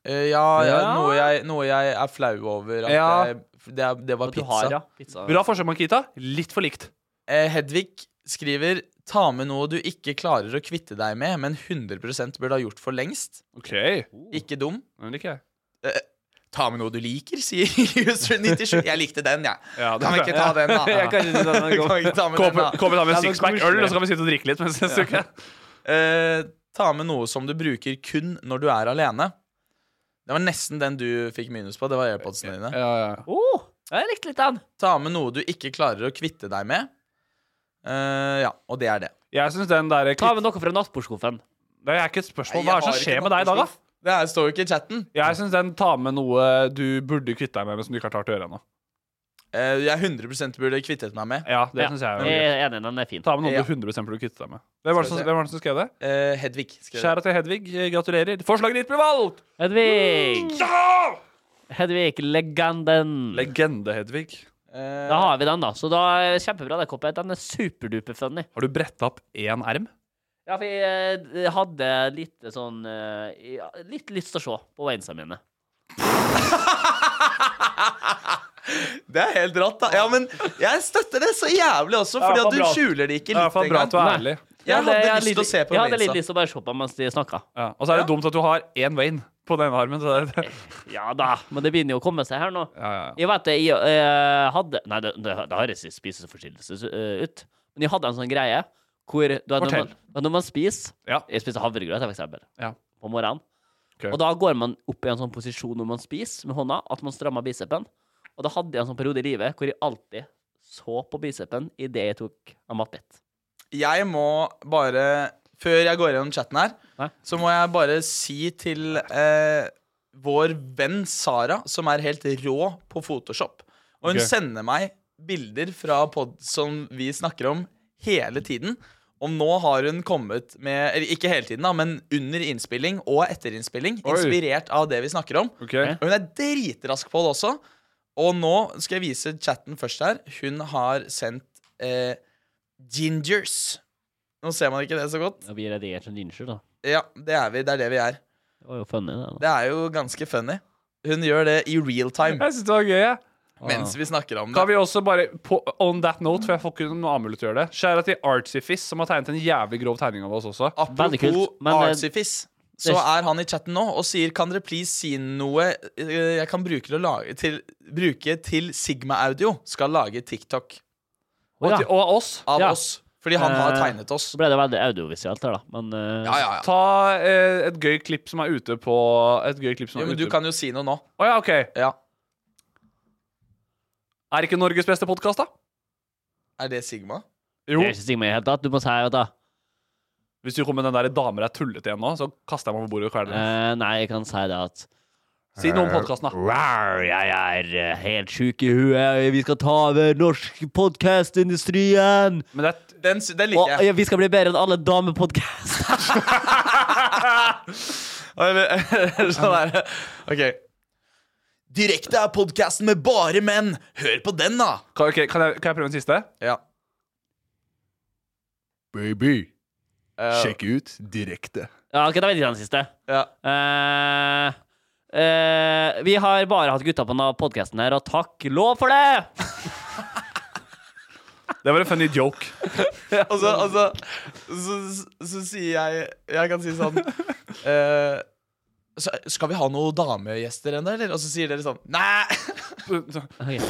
Speaker 2: Eh, ja, ja.
Speaker 1: Ja.
Speaker 2: Noe, jeg, noe jeg er flau over. At
Speaker 1: Ja.
Speaker 2: jeg, det, er- det var
Speaker 1: At du
Speaker 2: pizza.
Speaker 1: har, ja, pizza. Bra forsøk, Makita. Litt for likt.
Speaker 2: Eh, Hedvig skriver 'ta med noe du ikke klarer å kvitte deg med, men 100 burde ha gjort for lengst'.
Speaker 1: Ok
Speaker 2: Ikke dum.
Speaker 1: Den liker jeg.
Speaker 2: Eh, Ta med noe du liker, sier user97. Jeg likte den, jeg.
Speaker 1: Ja,
Speaker 2: kan vi ikke ta den, da?
Speaker 1: Jeg kan ikke ta den,
Speaker 2: Kan vi ikke ta med den, da?
Speaker 1: Kom- kom vi ta med en sixpack øl, og så kan vi sitte og drikke litt mens
Speaker 2: Ja.
Speaker 1: neste uke?
Speaker 2: Eh, ta med noe som du bruker kun når du er alene. Det var nesten den du fikk minus på. Det var airpodsene dine.
Speaker 4: Oh, jeg likte litt den.
Speaker 2: Ta med noe du ikke klarer å kvitte deg med. Eh, ja, og det er det.
Speaker 1: Jeg synes den der
Speaker 4: Ta med noe fra nattbordskuffen.
Speaker 1: Det er ikke et
Speaker 2: Nei, jeg
Speaker 1: spørsmål. Hva er det
Speaker 2: har
Speaker 1: som
Speaker 2: ikke
Speaker 1: skjer med deg i dag, da?
Speaker 2: nattbordskuff. Det her står jo ikke i chatten.
Speaker 1: Jeg syns den tar med noe du burde kvitte deg med, men som du ikke har klart å gjøre ennå.
Speaker 2: Eh, jeg 100 burde kvittet meg med.
Speaker 1: Ja, det synes jeg er
Speaker 4: Jeg
Speaker 1: gøy.
Speaker 4: er enig, den er fin.
Speaker 1: Ta med noe
Speaker 2: Ja.
Speaker 1: du 100 burde kvitte deg med. Hvem var det som, hvem var det som skrev det?
Speaker 2: Eh, Hedvig. skrev det.
Speaker 1: Kjære til Hedvig, eh, gratulerer. Forslaget ditt ble valgt!
Speaker 4: Hedvig! Hedvig, legenden.
Speaker 1: Legende, Hedvig.
Speaker 4: Da har vi den, da. Så da er kjempebra, det, Koppet. Den er superduper funny.
Speaker 1: Har du bretta opp én erm?
Speaker 4: Ja, for jeg eh, hadde litt sånn eh, ja, Litt lyst til å se på Wainsa mine.
Speaker 2: Det er helt rått, da. Ja, men jeg støtter det så jævlig også,
Speaker 4: er i
Speaker 2: fordi at
Speaker 4: hvert fall
Speaker 2: du
Speaker 4: bra.
Speaker 2: skjuler det ikke
Speaker 1: Det er i hvert
Speaker 2: litt
Speaker 1: fall bra at du er
Speaker 2: engang.
Speaker 1: ærlig.
Speaker 4: Ja,
Speaker 2: Jeg
Speaker 4: det-
Speaker 2: hadde
Speaker 4: jeg
Speaker 2: lyst til å se på
Speaker 4: Jeg hadde litt
Speaker 2: Wainsa.
Speaker 4: lyst til å bare se på mens de snakka.
Speaker 1: Ja. Og så er det dumt at du har én vein på den armen. Så det
Speaker 4: Eh.
Speaker 1: er,
Speaker 4: Ja da, men det begynner jo å komme seg her nå.
Speaker 1: ja, ja.
Speaker 4: Jeg vet det, jeg eh, hadde Nei, det, det, det høres i spiseforstyrrelse eh, ut. Men jeg hadde en sånn greie hvor du vet, når,
Speaker 1: Fortell.
Speaker 4: man, vet, når man spiser Jeg spiser havregrøt, for eksempel,
Speaker 1: Ja.
Speaker 4: på morgenen. Og da går man opp i en sånn posisjon når man spiser med hånda, at man strammer bicepen. Og da hadde jeg en sånn periode i livet hvor jeg alltid så på bicepen idet jeg tok en matbit.
Speaker 2: Jeg må bare Før jeg går gjennom chatten her, så må jeg bare si til eh, vår venn Sara, som er helt rå på Photoshop Og hun
Speaker 1: Ok.
Speaker 2: sender meg bilder fra pod som vi snakker om hele tiden. Og nå har hun kommet med Eller ikke hele tiden, da, men under innspilling og etter innspilling.
Speaker 1: Oi.
Speaker 2: Inspirert av det vi snakker om.
Speaker 4: Eh.
Speaker 1: Ok.
Speaker 2: Og hun er dritrask på det også. Og nå skal jeg vise chatten først her. Hun har sendt eh, gingers. Nå ser man ikke det så godt.
Speaker 4: Da blir jeg redigert som ginger, da.
Speaker 2: Ja, det er vi. Det er det vi er.
Speaker 4: Det var jo funny, det. da.
Speaker 2: Det er jo ganske funny. Hun gjør det i real time
Speaker 1: Jeg synes det var gøy, jeg.
Speaker 2: mens vi snakker om
Speaker 1: Kan
Speaker 2: det.
Speaker 1: vi også bare, på, on that note, for jeg får ikke noe annet mulighet til å gjøre det Skjæra til Artsyfis, som har tegnet en jævlig grov tegning av oss også.
Speaker 4: Veldig
Speaker 2: Apropos
Speaker 4: kult, men, eh,
Speaker 2: Artsyfis, så er han i chatten nå og sier Kan dere please si noe eh, jeg kan bruke til, å lage, til, bruke til Sigma Audio skal lage TikTok
Speaker 1: Og,
Speaker 4: Ja.
Speaker 1: til, og oss.
Speaker 2: av
Speaker 4: Ja.
Speaker 2: oss? Fordi han har
Speaker 4: Eh,
Speaker 2: tegnet oss.
Speaker 4: Så ble det veldig audiovisuelt her, da. Men eh,
Speaker 2: Ja, ja, ja.
Speaker 1: Ta eh, et gøy klipp som er ute på Et gøy klipp som
Speaker 2: Jo,
Speaker 1: er
Speaker 2: men
Speaker 1: ute
Speaker 2: du kan jo si noe nå.
Speaker 1: Å ja, OK.
Speaker 2: Ja.
Speaker 1: Er ikke Norges beste podkast, da?
Speaker 2: Er det Sigma?
Speaker 1: Jo.
Speaker 4: det er ikke stigma i det hele tatt. Du må si at da
Speaker 1: Hvis du kommer med den der 'damer er tullete' igjen nå, så kaster jeg meg på bordet og kveler deg.
Speaker 4: Eh, Nei, jeg kan si det at
Speaker 1: Si noe om podkasten, da.
Speaker 4: Rar, jeg er eh, helt sjuk i huet. Vi skal ta over norsk podkastindustrien.
Speaker 1: Men det er et-
Speaker 2: Den, sy- den
Speaker 4: Og
Speaker 2: liker jeg.
Speaker 4: ja, vi skal bli bedre enn alle damepodkaster.
Speaker 2: sånn der. Ok. Direkte er podkasten med bare menn. Hør på den, da!
Speaker 1: Kan, ok, kan, jeg, kan jeg prøve en siste?
Speaker 2: Ja.
Speaker 5: Baby.
Speaker 4: Eh,
Speaker 5: Sjekk ut direkte.
Speaker 4: Ja, ok, da vet jeg den siste. Eh, eh, vi har bare hatt gutta på denne podkasten her, og takk lov for det!
Speaker 1: Det var en funny joke.
Speaker 2: og så, og så, så, så, så sier jeg Jeg kan si sånn eh, så, Skal vi ha noen damegjester ennå, eller? Og så sier dere sånn Nei!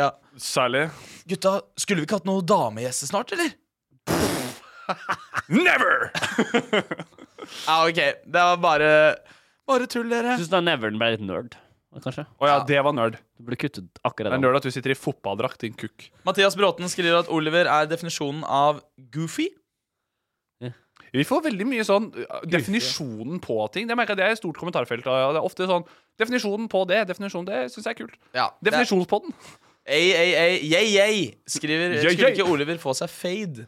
Speaker 2: ja.
Speaker 1: Særlig.
Speaker 2: Gutta, skulle vi ikke hatt noen damegjester snart, eller?
Speaker 1: Never!
Speaker 2: ja, OK. Det var bare Bare tull, dere.
Speaker 4: Syns da Neveren ble litt nerd, kanskje?
Speaker 1: Å ja, det var nerd.
Speaker 4: Du ble kuttet akkurat
Speaker 1: Det er
Speaker 4: da.
Speaker 1: nerd at du sitter i fotballdrakt, din kukk.
Speaker 2: Mathias Bråten skriver at Oliver er definisjonen av goofy.
Speaker 1: Vi får veldig mye sånn uh, Definisjonen på ting. Det merker jeg det er et stort kommentarfelt. Og det er ofte sånn Definisjonen på det, definisjonen det syns jeg er kult. Definisjonspodden.
Speaker 2: Ei, ei, ei, yay, yay, skriver
Speaker 1: Yay,
Speaker 2: Skulle
Speaker 1: yay.
Speaker 2: ikke Oliver få seg fade?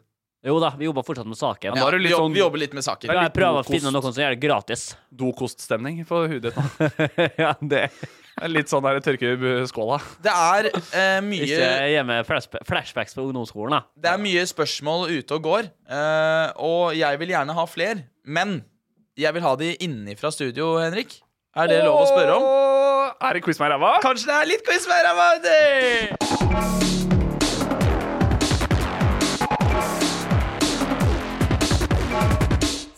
Speaker 4: Jo da, vi jobber fortsatt med saker.
Speaker 2: Ja, vi,
Speaker 4: sånn-
Speaker 2: jobb- vi jobber litt med saker.
Speaker 4: Ja, jeg prøver å finne noen som gjør det gratis.
Speaker 1: Dokoststemning på hudet. ja, det er litt sånn der tørke i skåla.
Speaker 2: Det er eh, mye
Speaker 4: Ikke gi meg flashba- flashbacks på ungdomsskolen, da.
Speaker 2: Det er mye spørsmål ute og går, eh, og jeg vil gjerne ha fler, men jeg vil ha de innenfra studio, Henrik. Er det lov å spørre om?
Speaker 1: Er det quiz med ræva?
Speaker 2: Kanskje det er litt quiz med ræva! det!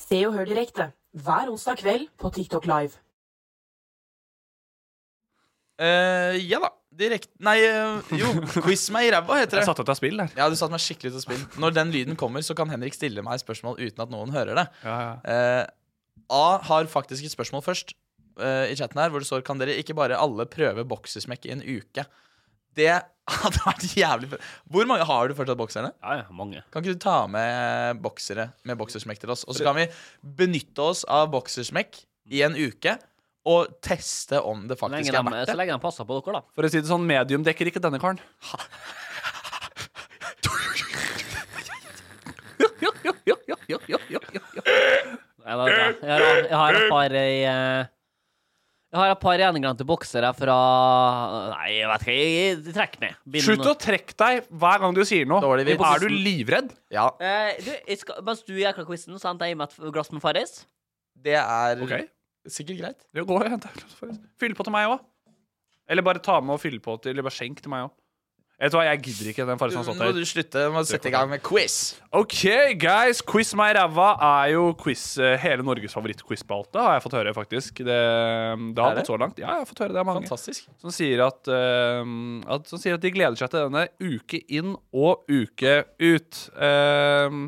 Speaker 3: Se og hør direkte hver onsdag kveld på TikTok Live.
Speaker 2: Eh, ja da. Direkte Nei, eh, jo. Quiz meg i ræva, heter det.
Speaker 1: Jeg satte ut av spill der.
Speaker 2: Ja, du satte meg skikkelig ut av spill. Når den lyden kommer, så kan Henrik stille meg spørsmål uten at noen hører det. Eh, A har faktisk et spørsmål først eh, i chatten her, hvor det står Kan dere ikke bare alle prøve boksesmekk i en uke? Det hadde vært jævlig fett. Hvor mange har du fortsatt bokserne?
Speaker 4: Ja, ja, mange.
Speaker 2: Kan ikke du ta med boksere med boksersmekk til oss? Og så kan vi benytte oss av boksersmekk i en uke og teste om det
Speaker 4: Så lenge
Speaker 2: faktisk er
Speaker 4: de,
Speaker 2: verdt
Speaker 4: så
Speaker 2: det.
Speaker 4: lenge de passer på dere, da.
Speaker 1: For å si det sånn, medium dekker ikke denne karen.
Speaker 4: Nei, da, da. Jeg, har, jeg har et par i eh, Jeg har et par gjennomglemte boksere fra Nei, jeg vet ikke. Jeg, jeg, jeg trekker meg. Bind
Speaker 1: Slutt å
Speaker 4: nå.
Speaker 1: trekke deg hver gang du sier noe.
Speaker 2: Dårlig vits.
Speaker 1: Er du livredd?
Speaker 2: Ja,
Speaker 4: Eh, du, jeg skal, mens du jækla quizen, så henter jeg meg et glass med Farris.
Speaker 2: det er
Speaker 1: Ok.
Speaker 2: sikkert greit.
Speaker 1: Jo, gå og hent deg et glass Farris. Fyll på til meg òg. Eller bare ta med og fylle på til Eller bare skjenk til meg òg. Vet du hva, jeg gidder ikke den farsen
Speaker 2: Nå
Speaker 1: har stått
Speaker 2: må
Speaker 1: der.
Speaker 2: du slutte med å sette i gang med quiz.
Speaker 1: OK, guys. Quiz meg i ræva er jo quiz eh, hele Norges favoritt-quiz-spalte, har jeg fått høre, faktisk. Det, det
Speaker 2: Er
Speaker 1: har
Speaker 2: det?
Speaker 1: gått så langt. Ja, jeg har fått høre det er mange.
Speaker 2: Fantastisk.
Speaker 1: som sier at, eh, at, som sier at de gleder seg til denne uke inn og uke ut. Eh,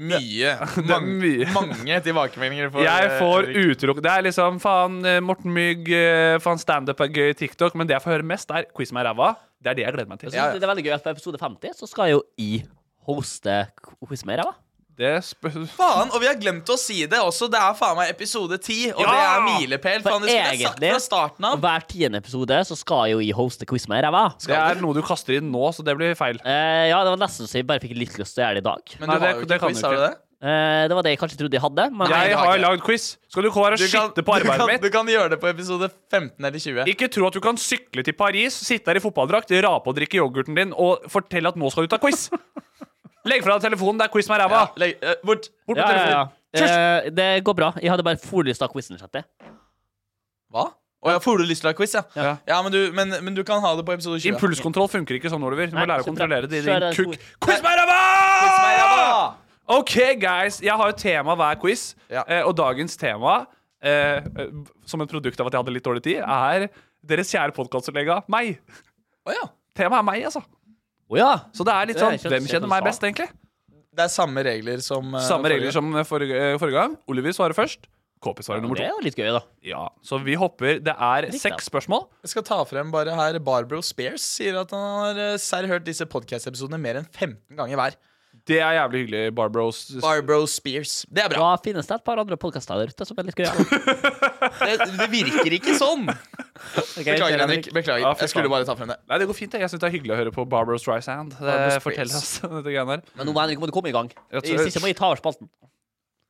Speaker 2: Mye.
Speaker 1: det er mye.
Speaker 2: Mange tilbakemeldinger. For,
Speaker 1: jeg får
Speaker 2: eh,
Speaker 1: utelukket Det er liksom faen eh, Morten Mygg, eh, faen standup er gøy, TikTok. Men det jeg får høre mest, er quiz med ræva. Det er det jeg gleder meg
Speaker 4: Jeg
Speaker 1: til.
Speaker 4: synes Det er veldig gøy at på episode 50 så skal jo jeg hoste quiz med deg, da.
Speaker 1: Det spør
Speaker 2: Faen, og vi har glemt å si det også. Det er faen meg episode 10, og
Speaker 1: Ja!
Speaker 2: det er milepæl. Faen, det skulle jeg sagt fra starten av.
Speaker 4: hver tiende episode så skal jo jeg hoste quiz med deg, hva?
Speaker 1: Det er noe du kaster inn nå, så det blir feil.
Speaker 4: Eh, ja, det var nesten så jeg bare fikk litt lyst til å gjøre det i dag.
Speaker 2: Men
Speaker 1: Nei,
Speaker 2: du
Speaker 1: det-
Speaker 2: har jo
Speaker 1: det
Speaker 2: ikke
Speaker 1: kan
Speaker 2: quiz,
Speaker 1: du
Speaker 2: har du
Speaker 1: ikke.
Speaker 2: det?
Speaker 4: Eh, det var det jeg kanskje trodde jeg hadde. Men
Speaker 2: Nei, det
Speaker 1: Jeg
Speaker 2: har
Speaker 1: har
Speaker 2: jeg.
Speaker 1: lagd quiz. Skal du gå her og
Speaker 2: Du kan,
Speaker 1: skitne på
Speaker 2: du,
Speaker 1: arbeidet
Speaker 2: kan,
Speaker 1: mitt?
Speaker 2: du kan gjøre det på episode 15 eller 20.
Speaker 1: Ikke tro at du kan sykle til Paris, sitte her i fotballdrakt, rape og drikke yoghurten din og fortelle at nå skal du ta quiz. Legg fra deg telefonen. Det er quiz med ræva.
Speaker 2: Ja, legg, eh, bort.
Speaker 1: Bort med
Speaker 4: ja, ja, ja.
Speaker 1: telefonen. Tjus!
Speaker 4: Eh, det går bra. Jeg hadde bare forlyst av quizen. skjønte jeg.
Speaker 2: Hva? Å ja, får du lyst til å ha quiz, ja?
Speaker 1: Ja.
Speaker 2: Ja, men du, men, men du kan ha det på episode 20.
Speaker 1: Impulskontroll funker ikke sånn, Oliver. Du må
Speaker 4: Nei,
Speaker 1: lære å
Speaker 4: så bra.
Speaker 1: kontrollere det. i
Speaker 4: Kjør
Speaker 1: Din
Speaker 4: den
Speaker 1: kukk.
Speaker 4: gode.
Speaker 1: Quiz med
Speaker 2: Nei, ja,
Speaker 1: ræva!
Speaker 2: da!
Speaker 1: OK, guys. Jeg har jo tema hver quiz,
Speaker 2: Ja.
Speaker 1: eh, og dagens tema, eh, eh, som et produkt av at jeg hadde litt dårlig tid, er deres kjære podkastkollega meg.
Speaker 2: Å ja.
Speaker 1: Temaet er meg, altså.
Speaker 4: Å ja!
Speaker 1: Så det er litt
Speaker 4: Det er
Speaker 1: sånn
Speaker 4: ikke-
Speaker 1: Hvem
Speaker 4: ikke
Speaker 1: kjenner meg
Speaker 4: noe
Speaker 1: best, egentlig?
Speaker 2: Det er samme regler som eh,
Speaker 1: Samme regler
Speaker 2: forrige.
Speaker 1: som forrige, eh, forrige gang. Oliver svarer først. KP svarer nummer to.
Speaker 4: Det er jo litt gøy, da.
Speaker 1: Ja, Så vi hopper. Det er seks spørsmål.
Speaker 2: Jeg skal ta frem bare her Barbro Spears sier at han har eh, serr hørt disse podcast-episodene mer enn 15 ganger hver.
Speaker 1: Det er jævlig hyggelig, Barbros.
Speaker 2: Barbro Spears. Det er bra.
Speaker 4: Da finnes det et par andre podkaster der ute som er litt gøye. da.
Speaker 2: Det, det virker ikke sånn.
Speaker 4: Ok,
Speaker 2: Beklager,
Speaker 4: kjør,
Speaker 2: Henrik. Beklager.
Speaker 1: Ja, fy
Speaker 2: Jeg skulle
Speaker 1: faen.
Speaker 2: bare ta frem det.
Speaker 1: Nei, det går fint. jeg. Jeg syns det er hyggelig å høre på Barbros Dry Sand.
Speaker 2: Barbros
Speaker 1: Fortell oss
Speaker 2: Breeze.
Speaker 1: dette greiene her.
Speaker 4: Men nå må Henrik må du komme i gang.
Speaker 1: Jeg tror-
Speaker 4: Hvis ikke må jeg ta over spalten.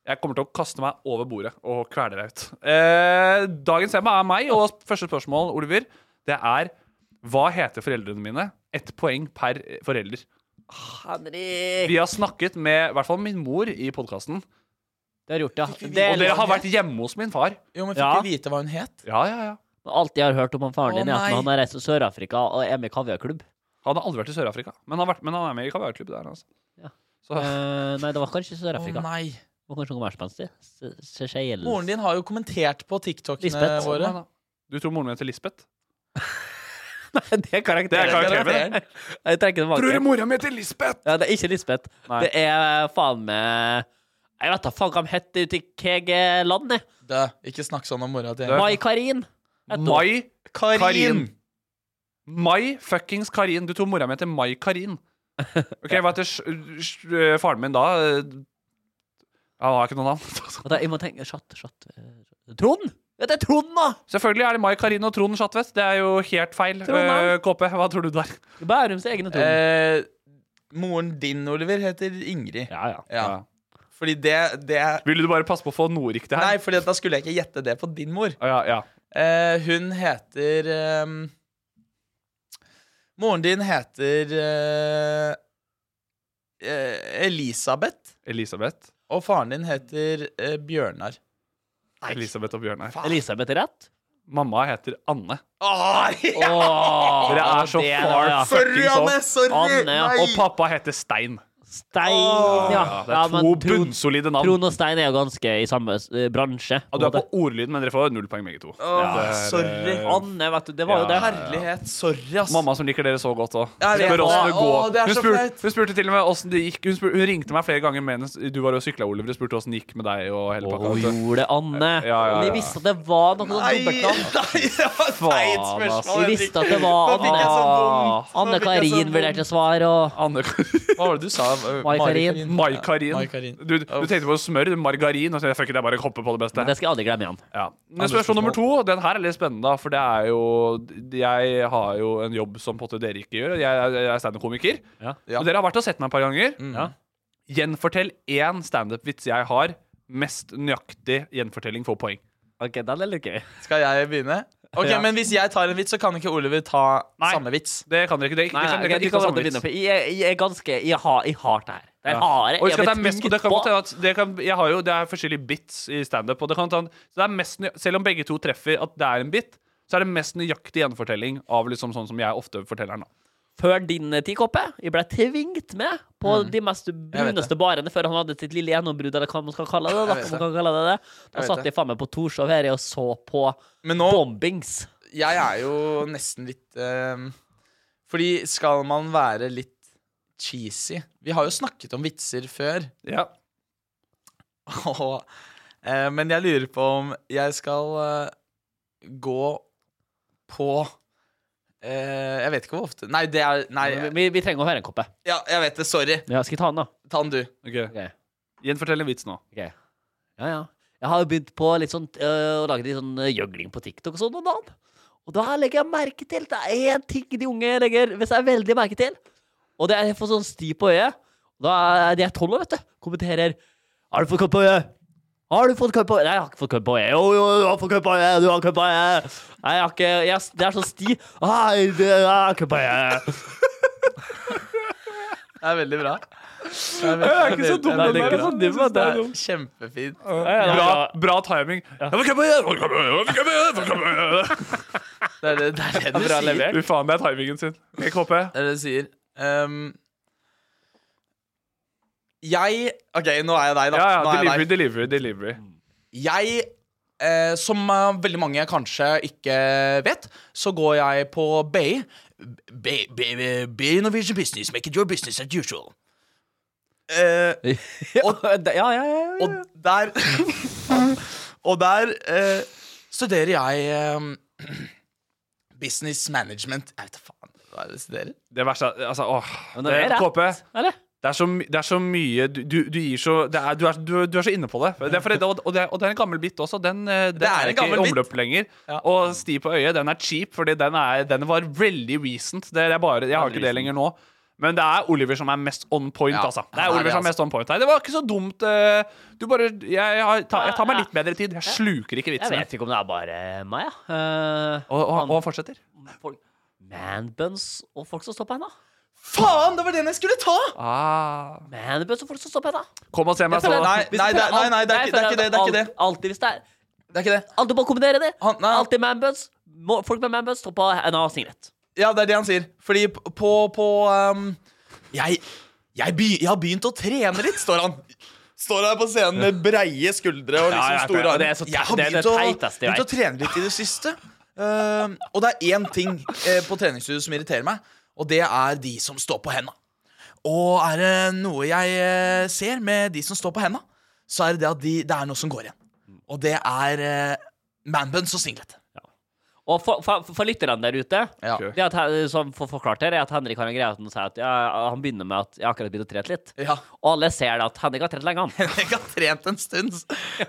Speaker 1: Jeg kommer til å kaste meg over bordet og kvele deg ut. Eh, dagens tema er meg, og første spørsmål, Oliver, det er Hva heter foreldrene mine? Ett poeng per eh, forelder.
Speaker 8: Henrik.
Speaker 1: Vi har snakket med i hvert fall min mor i podkasten.
Speaker 4: Det har gjort, ja.
Speaker 1: Og dere har vært hjemme hos min far.
Speaker 2: Jo, men fikk
Speaker 4: Ja.
Speaker 2: vi vite hva hun het?
Speaker 1: Ja, ja, ja.
Speaker 4: liksom Alt jeg har hørt om han faren din,
Speaker 1: Å,
Speaker 4: er at
Speaker 1: nei.
Speaker 4: han har reist til Sør-Afrika og er med i kaviarklubb.
Speaker 1: Han har aldri vært i Sør-Afrika, men, han har vært- men han er med i kaviarklubb der. Altså. Så-
Speaker 4: Eh, nei, det var kanskje Sør-Afrika.
Speaker 2: Å, nei.
Speaker 4: Det var kanskje noe mer spenstig. Se- Seychelles.
Speaker 2: Moren din har jo kommentert på TikTokene
Speaker 4: Lisbeth. Sånn,
Speaker 2: våre.
Speaker 1: Du tror moren min heter Lisbeth?
Speaker 4: Det er karakteren.
Speaker 1: Det er karakteren.
Speaker 4: Jeg trekker tilbake.
Speaker 1: Tror du mora mi heter Lisbeth?
Speaker 4: Ja, det er ikke Lisbeth.
Speaker 1: Nei.
Speaker 4: Det er faen meg Jeg vet da faen hva de heter ute i hvilket land, jeg.
Speaker 2: Dø. Ikke snakk sånn om mora til
Speaker 4: Mai Karin. heter hun.
Speaker 1: Mai
Speaker 2: Karin.
Speaker 1: Mai fuckings Karin. Du tror mora mi heter Mai Karin. Ok, Hva heter sj- sj- faren min da? Eh, Han har ikke noe navn.
Speaker 4: Og da, jeg må tenke Chat, chat eh, Trond! Ja, det er Trond, da!
Speaker 1: Selvfølgelig er det Mai Karin og Trond Schatvedt. Det er jo helt feil.
Speaker 4: Trond, ja.
Speaker 1: Eh, KP, hva tror du der?
Speaker 4: Bærums egne Trond.
Speaker 2: Eh, moren din, Oliver, heter Ingrid. Ja. Fordi det, det
Speaker 1: Ville du bare passe på å få noe riktig her?
Speaker 2: Nei, for da skulle jeg ikke gjette det på din mor.
Speaker 1: Ja, ja.
Speaker 2: Eh, hun heter ehm, Moren din heter eh, eh, Elisabeth.
Speaker 1: Elisabeth.
Speaker 2: Og faren din heter eh, Bjørnar.
Speaker 1: Elisabeth og Bjørnar.
Speaker 4: Elisabeth er rett.
Speaker 1: Mamma heter Anne.
Speaker 4: Åh,
Speaker 1: Dere er så
Speaker 4: det er-
Speaker 1: far
Speaker 4: ja.
Speaker 1: fucking
Speaker 4: Anne,
Speaker 1: sånn.
Speaker 4: sorry, nei.
Speaker 1: Og pappa heter Stein.
Speaker 4: Stein, ja.
Speaker 1: Det er to
Speaker 4: men Trond-
Speaker 1: bunnsolide navn.
Speaker 4: Trond og Stein er jo ganske i samme eh, bransje.
Speaker 1: Ja, du er på ordlyden, men dere får null poeng begge to. Det er, eh,
Speaker 4: Anne, vet du. Det var jo
Speaker 1: ja, ja,
Speaker 4: det.
Speaker 1: ja.
Speaker 2: Herlighet. Sorry, ass.
Speaker 1: Mamma som liker dere så godt òg.
Speaker 2: Jeg vet
Speaker 1: Spør
Speaker 2: det.
Speaker 1: åssen det
Speaker 2: Åh, det er
Speaker 1: går. Hun
Speaker 2: så
Speaker 1: spurte,
Speaker 2: flaut.
Speaker 1: hun spurte til og med åssen det gikk. Hun, spur, hun ringte meg flere ganger mens du var og sykla, Oliver, og spurte åssen det gikk med deg og hele pakka.
Speaker 4: Åh,
Speaker 1: vet du.
Speaker 4: gjorde Anne.
Speaker 1: Ja, ja,
Speaker 4: Vi
Speaker 1: ja.
Speaker 4: visste at det var noe sånn dobbeltnavn.
Speaker 1: Faen, ass.
Speaker 4: Vi visste at det var
Speaker 2: Nå fikk jeg så vondt.
Speaker 4: Anne,
Speaker 2: Nå fikk
Speaker 4: Anne
Speaker 2: jeg så
Speaker 4: Karin
Speaker 2: vondt.
Speaker 4: vurderte svar, og
Speaker 1: Anne Hva var det du sa? Eh,
Speaker 4: Mai Karin.
Speaker 1: Mai Karin.
Speaker 2: Mai Karin.
Speaker 1: Du, du tenkte på smør, margarin, og så fuck it, jeg bare hopper på det beste.
Speaker 4: Men det skal jeg aldri glemme igjen.
Speaker 1: Ja. Men spørsmål nummer to, den her er litt spennende, da, for det er jo Jeg har jo en jobb som på en måte dere ikke gjør. Jeg, er- jeg er standup-komiker.
Speaker 4: Ja.
Speaker 1: Og dere har vært og sett meg et par ganger.
Speaker 4: Ja.
Speaker 1: Gjenfortell én standup-vits jeg har. Mest nøyaktig gjenfortelling får poeng.
Speaker 4: Ok, den er litt gøy.
Speaker 2: Skal jeg begynne? Ok,
Speaker 1: Ja.
Speaker 2: Men hvis jeg tar en vits, så kan ikke Oliver ta samme vits.
Speaker 1: Det kan dere ikke. Det,
Speaker 4: Nei,
Speaker 1: det kan,
Speaker 4: ok,
Speaker 1: dere
Speaker 4: du
Speaker 1: ikke
Speaker 4: kan
Speaker 1: ta
Speaker 4: godt
Speaker 1: samme
Speaker 4: begynne,
Speaker 1: vits.
Speaker 4: for jeg, jeg, jeg er ganske Jeg har, jeg har det her.
Speaker 1: Ja.
Speaker 4: Det er harde.
Speaker 1: Og husk
Speaker 4: Jeg
Speaker 1: at det,
Speaker 4: ble
Speaker 1: er mest,
Speaker 4: tvunget
Speaker 1: det kan
Speaker 4: på.
Speaker 1: godt hende at det kan, jeg har jo, det er forskjellige bits i standup. og det kan ta en- så det er mest nøy- Selv om begge to treffer at det er en bit, så er det mest nøyaktig gjenfortelling av liksom sånn som jeg ofte forteller den. da.
Speaker 4: Før din tid, Koppe. Jeg ble tvingt med på
Speaker 1: Mm.
Speaker 4: de mest bruneste barene før han hadde sitt lille gjennombrudd, eller hva man skal kalle det.
Speaker 2: Jeg
Speaker 4: Da,
Speaker 2: vet
Speaker 4: om man kan kalle det, det.
Speaker 2: Jeg
Speaker 4: da
Speaker 2: vet
Speaker 4: satt
Speaker 2: det.
Speaker 4: jeg faen meg på Torshov her jeg, og så på
Speaker 2: Men nå-
Speaker 4: bombings.
Speaker 2: Jeg er jo nesten litt ehm, Fordi skal man være litt cheesy Vi har jo snakket om vitser før.
Speaker 1: Ja.
Speaker 2: Og, eh, men jeg lurer på om jeg skal eh, gå på eh, Jeg vet ikke hvor ofte Nei, det er Nei,
Speaker 4: Vi, vi trenger å høre en koppe.
Speaker 2: ja, jeg vet det. Sorry.
Speaker 4: Ja, skal jeg ta den, da?
Speaker 2: Ta den, du.
Speaker 1: Ok.
Speaker 4: Ok.
Speaker 1: Gjenfortell en vits nå.
Speaker 4: Ok. Ja, ja. Jeg har jo begynt på litt sånn, øh, å lage litt sånn øh, gjøgling på TikTok og sånn om dagen. Og da legger jeg merke til Det er én ting de unge legger hvis jeg er veldig merke til. Og det er jeg får sånn sti på øyet. Og Da er de er tolv år, vet du. Kommenterer. Har du fått kamp på øyet? Har du fått kamp på øyet? Nei, jeg har ikke fått kamp på øyet. Jo, jo, du har fått kamp på øyet. Du har kamp på øyet. Nei, jeg har ikke jeg, Det er sånn sti. Nei, det jeg har kamp på øyet.
Speaker 2: Det er veldig bra. Det er,
Speaker 1: Jeg er ikke så dum,
Speaker 2: Nei,
Speaker 1: den
Speaker 2: det
Speaker 1: der.
Speaker 2: er
Speaker 1: Jeg
Speaker 2: bra.
Speaker 1: synes det er
Speaker 2: Det er
Speaker 1: dum.
Speaker 2: kjempefint.
Speaker 1: Bra, bra timing. Ja, men kan jeg- kan jeg- kan jeg- kan jeg-
Speaker 2: Det er det, det, er det du
Speaker 4: Bra
Speaker 2: sier.
Speaker 4: levert.
Speaker 1: Fy faen, det er timingen sin. Jeg håper.
Speaker 2: Det er det du sier. Ehm, jeg OK, nå er jeg deg, da.
Speaker 1: Ja, ja,
Speaker 2: nå er jeg
Speaker 1: delivery,
Speaker 2: deg.
Speaker 1: delivery, delivery.
Speaker 4: Mm.
Speaker 2: Jeg, eh, som eh, veldig mange kanskje ikke vet, så går jeg på BI. BI B- B- Norwegian Business, make it your business as usual. Eh, og,
Speaker 4: Ja, ja, ja. ja.
Speaker 2: og der Og der eh, studerer jeg eh, business management. Jeg vet da faen hva er det jeg studerer.
Speaker 1: Det verste er Altså, åh.
Speaker 4: Men det er
Speaker 1: Det-
Speaker 4: rett.
Speaker 1: KP.
Speaker 4: Eller?
Speaker 1: Det er, så, my- det er så mye Du, du, du gir så det er, du, er, du, du er så inne på det. det, er fordi- og, og, det og det er en gammel bit også. Den, eh, den
Speaker 2: Det er
Speaker 1: er,
Speaker 2: en
Speaker 1: ikke i
Speaker 2: gammel bit.
Speaker 1: omløp lenger. Og Sti på øyet, den er cheap, Fordi den, er, den var veldig recent. Det er bare, jeg har ikke det lenger nå. Men det er Oliver som er mest on point.
Speaker 2: Ja,
Speaker 1: altså. Det
Speaker 2: han
Speaker 1: er
Speaker 2: er
Speaker 1: Oliver
Speaker 2: det,
Speaker 1: som er
Speaker 2: altså.
Speaker 1: mest on point Nei, Det var ikke så dumt. eh, Du bare Jeg, jeg, har, ta, jeg tar meg litt bedre tid. Jeg sluker ikke
Speaker 4: Ah, Jeg
Speaker 1: vitsene.
Speaker 4: vet ikke om det er bare meg, ja. Eh,
Speaker 1: Og, og, og han fortsetter.
Speaker 4: folk, man buns og folk som står på henda.
Speaker 2: Faen, det var den jeg skulle ta!
Speaker 1: Ah.
Speaker 4: Men det bør så fort stå på, da.
Speaker 1: Kom og se meg
Speaker 2: Jeg føler-
Speaker 1: så.
Speaker 2: Nei,
Speaker 4: Hvis
Speaker 2: nei,
Speaker 4: du
Speaker 2: det-
Speaker 4: føler
Speaker 2: nei, nei, det er
Speaker 4: alt-
Speaker 2: ikke- det er ikke det, det er ikke
Speaker 4: alt-
Speaker 2: det.
Speaker 4: Alltid hvis det er
Speaker 2: Det er ikke det.
Speaker 4: Alt du må kombinere det.
Speaker 2: Alltid
Speaker 4: manbuns. Folk med manbuns står på en annen sigarett.
Speaker 2: Ja, det er det han sier. Fordi p- på, på um, jeg, jeg, begy- jeg har begynt å trene litt, står han. Står her på scenen med breie skuldre og
Speaker 4: Ja,
Speaker 2: liksom
Speaker 4: jeg vet det.
Speaker 2: store
Speaker 4: Og det er så
Speaker 2: Jeg har
Speaker 4: teit- det er
Speaker 2: begynt
Speaker 4: det
Speaker 2: å,
Speaker 4: teiteste jeg
Speaker 2: begynt å
Speaker 4: vet.
Speaker 2: trene litt i det siste. Um, og det er én ting eh, på treningsstudio som irriterer meg, og det er de som står på henda. Og er det noe jeg eh, ser med de som står på henda, så er det det at de, det er noe som går igjen. Og det er eh, manbuns og singlet.
Speaker 4: Og for, for, for lytterne der ute det at, han- Som for, forklart her er at Henrik har en greie at han sier at ja, han begynner med at jeg har akkurat begynt å trene litt. Og alle ser det at Henrik har trent lenge, han.
Speaker 2: Henrik har trent en stund.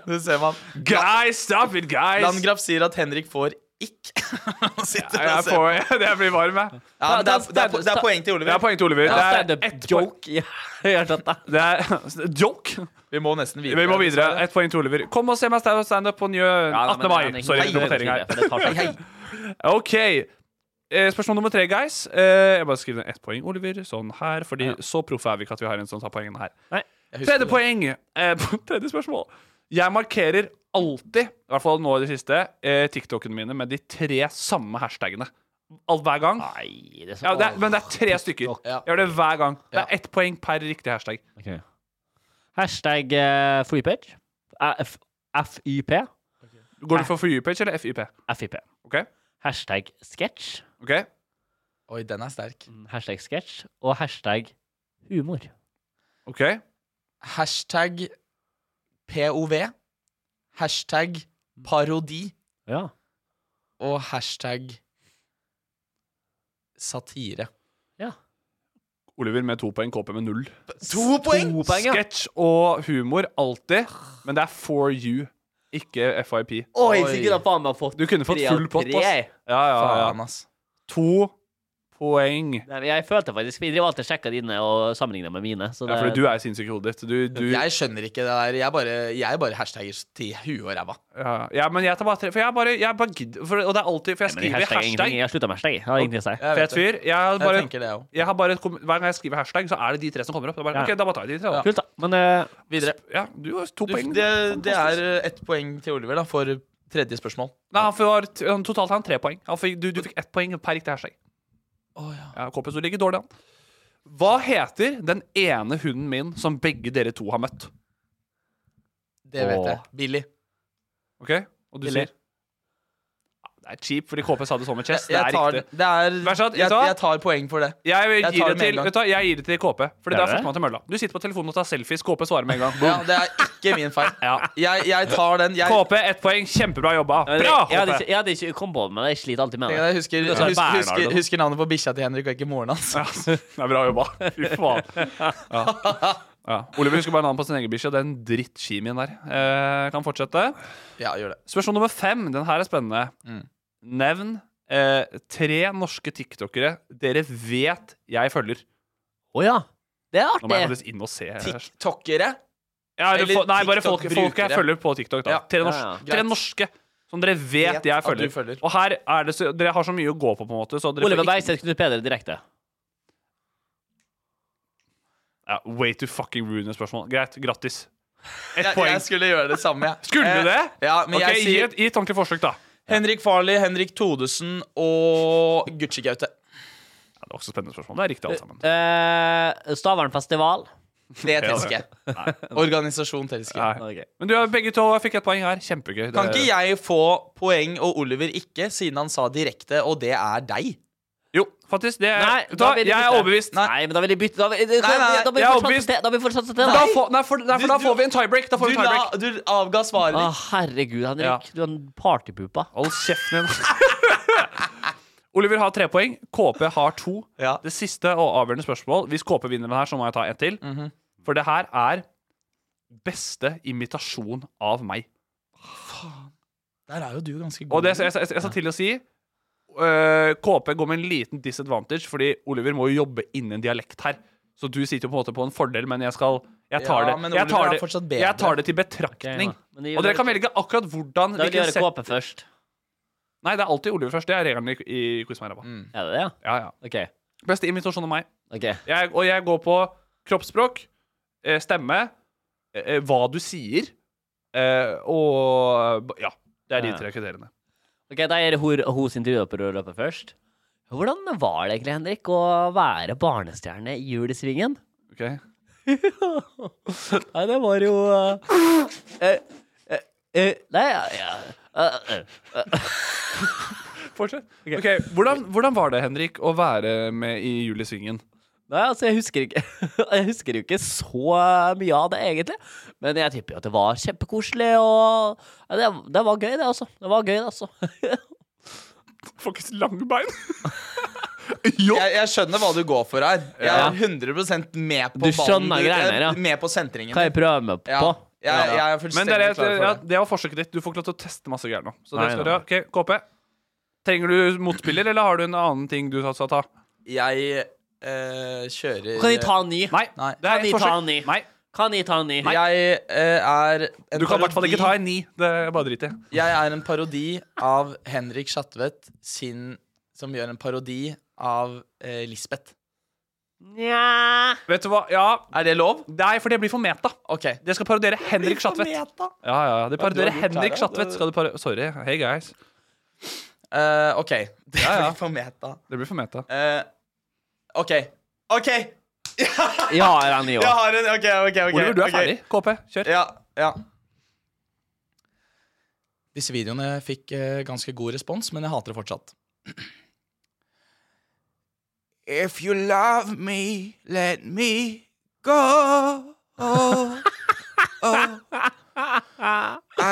Speaker 2: Det ser man.
Speaker 1: Guys, stop it, guys!
Speaker 2: Landgraf sier at Henrik får ikk. Han sitter
Speaker 1: Jeg,
Speaker 2: og ser
Speaker 1: får,
Speaker 2: på.
Speaker 1: jeg blir varm, jeg.
Speaker 2: Ja, men det, er, det, er, det er poeng til Oliver.
Speaker 1: Det er poeng til Oliver.
Speaker 2: Ja,
Speaker 1: det er ett joke. Det er joke.
Speaker 2: Vi må nesten videre.
Speaker 1: Vi må videre. Ett poeng til Oliver. Kom og se meg stand- standup på Njø 18. mai. Sorry, promotering her. OK. Eh, Spørsmål nummer tre, guys. Eh, Jeg bare skriver ned ett poeng, Oliver. Sånn her. Fordi så proffe er vi ikke at vi har en som tar poengene her.
Speaker 2: husker
Speaker 1: Tredje
Speaker 2: det.
Speaker 1: poeng. Eh, Tredje spørsmål. Jeg markerer alltid, i hvert fall nå i det siste, eh, TikTokene mine med de tre samme hashtagene. Alt hver gang.
Speaker 4: Nei, det er så-
Speaker 1: ja, det er, men det er tre stykker. Jeg gjør det hver gang. Det er ett poeng per riktig hashtag.
Speaker 4: Hashtag eh, freepage. Eh, F- FYP.
Speaker 1: Går du for FYP eller FYP?
Speaker 4: FYP.
Speaker 1: Ok.
Speaker 4: Hashtag sketsj.
Speaker 1: Ok.
Speaker 2: Oi, den er sterk.
Speaker 1: Mm.
Speaker 4: Hashtag sketsj og hashtag humor.
Speaker 1: OK.
Speaker 2: Hashtag POV. Hashtag parodi.
Speaker 4: Ja.
Speaker 2: Og hashtag satire.
Speaker 1: Oliver med to poeng, KP med null.
Speaker 2: To poeng! To poeng, ja.
Speaker 1: Sketsj og humor alltid, men det er for you, ikke FIP.
Speaker 4: Oi, sikkert har faen meg fått
Speaker 1: Du kunne fått
Speaker 4: tre av
Speaker 1: full pott,
Speaker 4: tre,
Speaker 1: ass.
Speaker 4: jeg.
Speaker 1: Ja, ja, ja.
Speaker 2: Faen, ass.
Speaker 1: To poeng.
Speaker 4: Nei, men jeg følte faktisk Vi driver alltid og sjekker dine og sammenligner med mine. Så
Speaker 1: Ja,
Speaker 4: det,
Speaker 1: fordi du er sinnssyk i hodet ditt. Du, du, ja,
Speaker 2: Jeg skjønner ikke det der. Jeg bare, jeg bare hashtagger til huet og ræva.
Speaker 1: ja, men jeg tar bare tre. For jeg bare, jeg bare gidder for, Og det er alltid For jeg
Speaker 4: men jeg
Speaker 1: skriver
Speaker 4: hashtagger
Speaker 1: hashtag.
Speaker 4: ingenting. Jeg har slutta med hashtag. Jeg har ingenting å si.
Speaker 2: Jeg vet
Speaker 1: Fet
Speaker 2: det.
Speaker 1: fyr. Jeg har
Speaker 2: Jeg
Speaker 1: bare,
Speaker 2: tenker det, jeg også.
Speaker 1: jeg har bare, kom- hver gang jeg skriver hashtag, så er det de tre som kommer opp. Da bare,
Speaker 4: Ja.
Speaker 1: Ok, da bare tar jeg de tre, da.
Speaker 4: Kult, da. Men eh,
Speaker 2: Videre.
Speaker 1: Ja, du har to
Speaker 2: Du,
Speaker 1: poeng.
Speaker 2: det, det er eh, ett poeng til Oliver da for tredje spørsmål.
Speaker 1: Nei, han får, han- totalt har han tre poeng. Han fikk, du, du fikk ett poeng per riktig hashtag.
Speaker 2: Å, ja.
Speaker 1: Ja, kompis, du ligger dårlig an. Hva heter den ene hunden min som begge dere to har møtt?
Speaker 2: Det vet jeg.
Speaker 1: Åh.
Speaker 2: Billy.
Speaker 1: Ok? Og du
Speaker 2: Eller?
Speaker 1: sier Ja, Det er cheap, fordi KP sa det sånn med chest. Det
Speaker 2: Jeg,
Speaker 1: er
Speaker 2: jeg, tar,
Speaker 1: riktig.
Speaker 2: det er,
Speaker 1: Vær så snill,
Speaker 2: jeg,
Speaker 1: vet du hva?
Speaker 2: jeg tar poeng for det.
Speaker 1: Jeg,
Speaker 2: jeg
Speaker 1: gir
Speaker 2: tar det
Speaker 1: det
Speaker 2: med
Speaker 1: til,
Speaker 2: en gang.
Speaker 1: vet du, hva, jeg gir det til KP. Fordi det
Speaker 4: Gjør
Speaker 1: er
Speaker 4: det?
Speaker 1: førstemann til mølla. Du sitter på telefonen og tar selfies. KP svarer med en gang.
Speaker 2: Ja,
Speaker 1: Boom.
Speaker 2: det er ikke min feil. Jeg, jeg tar den. Jeg,
Speaker 1: KP, ett poeng. Kjempebra jobba.
Speaker 4: jeg
Speaker 1: Bra!
Speaker 4: hadde
Speaker 1: KP.
Speaker 4: ikke, jeg hadde ikke kommet på det, men jeg sliter alltid med
Speaker 2: tenk
Speaker 4: det.
Speaker 2: at jeg husker,
Speaker 4: tar
Speaker 2: hus,
Speaker 4: Bernhard,
Speaker 2: husker,
Speaker 4: da.
Speaker 2: husker navnet på bikkja til Henrik, og ikke moren hans.
Speaker 1: Ja, det er bra jobba. Fy faen. Ja. Ja. Oliver husker bare navnet på sin egen bikkje. Den drittkimien der. Eh, kan fortsette.
Speaker 2: Ja, gjør det.
Speaker 1: Spørsmål nummer fem. Den her er spennende.
Speaker 2: Mm.
Speaker 1: Nevn eh, tre norske tiktokere dere vet jeg følger.
Speaker 4: Å ja. Det er
Speaker 1: Nå må jeg
Speaker 4: artig.
Speaker 1: faktisk inn og se.
Speaker 2: TikTokere.
Speaker 1: Ja, eller,
Speaker 2: Eller
Speaker 1: fo- nei, bare folk, folk
Speaker 2: TikTok-brukere.
Speaker 1: jeg følger på TikTok. da
Speaker 2: Ja.
Speaker 1: Tre, norsk,
Speaker 4: Ja, ja.
Speaker 1: tre
Speaker 2: Greit.
Speaker 1: norske som dere vet,
Speaker 2: Vet
Speaker 1: jeg
Speaker 2: at du
Speaker 1: følger.
Speaker 2: følger.
Speaker 1: Og her er det så, Dere har så mye å gå på, på en måte. Så dere får
Speaker 4: Oliver
Speaker 1: ikke-
Speaker 4: Bergseth, Knut Peder direkte.
Speaker 1: ja, Way to fucking ruin et spørsmål. Greit, grattis. Ett
Speaker 2: Jeg,
Speaker 1: poeng.
Speaker 2: jeg skulle gjøre det samme, jeg.
Speaker 1: Skulle du det?
Speaker 2: Eh, Ja, men
Speaker 1: Ok,
Speaker 2: jeg
Speaker 1: gi,
Speaker 2: sier
Speaker 1: et, gi et ordentlig forsøk, da.
Speaker 2: Henrik Farley, Henrik Todesen og Gucci Gaute.
Speaker 1: Ja, det var også et spennende spørsmål. Det er riktig, alle
Speaker 2: Eh,
Speaker 1: sammen.
Speaker 4: Uh, Stavern festival.
Speaker 2: Det tesker jeg. Organisasjon tesker jeg.
Speaker 1: Nei. Men du, begge to fikk et poeng her. Kjempegøy.
Speaker 2: Kan ikke jeg få poeng og Oliver ikke, siden han sa direkte, og det er deg?
Speaker 1: Jo, faktisk. Det er,
Speaker 4: Nei,
Speaker 1: Eh, Vet du
Speaker 4: da
Speaker 1: hva?
Speaker 4: vil de
Speaker 1: jeg er
Speaker 4: bytte.
Speaker 1: overbevist.
Speaker 4: Nei, men da vil de bytte Da vil da
Speaker 2: Nei, nei,
Speaker 4: da blir
Speaker 1: jeg
Speaker 4: vi
Speaker 1: er
Speaker 4: fortsatt
Speaker 1: overbevist.
Speaker 4: til- da blir vi fortsatt til
Speaker 1: For
Speaker 4: da.
Speaker 1: Da, får, nei, for, nei,
Speaker 2: Du-
Speaker 1: for da
Speaker 2: du-
Speaker 1: får vi en tiebreak. Da
Speaker 2: Du,
Speaker 1: får vi en
Speaker 2: la,
Speaker 1: tiebreak.
Speaker 2: du avga svaret
Speaker 4: Å,
Speaker 2: ditt.
Speaker 4: herregud, Henrik.
Speaker 1: Ja.
Speaker 4: Du er en partypupa.
Speaker 1: Hold kjeften din. Oliver har tre poeng. KP har to.
Speaker 2: Ja.
Speaker 1: Det siste og avgjørende spørsmål Hvis KP vinner den her, så må jeg ta en til.
Speaker 4: Mhm.
Speaker 1: For det her er beste imitasjon av meg.
Speaker 2: Der er jo du ganske god.
Speaker 1: Og det, jeg, jeg, jeg, jeg skal til å si øh, KP går med en liten disadvantage, fordi Oliver må jo jobbe innen dialekt her. Så du sitter jo på en måte på en fordel, men jeg skal Jeg
Speaker 2: Ja,
Speaker 1: tar det,
Speaker 2: men
Speaker 1: jeg
Speaker 2: Oliver
Speaker 1: tar
Speaker 2: er fortsatt
Speaker 1: det,
Speaker 2: bedre.
Speaker 1: jeg tar det til betraktning.
Speaker 4: Ok, ja. Men det-
Speaker 1: Og dere kan velge akkurat hvordan
Speaker 4: Da vil de
Speaker 1: hvilken
Speaker 4: gjøre
Speaker 1: set-
Speaker 4: KP først. Mm.
Speaker 1: Nei, det er alltid Oliver først. Det er regelen i, i Quiz med ræva.
Speaker 4: Er det det, ja?
Speaker 1: Ja, ja.
Speaker 4: OK.
Speaker 1: Beste imitasjon av meg.
Speaker 4: Ok.
Speaker 1: Jeg, og jeg går på kroppsspråk, eh, stemme, eh, hva du sier, eh, og Ja. Det er de
Speaker 4: Ja.
Speaker 1: tre kriteriene.
Speaker 4: Ok, Da er det hun, hun sin tur på rødløpet først. Hvordan var det egentlig, Henrik, å være barnestjerne i Julesvingen?
Speaker 1: Ok.
Speaker 4: Nei, det var jo eh, eh, eh, eh, Nei, ja, ja. eh, eh, eh.
Speaker 1: Fortsett. Ok, hvordan, hvordan var det, Henrik, å være med i Julesvingen?
Speaker 4: Nei, altså, jeg husker, ikke, jeg husker jo ikke så mye av det, egentlig. Men jeg tipper jo at det var kjempekoselig, og ja, det, det var gøy, det, altså. Det var gøy, det, altså.
Speaker 1: Folkens lange bein.
Speaker 2: Jeg, jeg skjønner hva du går for her. Jeg
Speaker 4: Ja.
Speaker 2: er 100 med på
Speaker 4: Du skjønner
Speaker 2: ballen. Jeg er
Speaker 4: greiene her, ja.
Speaker 2: Med på sentringen.
Speaker 4: Kan jeg prøve meg på?
Speaker 2: Ja. Jeg, jeg er
Speaker 1: Men det, er,
Speaker 2: fullstendig klar
Speaker 1: ja,
Speaker 2: for det.
Speaker 1: det var forsøket ditt. Du får ikke lov til å teste masse greier nå. Så
Speaker 4: Nei,
Speaker 1: det skal du
Speaker 4: nei,
Speaker 1: ha. Ok, KP. Trenger du motspiller, eller har du en annen ting du skal ta?
Speaker 2: Jeg eh, kjører
Speaker 4: Kan de ta en ny?
Speaker 1: Nei.
Speaker 2: Nei.
Speaker 1: Det er
Speaker 4: Kan de
Speaker 1: et
Speaker 4: ta
Speaker 1: forsøk.
Speaker 4: en ny?
Speaker 1: Nei.
Speaker 4: Kan de ta en ny?
Speaker 2: Jeg eh, er en
Speaker 1: Du kan i hvert fall ikke ta
Speaker 2: parodi-
Speaker 1: en ni. Det er bare drit i.
Speaker 2: Jeg er en parodi av Henrik Schatvedt sin Som gjør en parodi av eh, Lisbeth.
Speaker 4: Nja
Speaker 1: Vet du hva? Ja.
Speaker 2: Er det lov?
Speaker 1: Nei, for det blir for meta.
Speaker 2: Ok.
Speaker 1: Det skal parodiere Henrik Schatvedt. Ja, ja, ja.
Speaker 2: Hva er det
Speaker 1: Det
Speaker 2: du
Speaker 1: parodierer
Speaker 2: har gjort her,
Speaker 1: Henrik
Speaker 2: da?
Speaker 1: Schatvedt. Skal du paro... Sorry. Hey, guys.
Speaker 2: Eh, OK. Det
Speaker 1: Ja, ja.
Speaker 2: blir for meta.
Speaker 1: Det blir for meta.
Speaker 2: Eh, OK. OK!
Speaker 4: Jeg har en ny
Speaker 2: Jeg
Speaker 4: òg.
Speaker 2: har en OK, OK. ok
Speaker 1: Oliver, du er
Speaker 2: ok.
Speaker 1: ferdig. KP, kjør.
Speaker 2: Ja, ja. Disse videoene fikk eh, ganske god respons, men jeg hater det fortsatt. If you love me, let me go. Oh, oh. I,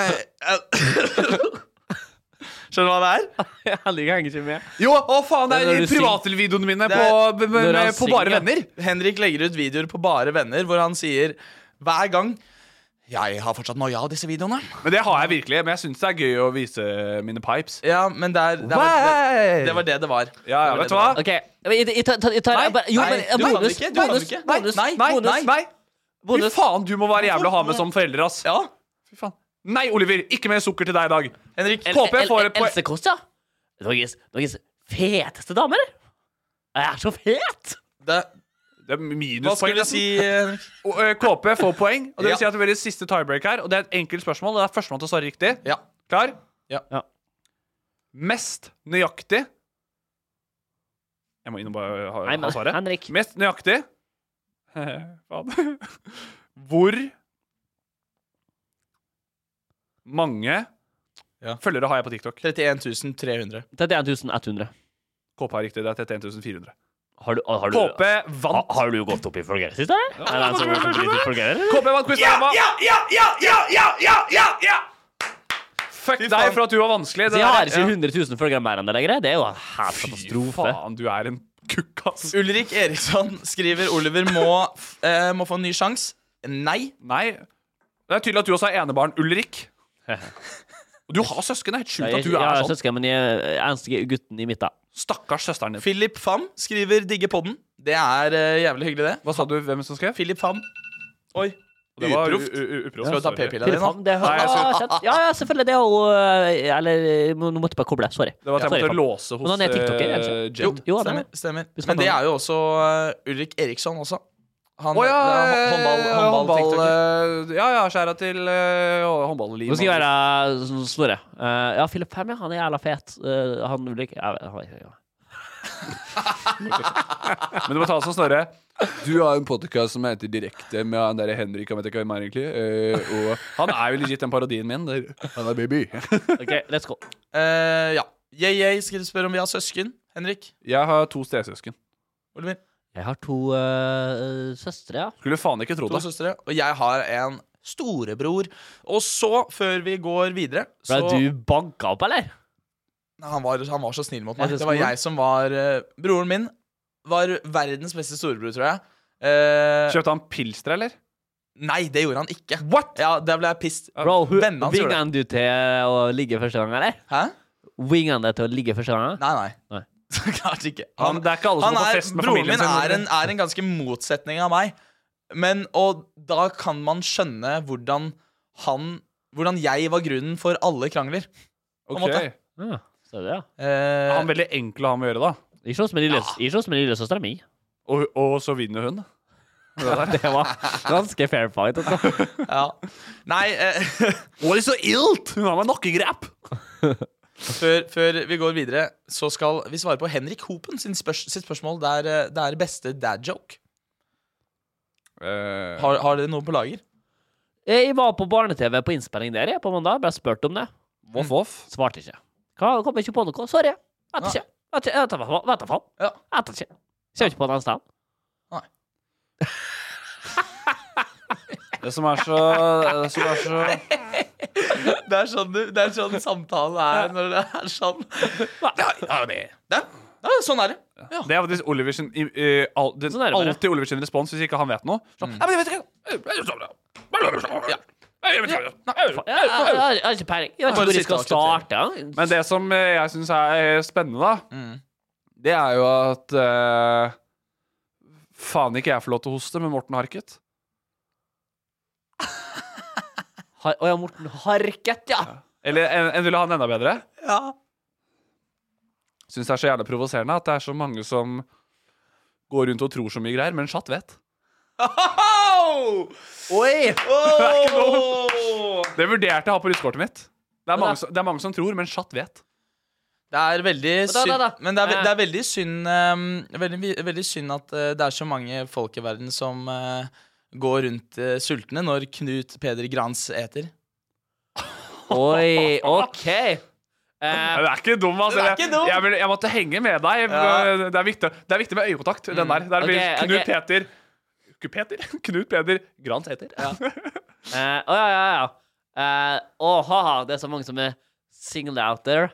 Speaker 2: Skjønner du hva det er?
Speaker 4: Henrik henger ikke med.
Speaker 1: Jo, å faen, det
Speaker 4: Det er
Speaker 1: er
Speaker 4: når du
Speaker 1: privatvideoene mine
Speaker 2: Det
Speaker 1: på,
Speaker 2: er-
Speaker 1: b- b-
Speaker 4: når han
Speaker 1: med- på bare
Speaker 4: synger.
Speaker 1: venner.
Speaker 2: Henrik legger ut videoer på Bare venner hvor han sier hver gang Jeg har fortsatt noia av disse videoene.
Speaker 1: Men det har jeg virkelig. Men jeg syns det er gøy å vise mine pipes.
Speaker 2: Ja, men det, er, det, var, det,
Speaker 1: Why?
Speaker 2: det var det det var. Det
Speaker 1: Ja, ja,
Speaker 2: var det
Speaker 1: vet du
Speaker 2: det
Speaker 1: hva?
Speaker 2: var.
Speaker 4: Ok, jeg, jeg tar, jeg tar
Speaker 1: Nei,
Speaker 4: bare, jo,
Speaker 2: nei,
Speaker 4: men, ja,
Speaker 2: du kan
Speaker 4: bonus,
Speaker 2: det ikke, du kan det
Speaker 4: bonus,
Speaker 2: ikke. Nei,
Speaker 4: bonus,
Speaker 2: nei,
Speaker 1: Nei,
Speaker 4: bonus,
Speaker 1: nei, nei. Fy
Speaker 4: bonus.
Speaker 1: faen, du må være jævlig å ha med som forelder, ass.
Speaker 2: Ja,
Speaker 1: Fy faen. Nei, Oliver, ikke mer sukker til deg i dag.
Speaker 2: Henrik.
Speaker 1: El- KP får et poeng.
Speaker 4: Else Kåss, ja. Norges, Norges feteste dame, eller? Jeg er så fet!
Speaker 2: Det,
Speaker 1: Det er
Speaker 2: hva skulle
Speaker 1: minuspoeng.
Speaker 2: du si, Henrik?
Speaker 1: Og, eh, KP får poeng. Og det
Speaker 2: Ja.
Speaker 1: vil si at det blir siste tiebreak her. Og det er et enkelt spørsmål. og Det er førstemann til å svare riktig.
Speaker 2: Ja.
Speaker 1: Klar?
Speaker 2: Ja.
Speaker 4: Ja.
Speaker 1: Mest nøyaktig Jeg må inn og bare ha,
Speaker 4: Nei, men,
Speaker 1: ha svaret.
Speaker 4: Henrik.
Speaker 1: Mest nøyaktig Faen. Hvor mange
Speaker 2: Ja.
Speaker 1: følgere har jeg på TikTok?
Speaker 2: 31 300.
Speaker 4: 31 100.
Speaker 1: KP har riktig. Det er 31 400.
Speaker 4: Har du, har du,
Speaker 1: KP
Speaker 4: ha,
Speaker 1: vant.
Speaker 4: har du gått opp i følgere, eller? Er det en som har gått opp i følgere, eller?
Speaker 1: KP vant quizen! Emma.
Speaker 2: ja, ja, ja, ja, ja, ja, ja!
Speaker 1: Fuck deg for at du var vanskelig. Det
Speaker 4: Så jeg
Speaker 1: der-
Speaker 4: har ikke
Speaker 1: Ja.
Speaker 4: 100 000 følgere mer enn det lenger. Det er jo en helt katastrofe.
Speaker 1: faen, du er en kukk, ass.
Speaker 2: Ulrik Eriksson skriver Oliver må, eh, må få en ny sjanse. Nei.
Speaker 1: Nei. Det er tydelig at du også er enebarn, Ulrik. Og du har søsken. Det er helt sjukt at
Speaker 4: Jeg,
Speaker 1: du
Speaker 4: jeg
Speaker 1: er
Speaker 4: har
Speaker 1: sånn.
Speaker 4: søsken, men jeg er eneste gutten i midten.
Speaker 1: Stakkars søsteren din.
Speaker 2: Philip Pham skriver 'digge podden'. Det er eh, jævlig hyggelig, det.
Speaker 1: Hva sa du? Hvem som skrev?
Speaker 2: Philip Pham. Oi.
Speaker 1: Det var u-
Speaker 2: Uproft.
Speaker 1: u- u- uproft.
Speaker 2: Skal du ta
Speaker 1: Sorry.
Speaker 2: p-pilla di
Speaker 4: Philip
Speaker 2: nå?
Speaker 4: Ham, det
Speaker 1: Nei, jeg
Speaker 4: Ah, shit. Ja, ja, selvfølgelig. Det er jo eh, Eller eh, må- nå måtte jeg bare koble. Sorry.
Speaker 1: Det var at jeg
Speaker 4: Sorry,
Speaker 1: måtte
Speaker 4: Ham.
Speaker 1: låse hos
Speaker 4: Men han er TikToker, er han ikke?
Speaker 1: eh,
Speaker 2: Jo,
Speaker 1: Jen.
Speaker 4: Jo, han er
Speaker 2: stemmer.
Speaker 4: det.
Speaker 2: stemmer.
Speaker 4: Husk
Speaker 2: Men
Speaker 4: på
Speaker 2: det
Speaker 4: han.
Speaker 2: er jo også eh, Ulrik Eriksson også. Han
Speaker 1: Å ja,
Speaker 2: det er hå- håndball, håndball,
Speaker 1: håndball,
Speaker 2: TikToker.
Speaker 1: eh, ja, ja, skjæra til eh, håndball-liv.
Speaker 4: Nå skal jeg være sånn Snorre. Eh, ja, Philip Ham, ja. Han er jævla fet. Eh, han Ulrik jeg vet- han- ja.
Speaker 1: Men du må ta det som Snorre. Du har en podkast som heter Direkte med han derre Henrik. Han vet ikke hvem er egentlig. eh, og han er jo legit den parodien min. han er baby.
Speaker 4: OK, let's go.
Speaker 2: Eh, ja. Jeg, jeg skal spørre om vi har søsken. Henrik.
Speaker 1: Jeg har to stesøsken.
Speaker 2: Oliver.
Speaker 4: Jeg har to eh, søstre, ja.
Speaker 1: Skulle faen ikke tro
Speaker 2: To
Speaker 1: det.
Speaker 2: søstre. Og jeg har en storebror. Og så, før vi går videre så,
Speaker 4: Ble du banka opp, eller?
Speaker 2: Nei, han, var, han var så snill mot meg.
Speaker 4: Er det
Speaker 2: Det var
Speaker 4: skolen?
Speaker 2: jeg som var eh, Broren min var verdens beste storebror, tror jeg. Eh,
Speaker 1: Kjøpte han pilstre, eller?
Speaker 2: nei, det gjorde han ikke. What? Ja, Der ble jeg pissed.
Speaker 4: Bro, hu-
Speaker 2: Vennene hans gjorde det.
Speaker 4: Vinga du til å ligge første gang, eller?
Speaker 2: Hæ?
Speaker 4: Winga deg til å ligge første gang?
Speaker 2: Nei, nei.
Speaker 4: Nei.
Speaker 2: Så klart ikke.
Speaker 1: Han, det er ikke alle som
Speaker 2: han
Speaker 1: går på
Speaker 2: er,
Speaker 1: fest med
Speaker 2: broren
Speaker 1: familien
Speaker 2: min
Speaker 1: sin.
Speaker 2: er en, er en ganske motsetning av meg. Men, og da kan man skjønne hvordan han Hvordan jeg var grunnen for alle krangler. på en
Speaker 1: Ok.
Speaker 2: måte.
Speaker 4: Ja, så det, ja.
Speaker 2: Eh,
Speaker 1: Er Han veldig enkel å ha med å gjøre, da.
Speaker 4: Ikke hos min lille- ikke hos min lillesøstera mi.
Speaker 1: Og, og så vinner hun.
Speaker 4: Det var ganske fair fight. Altså.
Speaker 2: Ja. Nei eh,
Speaker 1: Var det så ilt? Hun har meg nakkegrep!
Speaker 2: før, før vi går videre, så skal vi svare på Henrik Hopen sin spørs sitt spørsmål. Det er, eh, det er beste dad joke.
Speaker 1: Eh,
Speaker 2: Har, har dere noe på lager?
Speaker 4: Jeg var på barne-TV på innspilling der jeg, på mandag. Ble spurt om det.
Speaker 1: Voff, voff.
Speaker 4: Svarte ikke. Hva, kom ikke på noe. Sorry. Vet ikke. Vet ikke. Vet da faen. Vet da faen. Vet ikke. Kjem ikke på en annen sted.
Speaker 1: Det som er så Det som er så
Speaker 2: Det er sånn, du- det er sånn samtalen er når det er sånn.
Speaker 1: Ja, det
Speaker 2: Ja, ja, sånn er det.
Speaker 1: Det er faktisk Oliver sin, i- i- al, det,
Speaker 2: Sånn er det bare.
Speaker 1: alltid Oliver sin respons hvis ikke han vet noe. Så, «Nei, men jeg vet ikke Jeg vet ikke.
Speaker 4: Jeg jeg har ikke peiling. Jeg vet ikke hvor jeg skal starte.
Speaker 1: Men det som eh, jeg syns er spennende, da, det er jo at eh, Faen ikke jeg får lov til å hoste, men Morten Harket.
Speaker 4: Å ja, Morten Harket, ja.
Speaker 1: Eller en, en ville ha den enda bedre.
Speaker 2: Ja.
Speaker 1: Syns det er så jævla provoserende at det er så mange som går rundt og tror så mye greier, men chatt vet.
Speaker 4: Oi!
Speaker 1: Det vurderte jeg å ha på russekortet mitt. Det er, mange som, det er mange som tror, men chatt vet.
Speaker 2: Det er veldig
Speaker 1: da, da,
Speaker 2: synd
Speaker 1: da.
Speaker 2: Men det er, ve-
Speaker 1: Eh.
Speaker 2: det er veldig synd eh, veldig, veldig synd at eh, det er så mange folk i verden som eh, går rundt eh, sultne når Knut Peder Grans eter.
Speaker 4: Oi, OK. Eh,
Speaker 1: Du er ikke dum, altså.
Speaker 2: Du er ikke dum.
Speaker 1: Jeg, vil- jeg måtte henge med deg.
Speaker 2: Ja. Mm.
Speaker 1: Det, er viktig, det er viktig med øyekontakt. Den der. der
Speaker 4: Ok,
Speaker 1: blir Knut
Speaker 4: ok.
Speaker 1: Peter Ikke Peter? Knut Peder Grant heter.
Speaker 4: Eh, Å ja, ja, ja. Eh, å, haha, det er så mange som er single out there.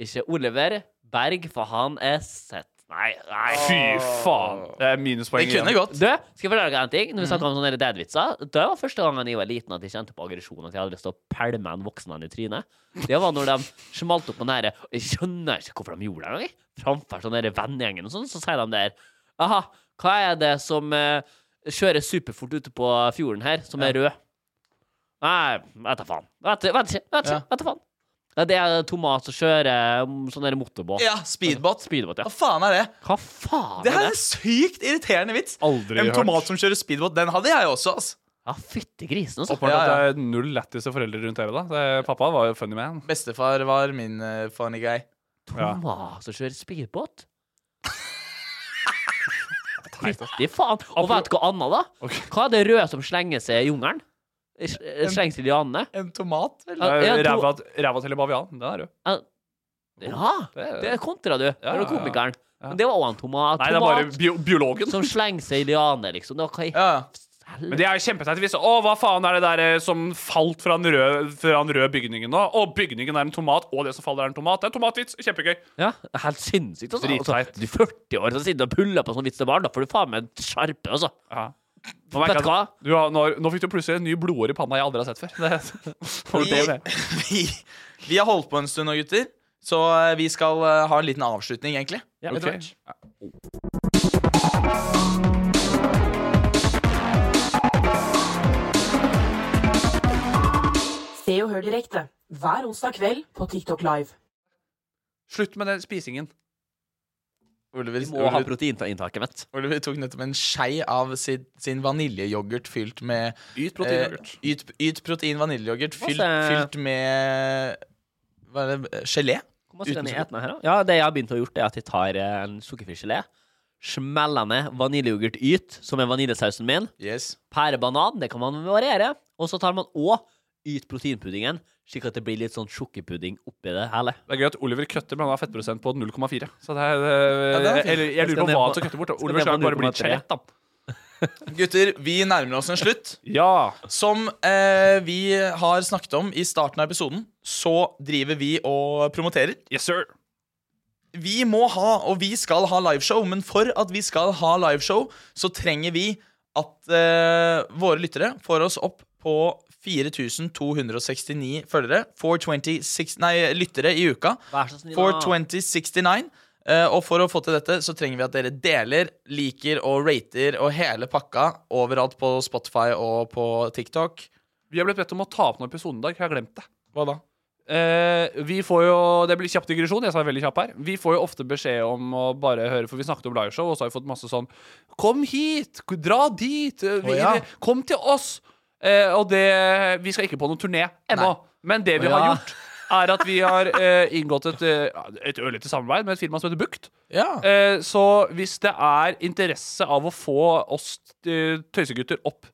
Speaker 4: Ikke Oliver Berg, for han er sett. Nei, nei.
Speaker 1: Fy faen. Det er minuspoeng.
Speaker 2: Det kunne
Speaker 1: igjen.
Speaker 2: gått.
Speaker 4: Du, skal jeg fortelle deg en ting? Når
Speaker 2: Mm.
Speaker 4: vi snakker om sånne dad-vitser Det var første gangen jeg var liten at jeg kjente på aggresjon, at jeg hadde lyst til å pælme en voksen mann i trynet. Det var når de smalt opp på den derre og Jeg skjønner ikke hvorfor de gjorde det engang. Framfor sånn derre vennegjengen og sånn, så sier de der Aha, hva er det som eh, kjører superfort ute på fjorden her, som er rød? Nei, vet da faen. Vet vet ikke, vet ikke, vet da faen. Ja, Det er tomat som kjører mm, sånn der motorbåt.
Speaker 2: Ja, speedbåt.
Speaker 4: Speedbåt, ja.
Speaker 2: Hva faen er det?
Speaker 4: Hva faen
Speaker 2: Det
Speaker 4: er
Speaker 2: her er
Speaker 4: det?
Speaker 2: en sykt irriterende vits.
Speaker 1: Aldri
Speaker 2: en
Speaker 1: hørt.
Speaker 2: tomat som kjører speedbåt, den hadde jeg også, ass.
Speaker 4: Ja, fytti grisen, altså.
Speaker 1: Åpenbart at det er null lættis av foreldre rundt dere, da. Det, pappa var jo funny man.
Speaker 2: Bestefar var min eh, funny guy.
Speaker 1: Ja.
Speaker 4: Thomas som kjører speedbåt? Fytti faen. Og vet du hva annet, da? Hva er det røde som slenger seg i jungelen? Sl- Slenger seg i lianene?
Speaker 2: En tomat, vel?
Speaker 4: Ja, jeg tror-
Speaker 1: Eh, Ræva ræva til en bavian. Den er rød.
Speaker 4: Ja! Det er kontra, du. Det
Speaker 1: ja,
Speaker 4: var
Speaker 1: ja.
Speaker 4: komikeren. Men det var òg en tomat.
Speaker 1: Nei, det er bare
Speaker 4: Tomat
Speaker 1: bio biologen.
Speaker 4: som slenger seg i lianer, liksom. Det var hva i
Speaker 1: Men det er jo kjempeteit. Hvis, Å, hva faen er det der eh, som falt fra den røde, fra den røde bygningen nå? Å, bygningen er en tomat, og det som faller er en tomat. Det er en tomatvits. Kjempegøy.
Speaker 4: Ja, Helt sinnssykt, altså.
Speaker 1: Dritteit.
Speaker 4: altså du er 40 år og sitter og puller på sånn vits til barn. Da får du faen meg skjerpe, altså.
Speaker 1: Ja. Nå, merker
Speaker 4: Vet
Speaker 1: jeg
Speaker 4: du hva?
Speaker 1: at du har, nå, nå fikk du plutselig en ny blodår i panna jeg aldri har sett før. Det, Får du
Speaker 2: Vi,
Speaker 1: det?
Speaker 2: vi, vi har holdt på en stund nå, gutter. Så eh, vi skal eh, ha en liten avslutning, egentlig.
Speaker 4: Ja,
Speaker 2: etter
Speaker 4: ok.
Speaker 2: hvert.
Speaker 3: Se og hør direkte hver onsdag kveld på TikTok Live.
Speaker 1: Slutt med den spisingen.
Speaker 2: Oliver,
Speaker 4: Du må ha
Speaker 2: Oliver,
Speaker 4: proteininntaket mitt.
Speaker 2: Oliver tok nettopp en skei av sin, sin vaniljeyoghurt fylt med
Speaker 1: Yt proteinyoghurt.
Speaker 2: Eh, yt, yt protein vaniljeyoghurt fylt,
Speaker 4: Masse-
Speaker 2: fylt med Hva er det? Gelé?
Speaker 4: Hvor masse
Speaker 2: Uten
Speaker 4: kan jeg
Speaker 2: sukker.
Speaker 4: ete meg her, da? Ja, det jeg har begynt å gjort, er at jeg tar eh, en sukkerfri gelé, smeller ned vaniljeyoghurt-yt, som er vaniljesausen min,
Speaker 2: Yes.
Speaker 4: pærebanan, det kan man variere, og så tar man òg yt proteinpuddingen, slik at det blir litt sånn sjokkepudding oppi det hele.
Speaker 1: Det er gøy at Oliver køtter, men han har fettprosent på 0,4. Så det er, eh,
Speaker 2: det er fint.
Speaker 1: eller, jeg lurer
Speaker 4: Skal
Speaker 1: på
Speaker 4: ned
Speaker 1: hva
Speaker 4: på-
Speaker 1: han skal kutte bort. da.
Speaker 4: skal
Speaker 1: Oliver
Speaker 4: ned på
Speaker 1: skal bare bli
Speaker 4: 0,3.
Speaker 1: skjelett, da.
Speaker 2: Gutter, vi nærmer oss en slutt.
Speaker 1: Ja.
Speaker 2: Som eh, vi har snakket om i starten av episoden, så driver vi og promoterer.
Speaker 1: Yes, sir.
Speaker 2: Vi må ha, og vi skal ha liveshow, men for at vi skal ha liveshow, så trenger vi at eh, våre lyttere får oss opp på 4269 følgere. 426, nei, lyttere i uka.
Speaker 4: Vær så snill, da.
Speaker 2: 42069. Eh, og for å få til dette, så trenger vi at dere deler, liker og rater og hele pakka overalt på Spotify og på TikTok.
Speaker 1: Vi har blitt bedt om å ta opp noen episode i dag. Jeg har glemt det.
Speaker 2: Hva da?
Speaker 1: Eh, vi får jo, Det blir kjapp digresjon. Jeg sa veldig kjapp her Vi får jo ofte beskjed om å bare høre, for vi snakket om liveshow, og så har vi fått masse sånn Kom hit! k- Dra dit! eh, vi-
Speaker 8: Å, ja.
Speaker 1: Kom til oss! Eh, og det Vi skal ikke på noen turné ennå, men det
Speaker 8: Å,
Speaker 1: vi
Speaker 8: ja.
Speaker 1: har gjort, er at vi har eh, inngått et, eh, et ørlite samarbeid med et firma som heter Bukt. Eh, så hvis det er interesse av å få oss eh, tøysegutter opp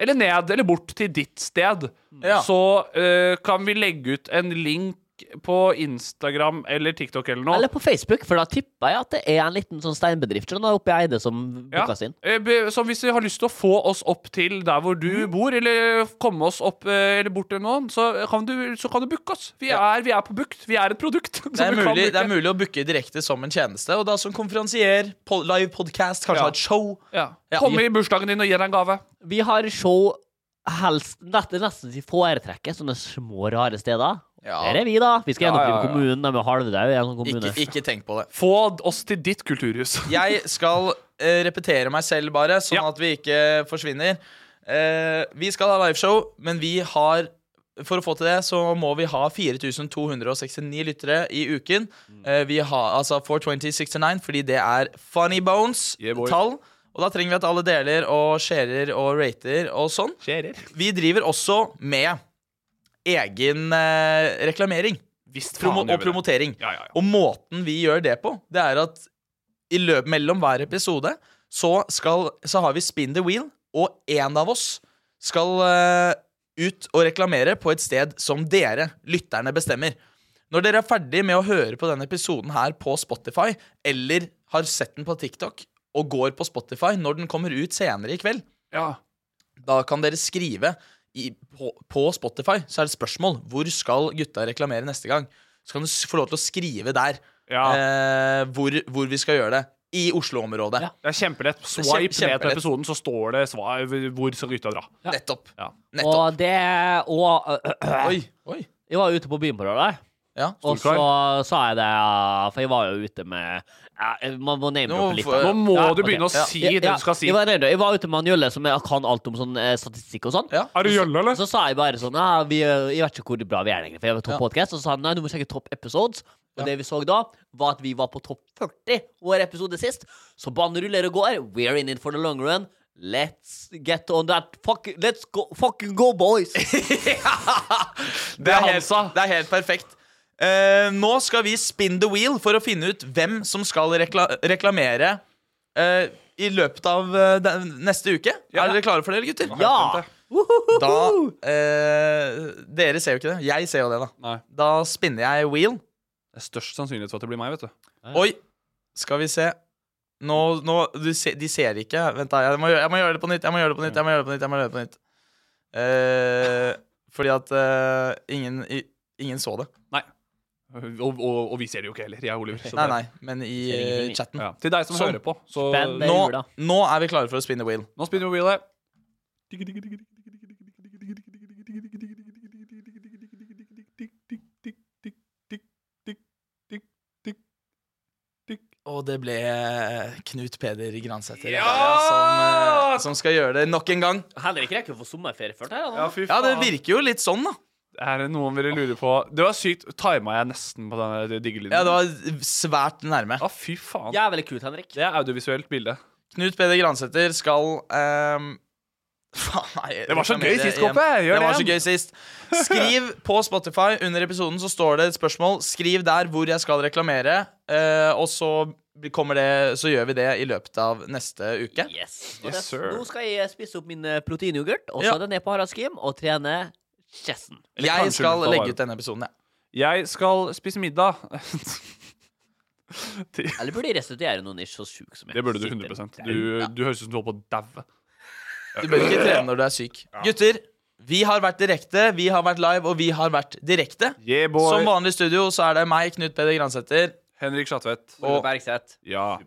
Speaker 1: eller ned eller bort til ditt sted,
Speaker 2: Mm.
Speaker 8: Ja.
Speaker 1: så eh, kan vi legge ut en link på Instagram eller TikTok eller noe.
Speaker 4: Eller på Facebook, for da tipper jeg at det er en liten sånn steinbedrift sånn, da, oppe i Eide som
Speaker 1: Ja.
Speaker 4: booka sin.
Speaker 1: Eh, be- Så hvis du har lyst til å få oss opp til der hvor du
Speaker 2: Mm.
Speaker 1: bor, eller komme oss opp eh, eller bort til noen, så kan du, så kan du booke oss. Vi er, vi er på Bukt. Vi er et produkt.
Speaker 2: Det er, mulig, det er mulig å booke direkte som en tjeneste. Og da som konferansier, po live podcast, kanskje
Speaker 1: Ja.
Speaker 2: ha et show.
Speaker 1: Ja.
Speaker 2: Ja.
Speaker 1: Komme i bursdagen din og gi deg en gave.
Speaker 4: Vi har show helst nett- nesten til foretrekket, sånne små, rare steder.
Speaker 2: Ja.
Speaker 4: Der er vi, da. Vi skal
Speaker 2: Ja,
Speaker 4: gjennomdrive
Speaker 2: ja, ja.
Speaker 4: kommunen. De er halvdaue i en sånn kommune.
Speaker 2: Ikke, ikke tenk på det.
Speaker 1: Få oss til ditt kulturhus.
Speaker 2: Jeg skal eh, repetere meg selv, bare, sånn at vi ikke forsvinner. Eh, vi skal ha liveshow, men vi har for å få til det, så må vi ha 4269 lyttere i uken.
Speaker 1: Mm.
Speaker 2: Eh, vi har altså 42069, fordi det er funny
Speaker 1: boy.
Speaker 2: bones-tall. og da trenger vi at alle deler og sharer og rater og sånn. Vi driver også med egen eh, reklamering.
Speaker 1: faen
Speaker 2: Promo
Speaker 1: gjør vi
Speaker 2: og
Speaker 1: det.
Speaker 2: promotering.
Speaker 1: Ja, ja, ja.
Speaker 2: Og måten vi gjør det på, det er at i løp mellom hver episode så, skal, så har vi spin the wheel, og én av oss skal eh, ut og reklamere på et sted som dere, lytterne, bestemmer. Når dere er ferdig med å høre på denne episoden her på Spotify, eller har sett den på TikTok og går på Spotify når den kommer ut senere i kveld, da kan dere skrive i, på, på Spotify, så er det spørsmål. Hvor skal gutta reklamere neste gang? Så kan du s- få lov til å skrive der eh, hvor, hvor vi skal gjøre det. I Oslo-området.
Speaker 1: Det er kjempelett.
Speaker 2: Kjem-
Speaker 1: Swipe ned til
Speaker 2: kjempelett.
Speaker 1: episoden, så står det svar, hvor skal gutta dra.
Speaker 2: Nettopp.
Speaker 1: Ja.
Speaker 4: Og det Og
Speaker 2: Oi, oi.
Speaker 4: Jeg var ute på byen på lørdag.
Speaker 2: Ja,
Speaker 4: og så sa jeg det uh, For jeg var jo ute med ja, Man må name
Speaker 1: Nå
Speaker 4: droppe litt.
Speaker 1: får-
Speaker 4: da.
Speaker 1: Nå må
Speaker 4: Ja,
Speaker 1: du
Speaker 4: ok.
Speaker 1: begynne å si det du skal si.
Speaker 4: Jeg var, name- jeg var ute med han Jølle, som jeg kan alt om sånn eh, statistikk og sånn.
Speaker 1: Er du Jølle, eller?
Speaker 4: Så, sa jeg bare sånn ja, vi, eh, Jeg vet ikke hvor bra vi er lenger, for jeg var topp podcast. Og så sa han nei, du må sjekke topp episodes. Og det vi så da, var at vi var på topp 40 vår episode sist. Så banen ruller og går. We're in it for the long run. Let's get on that fuck, Let's go, fucking go, boys!
Speaker 2: Det er, helt, det er helt perfekt. Eh, nå skal vi spin the wheel for å finne ut hvem som skal rekla reklamere eh, i løpet av eh, den- neste uke. Er dere klare for det, eller, gutter?
Speaker 4: Ja!
Speaker 2: Da eh, Dere ser jo ikke det. Jeg ser jo det, da. Da spinner jeg wheel.
Speaker 1: Det er størst sannsynlighet for at det blir meg, vet du.
Speaker 2: Oi! Skal vi se. Nå, nå du se, De ser ikke. Vent, da. Jeg må, gjøre- jeg må gjøre det på nytt. Jeg må gjøre det på nytt. Jeg må gjøre det på nytt, jeg må gjøre det på nytt. Eh, Fordi at eh, ingen, i, ingen så det.
Speaker 1: Nei. Og, og, og vi ser det jo ikke heller. Jeg er Oliver. så
Speaker 2: Nei,
Speaker 1: det-
Speaker 2: nei, men i eh, chatten.
Speaker 1: Ja. Til deg som
Speaker 2: Sånn.
Speaker 1: hører på. Så
Speaker 2: nå, nå er vi klare for å spinne wheel.
Speaker 1: Nå spinner vi wheelet.
Speaker 2: Og det ble eh, Knut Peder Gransæter
Speaker 4: Ja!
Speaker 2: som, eh, som skal gjøre det nok en gang.
Speaker 4: Henrik rekker å få sommerferie før det.
Speaker 1: Ja, fy
Speaker 2: Ja, det
Speaker 1: faen.
Speaker 2: virker jo litt sånn, da.
Speaker 1: Er det noen ville lure på Det var sykt. Tima jeg nesten på den digge lyden?
Speaker 2: Ja, det var svært nærme.
Speaker 1: Ja, fy faen.
Speaker 4: Jævlig kult, Henrik.
Speaker 1: Det er audiovisuelt bilde.
Speaker 2: Knut Peder Gransæter skal ehm, Faen, nei. jeg
Speaker 1: Det var så
Speaker 2: reklamerer
Speaker 1: gøy sist,
Speaker 2: igjen.
Speaker 1: Kåpe. Gjør
Speaker 2: det
Speaker 1: det
Speaker 2: var så
Speaker 1: igjen.
Speaker 2: gøy sist. Skriv på Spotify under episoden, så står det et spørsmål. Skriv der hvor jeg skal reklamere, eh, og så kommer det Så gjør vi det i løpet av neste uke.
Speaker 4: Yes, Og det- Nå skal jeg spise opp min eh, proteinyoghurt, og så
Speaker 2: Ja.
Speaker 4: er det ned på Haradskim og trene chessen.
Speaker 2: Jeg skal legge ut denne episoden, jeg.
Speaker 1: Jeg skal spise middag.
Speaker 4: Eller burde jeg restituere noen ish så sjuk som jeg
Speaker 1: Det burde du
Speaker 4: sitter
Speaker 1: 100
Speaker 4: der.
Speaker 1: Du, du høres ut som du holder på å daue.
Speaker 2: Du bør ikke trene når du er syk. Gutter, vi har vært direkte, vi har vært live, og vi har vært direkte.
Speaker 1: Yeah, boy.
Speaker 2: Som vanlig i studio så er det meg, Knut Peder Gransæter.
Speaker 1: Henrik Schatvedt.
Speaker 2: Og
Speaker 4: Bergseth.
Speaker 1: Ja.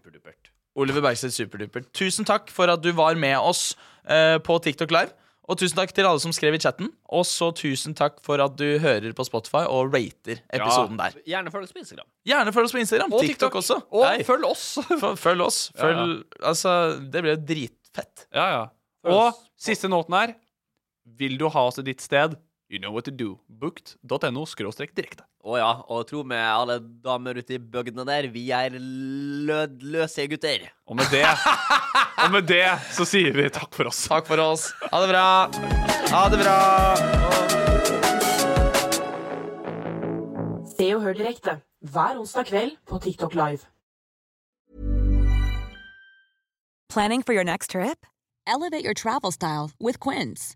Speaker 2: Oliver Bergseth Superdupert. Tusen takk for at du var med oss eh, på TikTok Live. Og tusen takk til alle som skrev i chatten. Og så tusen takk for at du hører på Spotify og rater episoden der.
Speaker 4: Gjerne følg oss på Instagram.
Speaker 2: Gjerne følg oss på Instagram.
Speaker 4: Og
Speaker 2: TikTok,
Speaker 4: TikTok.
Speaker 2: også.
Speaker 4: Og
Speaker 1: følg oss.
Speaker 2: følg oss. Følg, Altså, det blir jo dritfett.
Speaker 1: Ja, ja. Og siste noten her. Vil du ha oss til ditt sted, You know what to do. Booked.no skråstrek direkte.
Speaker 8: Å ja, og tro meg, alle damer ute i bygdene der, vi er lødløse gutter.
Speaker 1: Og med det Og med det så sier vi takk for oss.
Speaker 2: Takk for oss. Ha det bra. Ha det bra.
Speaker 3: Se og hør direkte hver onsdag kveld på TikTok Live.
Speaker 9: Planning for your next trip? Elevate your travel style with Quince.